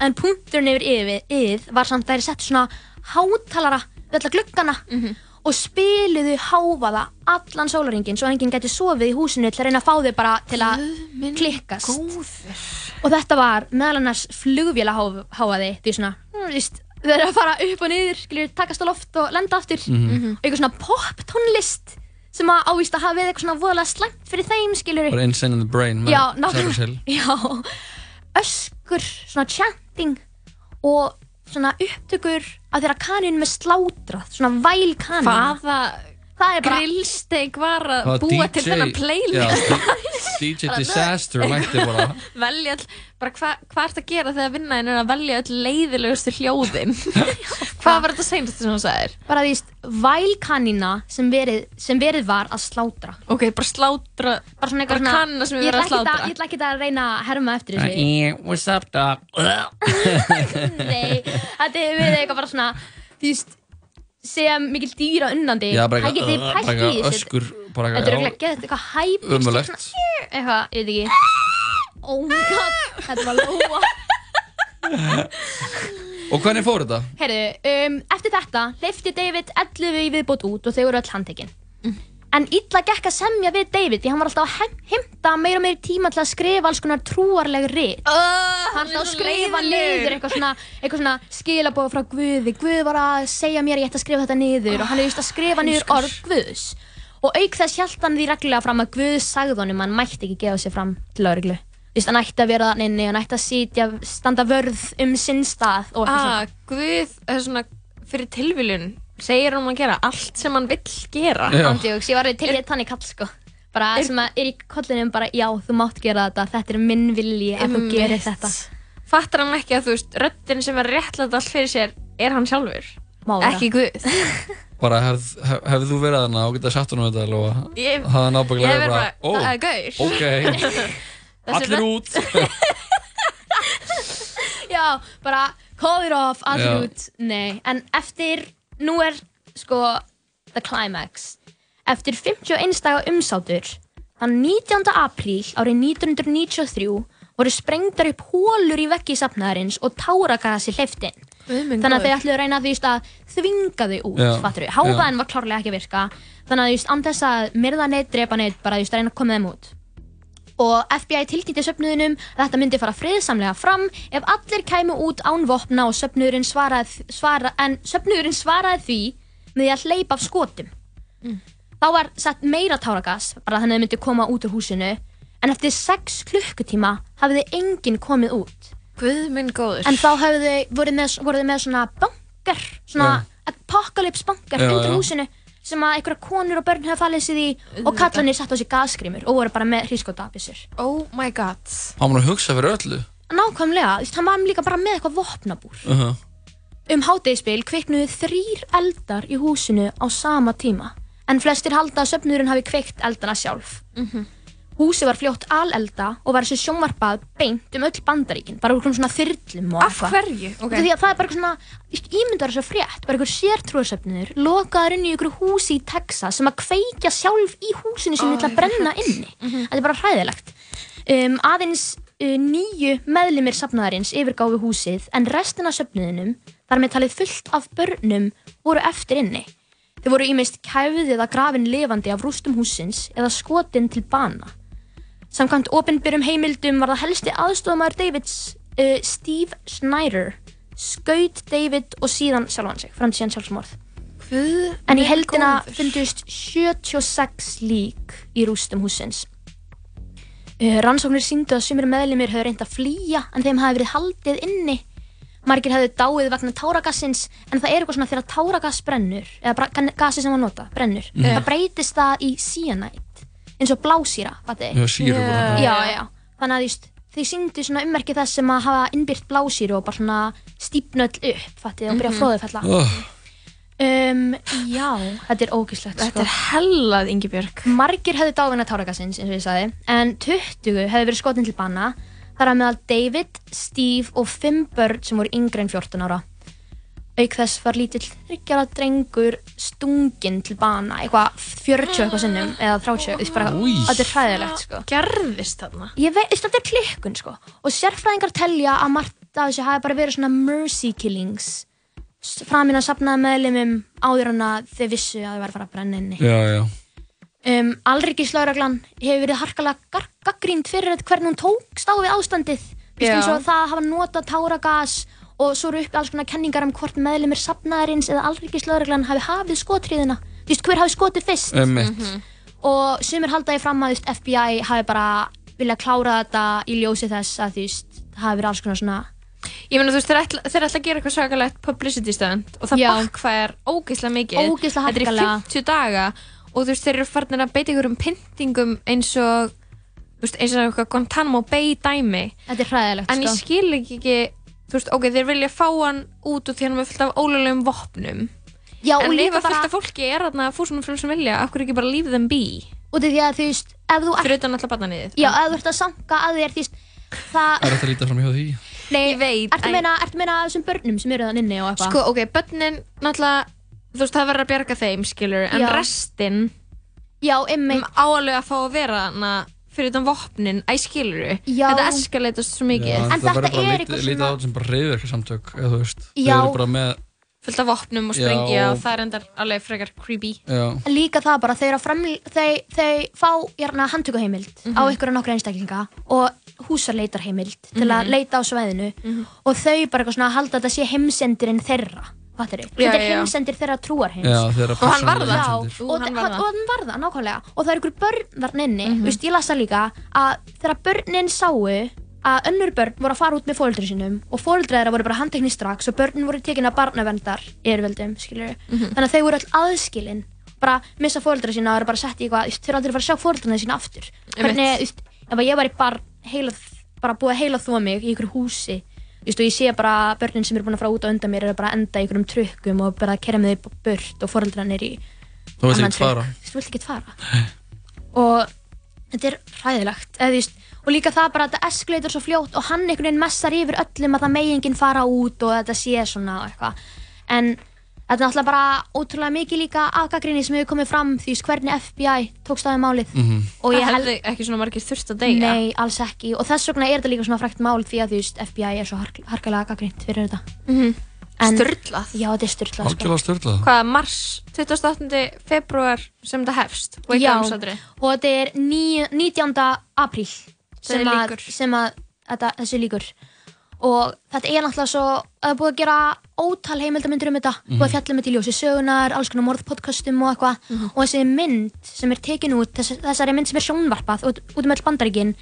en punkturinn yfir yfir, yfir var samt að þeir sett svona hátalara við alla gluggana og spiluðu háfaða allan sólaringin svo enginn gæti sofið í húsinu til að reyna að fá þau bara til að klikkast
góður.
og þetta var meðal annars flugvéla háfaði því svona mm, víst, þau eru að fara upp og niður skilur, takast á loft og lenda aftur
Mhm.
og eitthvað svona pop tónlist sem að ávist að hafa verið eitthvað svona voðalega slæmt fyrir þeim skilur
Bara Insane in the Brain með
Já,
Cypress Hill.
nákvæmlega [LAUGHS] Já, öskur, svona chanting og svona upptökur af þeirra kaninu með slátrað, svona væl kaninu
Hvaða
það er bara
grillsteik var
Það
að
var [LAUGHS]
búa til
DJ
þennan playlist
Já,
[LAUGHS]
DJ Disaster mætti bara
velja all, bara hva, hvað ert að gera þegar að vinna en að velja öll leiðilegustu hljóðin hvað var þetta seinast sem þú sagðir
bara því vælkanina sem verið, sem verið var að slátra
ok, bara slátra
bara svona
Bara
eitthvað svona-
kanna sem er
Ég
verið að
ætla ekkert
slátra.
ég ætla ekki að reyna að herma eftir þessu
Eh, What's up, dog?
Nei, þetta hefur verið eitthvað bara svona Þú veist, segja mikil dýra unnandi
Já, bara eitthvað-
Það
uh,
getið
bara
pælt í
eitthvað
þessu
öskur bara
Þetta er
eitthvað, já.
ekki eitthvað hæp
Ömurlegt.
Eitthvað, ég veit ekki Oh my god, þetta var lóa
Og hvernig fór þetta?
Herru, um, eftir þetta leifti David 11 í viðbót út og þau voru öll handtekinn En illa gekk að semja við David því hann var alltaf að heimta meira og meira tíma til að skrifa alls konar trúarleg rit. hann
hann er
alltaf að
svo
skrifa
leiðinlegur.
niður eitthvað svona, eitthvað svona skilabóð frá Guði. Guð var að segja mér að ég ætti að skrifa þetta niður og hann er just að
Ah,
skrifa niður orð Guðs. Og auk þess hjælt hann því reglulega fram að Guð sagði honum að hann mætti ekki gefa sig fram til lauruglu. Þú veist, hann ætti að vera þannig, hann ætti að sitja, standa vörð um sinn stað og eitthvað
að Ah, Guð er svona fyrir tilviljun segir hann um að gera allt sem hann vill gera
svona. Andjóks, ég var til ég þannig kall, sko. Bara
Er-
sem að er í kollinum bara, já, þú mátt gera þetta, þetta er minn vilji að þú
Einmitt.
gerir þetta.
fattar hann ekki að þú veist röddin sem er réttlætt allt fyrir sér er hann sjálfur
Mára.
ekki Guð
Bara hefð, hef, hefðu þú verið þarna og getað sagt honum þetta alveg og
Ég-
það er náttúrulega
ég verð bara,
"Ó,
það er gaur."
Ok,
[LAUGHS] Þessi
allir
rödd-
út
[LAUGHS] Já, bara call it off,
Já.
allir út, nei. En eftir, nú er sko the climax. Eftir 51 daga umsátur, þann 19. apríl árið 1993 voru sprengdar upp hólur í veggi safnaðarins og táragrasi hleyftin. Þannig að þau ætluðu að reyna að, þú veist, að þvinga þau út,
Já.
fattur þau. Háfaðin var klárlega ekki að virka. Þannig að þú veist, andess að myrða neitt, drepa neitt, bara þú veist, að reyna að koma þeim út og FBI tilkynnti söpnuðinum að þetta myndi fara friðsamlega fram ef allir kæmu út án vopna og söpnuðurinn svaraði, svara, en söpnuðurinn svaraði því með því að hleypa af skotum.
Mm.
Þá var sett meira táragas, bara þannig að þau myndi koma út úr húsinu, en eftir 6 klukkutíma hafði enginn komið út.
Guð minn góður.
En þá hafði þau voru með, voru þau með svona bankar, svona apocalypse bankar
Já,
undir
já.
húsinu sem að einhverja konur og börn hefði falið sér í og
Auðvitað.
kallanir satt á sér gasgrimur og voru bara með hrískótaabissur.
Oh my god.
Hann var að hugsa fyrir öllu
Nákvæmlega, þú veist, hann var líka bara með eitthvað vopnabúr.
uh -huh.
Um hátegispil kviknuðu þrýr eldar í húsinu á sama tíma, en flestir halda að söfnurinn hafi kveikt eldana sjálf. Húsið var fljótt alelda og var þessu sjónvarpað beint um öll bandaríkin, bara úr einhverjum svona þyrlum og
Af hverju?
Okay.
Ok.
Því að það er bara eitthvað svona, ímyndar þessu frétt, bara einhver sértrúarsöfnur, lokaður inn í einhverju húsi í Texas sem að kveikja sjálf í húsinu sem við ætla að brenna inni. Þetta er bara hræðilegt. Um, aðeins uh, nýju meðlimir safnaðarins yfirgáfi húsið en restin af söfnuðinum, þar með talið fullt af börnum, voru eftir inni. Þau voru ímist kæfið eða grafin lifandi af rústum húsins eða skotin til bana. Samkvæmt opinbyrjum heimildum var það helsti aðstofamæður Davids, uh, Steve Snyder, skaut David og síðan sjálfan sig, fram til síðan sjálfsmorð.
Guð
En í
minn
heldina
góður.
fundust 76 lík í rústum húsins. Eh, Rannsóknir síndu að sumir meðlimir höfðu reynd að flýja en þeim hafi verið haldið inni. Margir hefðu dáið vegna táragassins en það er eitthvað svona þegar táragass brennur, eða bara gan- gasið sem að nota, brennur.
Mhm.
Það breytist það í cyanide, eins og blásýra, fattu
Já, sýru bara.
Já, já. Þannig að þú veist, þau síndu svona ummerki þess sem að hafa innbyrt blásýru og bara svona stípna öll upp, fattu og byrja að
Mhm.
flóðu falla.
Oh.
Um, já, þetta er ógislegt
Þetta er
hellað, Ingibjörg Margir hefðu dáðina tárakastins, eins og ég sagði En 20 hefðu verið skotin til bana Þar að meðal David, Steve og fimm börn sem voru yngre en 14 ára Auk þess var lítill þryggjara drengur stunginn til bana Eitthvað 40 eitthvað sinnum Eða 30, þú veist bara,
Új.
þetta er hræðilegt sko
gerðist þarna
Ég veit, þetta er klikkun sko og sérfræðingar telja að margt af þessu hafi bara verið svona mercy killings framin að safnaða meðlumum áður en að þau vissu að þau var að fara að brenna inni
Já, já
um, Alrikislauraglan hefur verið harkalega gaggrínd fyrir hvernig hún tókst á við ástandið Þú veist
Já.
eins og það að hafa nota táragas og svo eru uppi alls konar kenningar um hvort meðlumir safnaðarins eða Alrikislauraglan hafi hafið skotriðina Þú veist hver hafi skotið fyrst
Einmitt.
og sumir halda ég fram að þú veist, FBI hafi bara viljað klára þetta í ljósi þess að þú veist, það hafi verið alls konar svona
Ég meina þú veist, þeir ætla, þeir ætla að gera eitthvað svakalegt publicity stönd og það
Já.
bakkvæðar ógeðslega mikið.
Ógeðslega
Þetta er
harkalega.
í 50 daga og þú veist, þeir eru farnir að beita ykkur um pyntingum eins og, þú veist, eins og eitthvað Guantanamo Bay dæmi.
Þetta er hræðilegt,
En
sko.
ég skil ekki ekki, þú veist, ok, þeir vilja fá hann út og því hann er fullt af ólegum vopnum.
Já, og
en
líka
ef að
bara-
fullt af fólki er þarna fúsum og frum sem vilja, af hverju ekki bara leave them be?
Út af því að þú veist, ef þú
Fyrir utan alltaf barnanið.
Já, ef þú ert að sanka að þér, þú veist, það...
er þetta að líta fram hjá því
Nei,
ég veit.
Ertu að meina, ertu að meina af þessum börnum sem eru þann inni og eitthvað?
Sko, ok, börnin náttúrulega, þú veist, það verður að bjarga þeim, skilur, en
Já.
restinn
Já, einmitt.
Áalveg að fá að vera hana fyrir utan vopnin, æ, skilur
Já.
Þetta eskalatast svo mikið
Já, það verður bara lítið lítið á þetta sem bara reyður eitthvað samtök eða þú veist, þau
Já.
eru bara með
Fullt af vopnum og
Já,
springja
og-
og það er endar alveg frekar creepy
já,
En líka það bara, þau eru að framl... Þau, þau fá, hérna, handtökuheimild á
Mhm.
ykkur og nokkra einstaklinga og húsarleitarheimild til að Mhm. leita á svæðinu
Mhm.
og þau bara eitthvað svona að halda að þetta sé heimsendirinn þeirra. Fattir þau?
Já,
Þetta er
já.
heimsendir þeirra trúar
já þeirra
og hann varða
persónulega
já,
heimsendir.
og, hann varða. og hann varða, nákvæmlega og það er ykkur börn þarna inni mm veist, ég lasa líka að þegar börnin sáu að önnur börn voru að fara út með fóreldri sínum og fóreldri þeirra voru bara handtekni strax og börnin voru tekin að barnaverndar yfirveldum, skilur
Mhm.
þannig að þau voru öll aðskilin bara missa fóreldri sína og eru bara sett í eitthvað þú veist, þau eru aldrei að fara að sjá fóreldrina sína aftur hvernig, þú veist, ef að ég var í barn heila, bara búið að heila þó mig í ykkur húsi þú veist, og ég sé bara börnin sem eru búin að fara út á undan mér eru bara að enda í ykkurum trukkum og bara að kerja með þau burt og fóreldran er í
Þú veist
annan
ekki fara.
trukk. þú vilt ekki fara og þetta er ræðilegt eða, þú veist, og líka það bara að þetta eskuleitur svo fljótt og hann einhvern veginn messar yfir öllum að það megi enginn fara út og þetta sé svona og eitthvað en þetta er náttúrulega bara ótrúlega mikið líka afgagrinni sem hefur komið fram því þú veist, hvernig FBI tókst á þeim málið
Mhm.
-hmm.
Og ég
Það
held-
hefði ekki svona margir þurft að deyja
Nei, alls ekki og þess vegna er þetta líka svona frækt mál því að þú veist FBI er svo hark harkalega gaggrind fyrir þetta
Mhm.
En-
Sturlað
Já, þetta er sko. styrlað
algjörlega störtlað
Hvað, mars 28. februar sem þetta hefst Wake
Já,
up, Sandri.
og þetta er ní, 19. apríl sem,
Þessi
að, sem að þetta, þessu líkur og þetta er náttúrulega svo það er búið að gera ótal heimildamindur um þetta búið að
Mhm.
fjalla um þetta í ljósi sögunar alls konar morðpodcastum og eitthvað og þessi mynd sem er tekin út þess, þessari mynd sem er sjónvarpað út, út um öll bandaríkin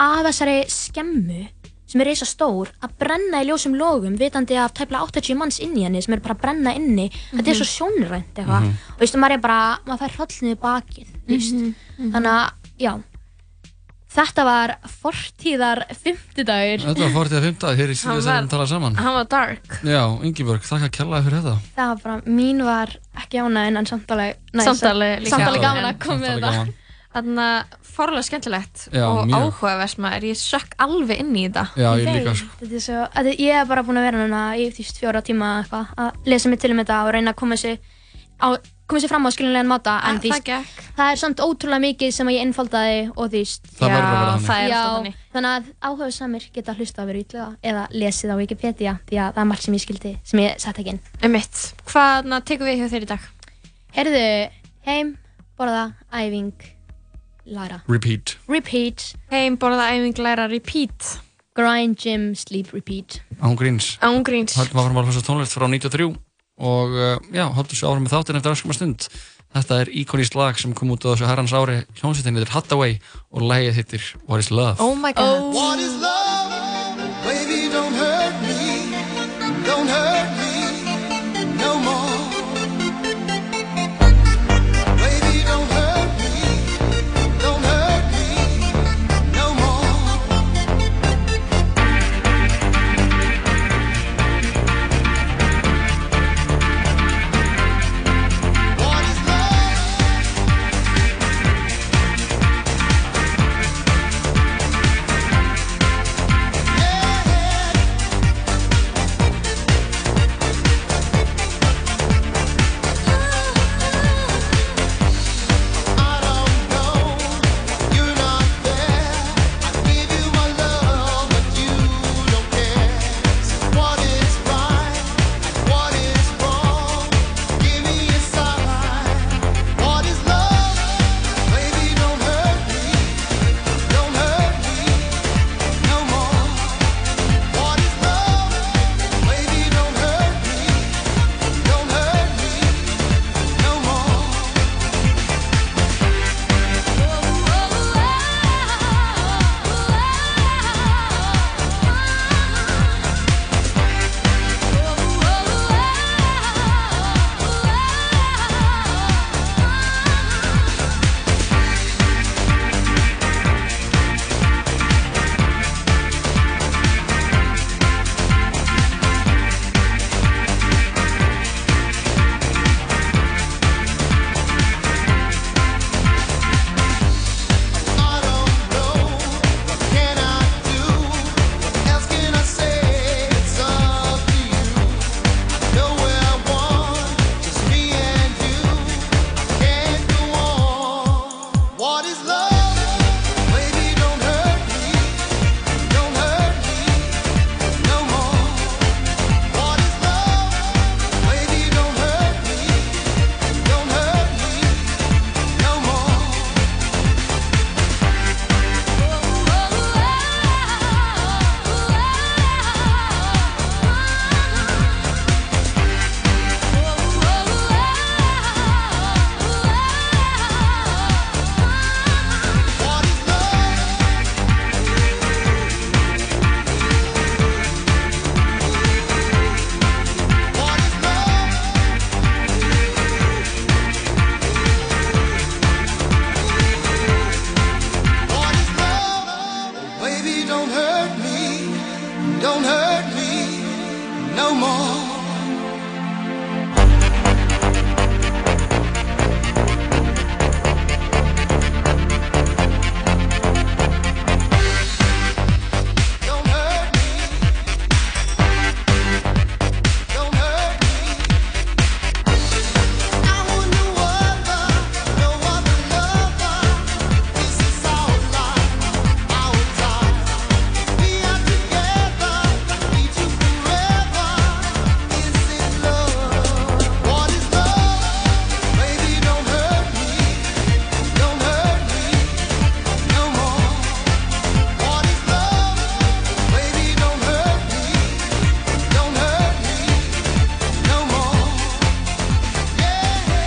af þessari skemmu sem er reisa stór að brenna í ljósum logum vitandi af tæplega 80 manns inn í henni sem er bara að brenna inni þetta er
Mhm.
svo sjónrænt eitthvað og veistu, maður er bara, maður fær hrollnið bakið mm
Mhm.
þannig að, já þetta var fortíðar fymtudagur
Þetta var fórtið að fymta, hér í
Hann
síðan
var-
sem tala saman
hann var dark.
Já, Ingiborg, þakka kjallaði fyrir þetta
það var bara, mín var ekki ánæðin en samtalið
Samtalið líka.
samtalið gaman
Samtalið.
að koma með
Samtalið
þetta
gaman.
Þannig að fórlega skemmtilegt
Já,
og
mjög.
áhugavert maður, ég sökk alveg inn í þetta
Já, ég líka, sko.
þetta er svo, þetta, ég hef bara búin að vera núna í fyrst fjóra tíma eða eitthvað að lesa mig til um þetta og reyna að koma sér á, koma sér fram á skiljanlegan máta en
En
því
það gekk.
það er samt ótrúlega mikið sem að ég einfaldaði og því
Það verður að vera Já, þannig. það er
Já,
alltaf þannig.
þannig að áhuga samir geta hlusta á verið ítlega eða lesið á Wikipedia því að það er margt sem ég skildi sem ég sett ekki inn
Emitt, hvaðna tekum við hjá þér í dag?
Herðu, heim, borða, æfing, læra
Repeat
Repeat
Heim, borða, æfing, læra, repeat
Grind, gym, sleep, repeat
Án gríns
Án gríns.
Haldum áfram að hlusta tónlist frá 93 og uh, já, haldum svo áfram með þáttinn eftir öskuma stund Þetta er íkonist lag sem kom út á þessu herrans ári hljómsveitin heitir Hathaway og lagið heitir What is Love
Oh my god
What is love? Baby, don't hurt me. Don't hurt me no more. Baby, don't hurt me. Don't hurt me no more. What is love? Baby, don't hurt me.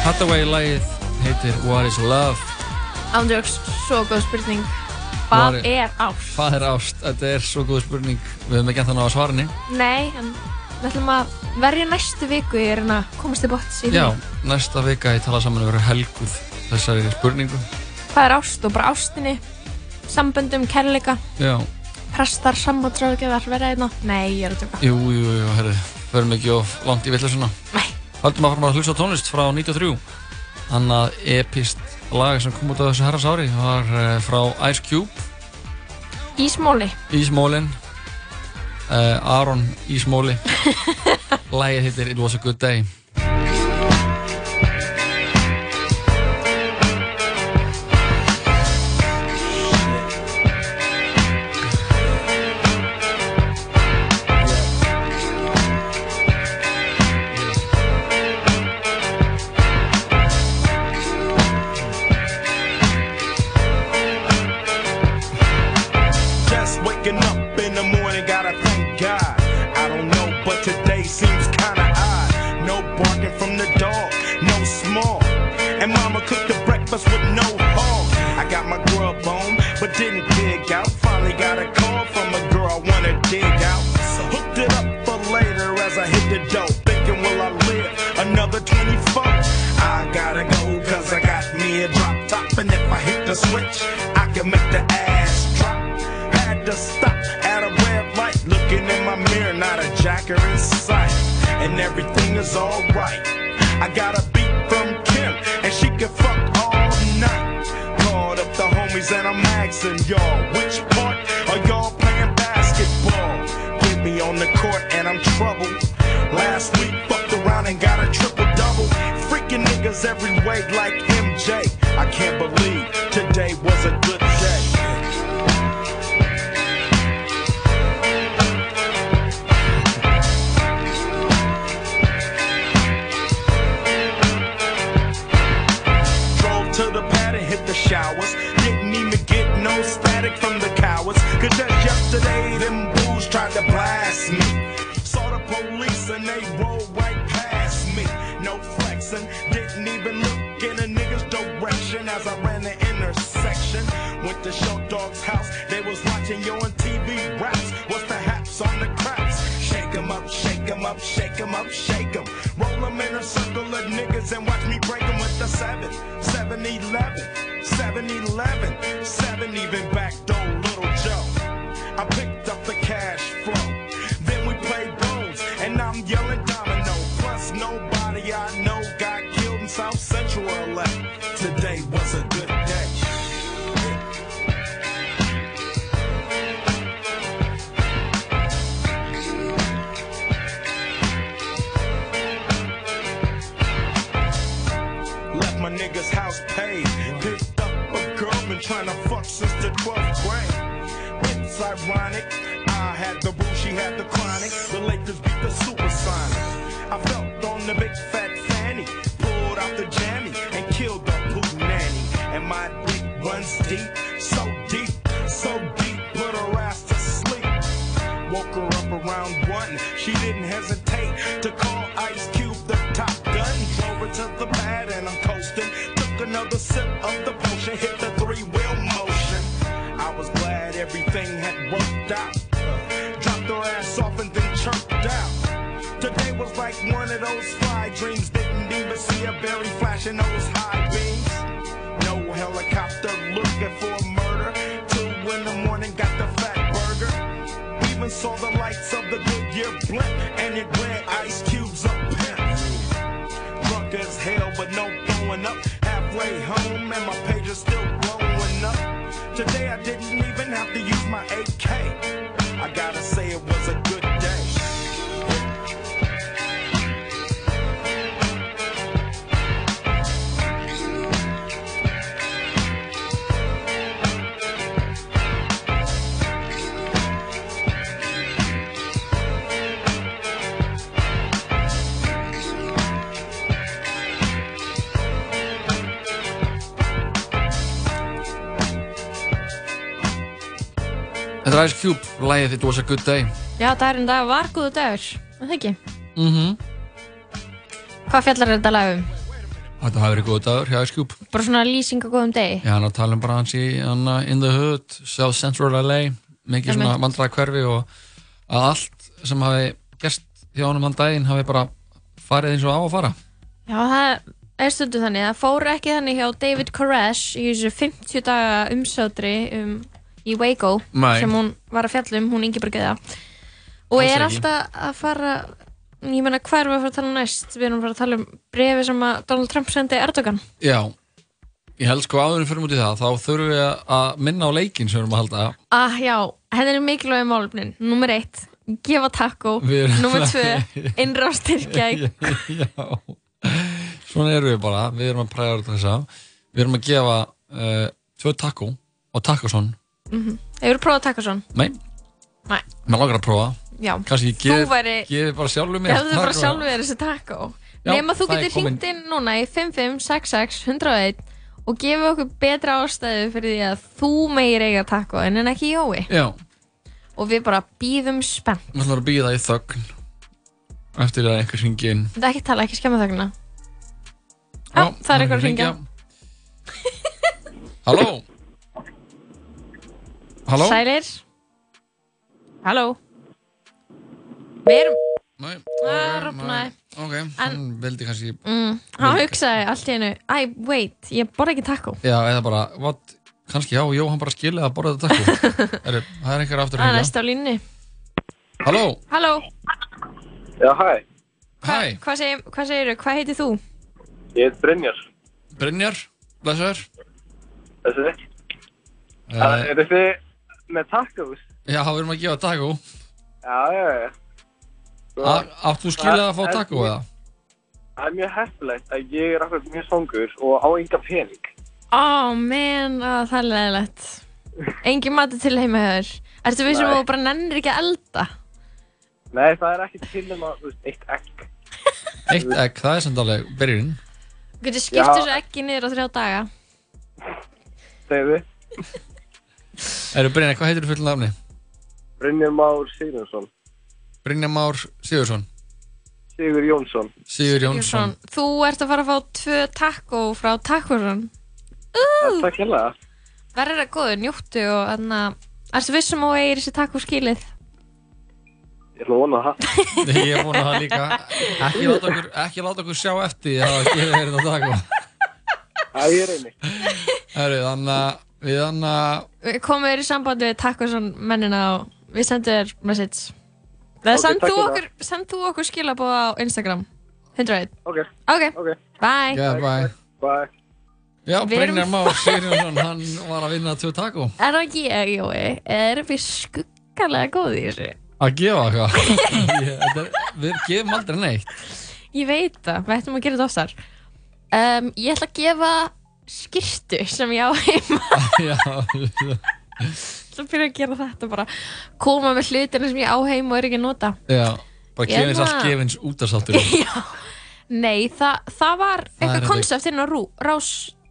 Hathaway lagið heitir What is Love
Ándjóks, svo góð spurning
Var-
Hvað er ást?
Hvað er ást? Þetta er svo góð spurning Við höfum ekki enn á að svara henni
Nei, en við ætlum að verja næstu viku í reyna að komast til botts í því.
Já, næsta vika ég tala saman verið helguð þessari spurningu
Hvað er ást og bara ástinni Samböndum, kærleika,
Já,
prestar, hérna. sammátráðgjafar, vera einna Nei, ég er að tjóka
jú, jú, jú, herri Förum ekki of langt í villusuna
Nei
Haldum að fara að hlusta á tónlist frá 93 Annað epist lag sem kom út á þessu herrans ári var eh, frá Ice Cube
Ísmóli
Ísmólin uh, Aron Ísmóli Lagið heitir It was a good day
Just waking up in the morning, gotta thank God. I don't know, but today seems kinda odd. No barking from the dog, no small. And mama cooked the breakfast with no hog. I got my grub on, but didn't dig out. Finally got a call from a girl I wanna dig out. Hooked it up for later as I hit the dope. Thinking, will I live another 24? I gotta go, cause I got me a drop top. And if I hit the switch, I can make the ass drop. Had to stop at a red light. Looking in my mirror, not a jacker in sight. And everything is alright. I got a beat from Kim, and she can fuck all night. Called up the homies, and I'm asking y'all, which part are y'all playing basketball? Get me on the court, and I'm troubled. Last week, fucked around and got a triple double. Freaking niggas every way like MJ. I can't believe today was a good day. Drove to the pad and hit the showers. Didn't even get no static from the cowards. Cause just yesterday, them booze tried to blast me. Saw the police and they rolled right past me. No flexing, didn't even look in a nigga's direction as I ran the intersection. Went to Show Dog's house, they was watching yo on TV raps. What's the haps on the craps? Shake 'em up, shake 'em up, shake 'em up, shake 'em. Roll 'em in a circle of niggas and watch me break 'em with the 7, 7 11, 7 11, 7 even back door, little Joe. I picked up the cash flow, then we played bones, and I'm yelling domino. Plus, nobody I know got killed in South Central LA. Today was a good day. Left my nigga's house paid. Picked up a girl, been tryna fuck since the 12th grade. It's ironic. I had the boo, she had the chronic. The Lakers beat the supersonic. I felt on the big fat fanny. Pulled out the jammy and killed the poo nanny. And my dick runs deep, so deep, so deep, put her ass to sleep. Woke her up around one. She didn't hesitate to call Ice Cube the top gun. Drove her to the pad and I'm coasting. Took another sip of the potion, hit the three wheel motion. I was glad everything had worked out. Dropped her ass off and then chirped out. Today was like one of those fly dreams. Didn't even see a berry flashing those high beams. No helicopter looking for a murder. Two in the morning, got the fat burger. Even saw the lights of the Goodyear blimp, and it read Ice Cube's a pimp. Drunk as hell, but no going up. Halfway home, and my page is still blowing up. Today I didn't even have to use my AK. I gotta say it was a good day.
Þetta er Ice Cube, lagið It was a good day
Já, dagurinn í dag var góðu dagur, er það ekki?
Mhm
Hvað fjallar þetta lag um?
Þetta hafi verið góð dagur hjá Ice Cube.
bara svona lýsing á góðum degi
Já, hann var að tala um bara hans í hann in the hood, South Central LA mikið
Einmitt.
svona vandræða hverfi og að allt sem hafi gerst hjá honum hann daginn hafi bara farið eins og á að fara
Já, það er stundu þannig. Það fór ekki þannig hjá David Koresh í þessu 50 daga umsátri um, í Waco
Nei.
sem hún var að fjalla um, hún yngi bara geða. Og
Alls
er
ekki.
alltaf að fara, ég meina hvað erum við að fara að tala um næst? Við erum að fara að tala um brefi sem að Donald Trump sendi Erdogan.
Já, ég held sko áður en við förum út í það þá þurfum við að minna á leikinn sem við erum að halda
Ah, já, henni er mikilvæg málumnin. Númer eitt, gefa takko.
Við erum- [LAUGHS]
Númer tvö, innrástyrkja í
Svona erum við bara, við erum að præða þessa Við erum að gefa uh, tvö takkó og takkosson
Mhm. Hefur þú prófað að taka svona?
Nei,
Nei.
maður langar að prófa
Já.
Kanski ég
Þú
gef,
væri-
gefi bara sjálfur mér
Ég hefði bara
taco.
sjálfur þér þessi taco
Já,
Nefn að þú
það er
getur
komin.
hringt inn núna í 5566-101 og gefið okkur betra ástæðu fyrir því að þú meir eiga taco en en ekki Jói
Já,
og við bara býðum spenn
maður ætlar að býða í þögn eftir að einhver hringi inn
Þetta er ekki tala, ekki skemma þögnina Já, það
mm,
er eitthvað að hringja
Halló Halló
Sælir Halló Við erum
Nei,
[LAUGHS] Það
ok,
rofnaði.
nei, Ok, hann vildi kannski
mm, Hann hugsaði allt í hennu Æ, wait, ég borða ekki taco
Já, eða bara, what, kannski já, jó, hann bara skilja að borða þetta
[LAUGHS]
takku Heru, Það er einhver aftur að
Það er
hringja
næst á línni
Halló,
Halló,
Já, hæ,
hæ,
hvað segir, hvað segirðu, hvað heitir þú?
ég heit Brynjar.
Brynjar, blessaður
Þessi þið?
Eh,
Er þið með takkahús?
Já, við erum að gefa takku
Já, já, já.
Á- átt þú skilið að fá
Það-
taco eða?
Það er mjög heppilegt að ég er akkur mjög svangur og á enga pening.
Ó, menn, það er leðilegt. Engin matur til heima hefur. Ertu við sem
Nei.
þú bara nennir ekki að elda?
Nei, það er ekki til nema, þú veist, eitt egg.
Eitt egg, það er samt alveg byrjun
Þú getur
Já.
skipt þessu ekki niður á þrjá daga.
Segðu þið,
Eru Brynjar, hvað heitir þú fullan nafni?
Brynjar Már Sigurjónsson,
Brynjar Már Sigursson
Sigur Jónsson.
Sigur
Jónsson.
Jónsson
Þú ert að fara að fá tvö taco frá tacosun.
Takk hella.
Verður það góður, njóttu og þannig að... Ertu við sem þú eigir þessi taco skilið?
Ég ætla að vona það.
[LAUGHS] Ég vona það líka Ekki láta okkur, ekki láta okkur sjá eftir því að hafa gefið þér þetta takku
Já, ég reyni
Herru, þannig að við þannig að
Komið þér í sambandi við tacosun mennina og við sendum þér message.
Ok,
Það send
takk
þú
fyrir
okkur, send þú okkur skilabóð á Instagram. 101.
Ok.
Ok. Bye.
Já, bye
Bye
Já,
Við erum-
Brynjar Már Sigurjónsson, hann var að vinna tvö takku
Er það ekki ég, Jói? Er við skuggalega góð í þessu?
Að gefa eitthvað [LAUGHS] Ég- þetta er- Við gefum aldrei neitt [LAUGHS]
Ég veit það, við ættum að gera þetta oftar. Um, ég ætla að gefa skirtu sem ég á [LAUGHS] heima.
Já
Svo byrja að gera þetta bara. Koma með hlutina sem ég á heima og er ekki að nota.
Já, bara
Ég
gefins
ætla-
allt gefins útastáttur
[LAUGHS] Já. Nei, það, það
Það er
var eitthvað
þetta-
konsept inn á Rú- rás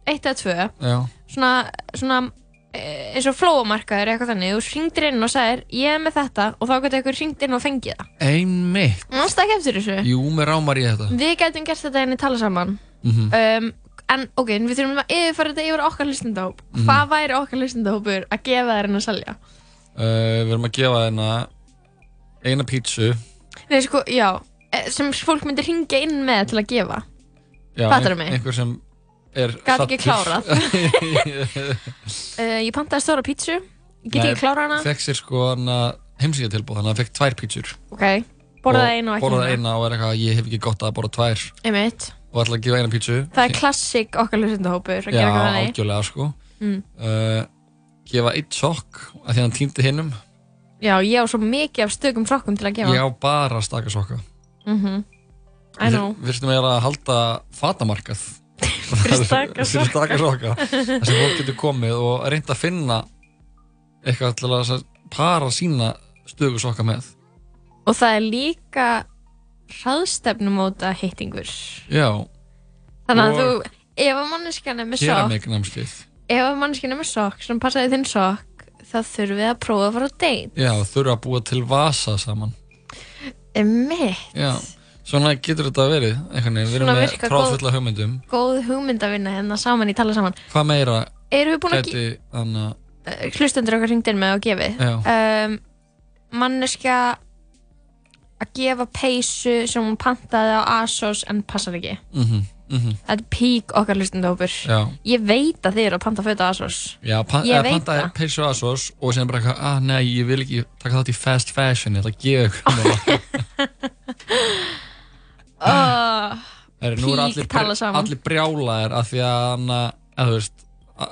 1 eða 2.
Já
svona, svona eh, eins og flóamarkaður eitthvað þannig þú hringdir inn og sagðir ég er með þetta og þá getur einhver hringt inn og fengið það
Einmitt
mannst ekki eftir þessu
Jú, með rámar í þetta
Við getum gert þetta henni tala saman
Mhm.
um, En ok, en við þurfum að yfirfæra þetta yfir okkar hlustendahóp
Mhm.
Hvað væri okkar hlustendahópur að gefa þær en að selja?
Uh, við erum að gefa hérna eina pítsu
Nei, sko, já eh, Sem fólk myndir hringja inn með til að gefa
Já,
Fattarðu
ein-
mig?
Einhver sem er
Gat ekki
[LAUGHS] saddur.
uh, Ég pantaði stóra pítsu
Nei,
Get ekki klára hana
Fekk sér sko hana heimsíkjartilbúð Þannig að hann fekk tvær pítsur
Ok, borðaði einu og ekki
Borðaði eina og er eitthvað Ég hef ekki gott af að borða tvær
Einmitt
Og ætla að gefa eina pítsu
Það er klassik okkar hlustendahópur að
Já,
gera eitthvað þannig
algjörlega sko
Mm.
uh, Gefa eitt sokk af Því að hann týndi hinnum
Já, ég á svo mikið af stökum sokkum til að gefa
Ég á bara staka sokka
mm I know
Við þurfum eiginlega að halda fatamarkað
[LAUGHS] Fyrir staka
Fyrir staka sokka
sokka.
Þess að fólk getur komið og reynd að finna eitthvað til að s- para sína stöku sokka með
Og það er líka hraðstefnumóta hittingur.
Já,
Þannig að
Og-
þú, ef að manneskjan er með
gera
sokk,
mig námskeið
ef að manneskjan er með sokk sem passaði þinn sokk, þá þurfum við að prófa að fara á date.
Já, þurfa að búa til vasa saman
Emmi,
Já, Svona getur þetta verið, einhvern veginn, við erum
Svona
með
virka góð-
tráðfulla hugmyndum.
Góð hugmynd að vinna hérna saman í tala saman.
Hvað meira
Erum við búin að
gæti þannig að...
ge- hlustendur okkar hringd inn með og gefið? Um, manneskja að gefa peysu sem hún pantaði á ASOS en passar ekki.
mhm, mhm,
Þetta er pík okkar hlustendahópur.
Já,
Ég veit að þið eru að panta föt á ASOS.
já pan,
Ég
eða
veit
pantaði [CLEARS THROAT]
það.
peysu og asos og sem bara eitthvað, ah nei, ég vil ekki taka þátt í fast fashion, ég ætla að gefa ykkur núna.
[LAUGHS] Oh,
Heru, nú eru allir,
pík tala saman.
allir brjálaðir af því að hann að þú veist að,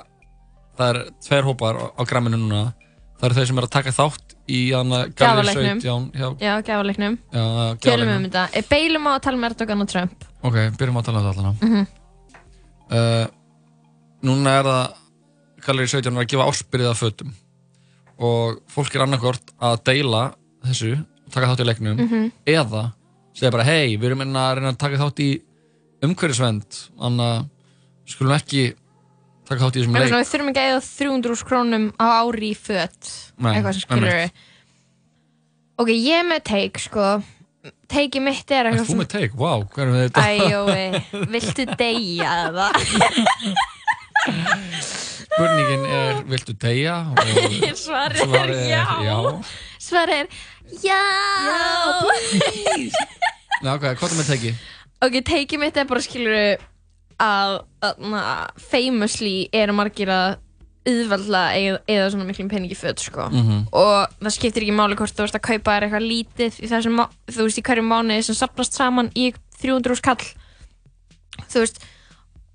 það er tveir hópar á, á græminu núna það eru þeir sem eru að taka þátt í hann að gallerí
Gjafaleiknum.
17 hjá,
Já, gæfaleiknum.
já,
Tölum
gjafaleiknum.
um þetta. Eh, Beilum á að tala með Erdogan og Trump.
ok, byrjum að tala um þetta allan
Mm
uh, núna er það gallerí 17 er að gefa áspyrðið af fötum og fólk er annarkort að deila þessu taka þátt í leiknum
Mhm.
eða segja bara hei, við erum hérna að reyna að taka þátt í umhverfisvend þannig að skulum ekki taka þátt í þessum
Eitthvað
leik
svona, við þurfum ekki að eða 300 úr krónum á ári í fött
Nei,
eitthvað sem skilur við ok, ég er með teik sko teiki mitt er
Er
eitthvað
þú með teik? Vá, wow, hvað erum við þetta?
æjói, viltu deyja eða
[LAUGHS]
[LAUGHS]
Spurningin er, viltu deyja? Og
[LAUGHS] svarið er
svarið er,
já
já.
svarið er já,
Nei, ok, hvað er með teiki?
ok, teiki mitt er bara skilur við að, að na, famously eru margir að auðvelda eða svona miklum peningi föt sko
Mhm.
og það skiptir ekki máli hvort þú ert að kaupa þér eitthvað lítið í þessum, má- þú veist, í hverju mánuði sem sapnast saman í 300 skall þú veist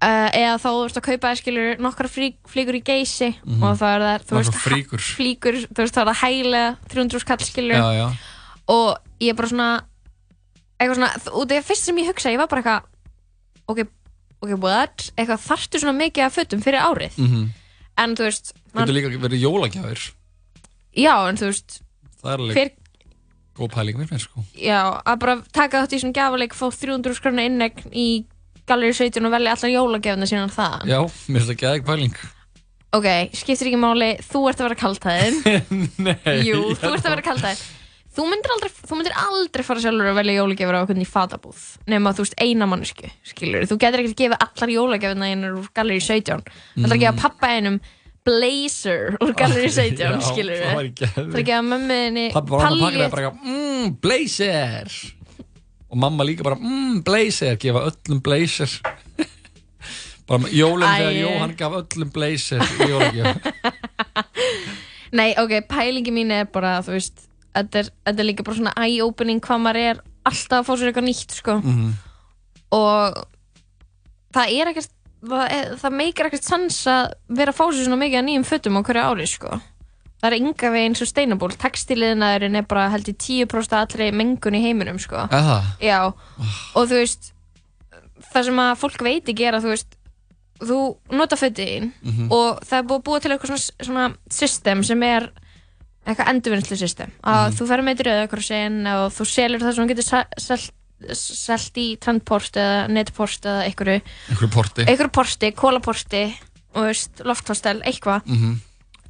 uh, eða þá þú ert að kaupa þér skilur nokkra frí, flíkur í geysi
Mhm.
og þá er það, þú
Nokkrar
veist, ha-
flíkur.
[LAUGHS] flíkur, þú veist, þá er það hægilega 300 skall skilur
Já, já.
og ég er bara svona eitthvað svona, og það er fyrst sem ég hugsa ég var bara eitthvað ok, ok, what, eitthvað þarftu svona mikið af fötum fyrir árið
Mm
en þú veist,
Getur líka verið jólagjafir.
já, en þú veist
Það er alveg
hver
góð pæling mér finnst sko.
Já, að bara taka þátt í svona gafaleik fá 300 skrona innegn í Gallery 17 og velja allar jólagefna síðan það
Já, mér finnst það geðið pæling.
Ok, skiptir ekki máli, þú ert að vera kaldhæðin
[LAUGHS] [LAUGHS] Nei.
Jú,
ég
þú ert að
bara-
vera kaldhæðin Þú myndir aldrei, þú myndir aldrei fara sjálfur að velja jólagefur á okkur í fatabúð nema þú veist eina mannsku, skilur Þú getur ekkert að gefa allar jólagefna einar úr Gallery 17 Þú
Mm.
ætlar að gefa pappa einum blazer úr
[LAUGHS]
Gallery 17,
Já,
skilur
það væri
Þú ætlar að
geðið.
gefa mömmuðinni
Pabbi var hann að pakka það
paljett-
bara eitthvað, mmm, blazer. Og mamma líka bara, mmm, blazer, gefa öllum blazer. [LAUGHS] bara jólum þegar
Æi.
Jóhann gaf öllum blazer í jólagjafir.
Nei, ok, pælingi mín er bara, þú veist, þetta er, þetta er líka bara svona eye-opening hvað maður er alltaf að fá sér eitthvað nýtt, sko.
Mhm.
Og það er ekkert, það, er- það meikir ekkert sans að vera að fá sér svona mikið að nýjum fötum á hverju ári, sko. Það er enga veginn sustainable. Textiliðnaðurinn er bara held í 10% af allri mengun í heiminum, sko.
Er það?
Já, og þú veist, það sem að fólk veit ekki er að, þú veist, þú nota fötin
Mhm.
og það er búið að búa til eitthvað svona, svona system sem er eitthvað endurvinnslu system að þú ferð með til rauðakrossin og þú selur það sem þú getur sa- selt, selt í trendport eða netport eða einhverju
Einhverju porti.
einhverju porti, kólaporti og veist, lofthostel, eitthvað
Mhm.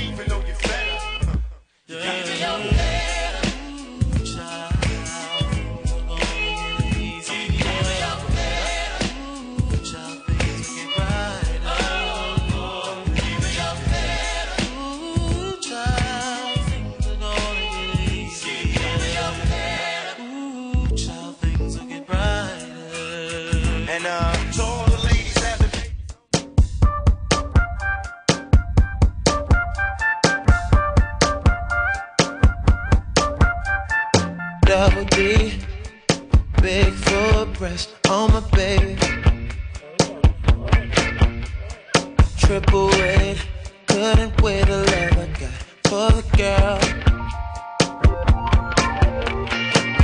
even though you're fed up, you got to know And uh, to all the ladies at the
Double D, big foot breast on my baby. Triple weight, couldn't wait to love I got for the girl.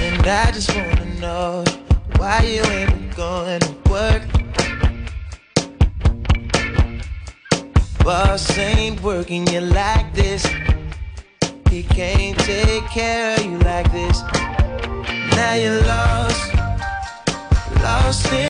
And I just wanna know why you ain't been going to work. Boss ain't working you like this. He can't take care of you like this. Now you're lost, lost in.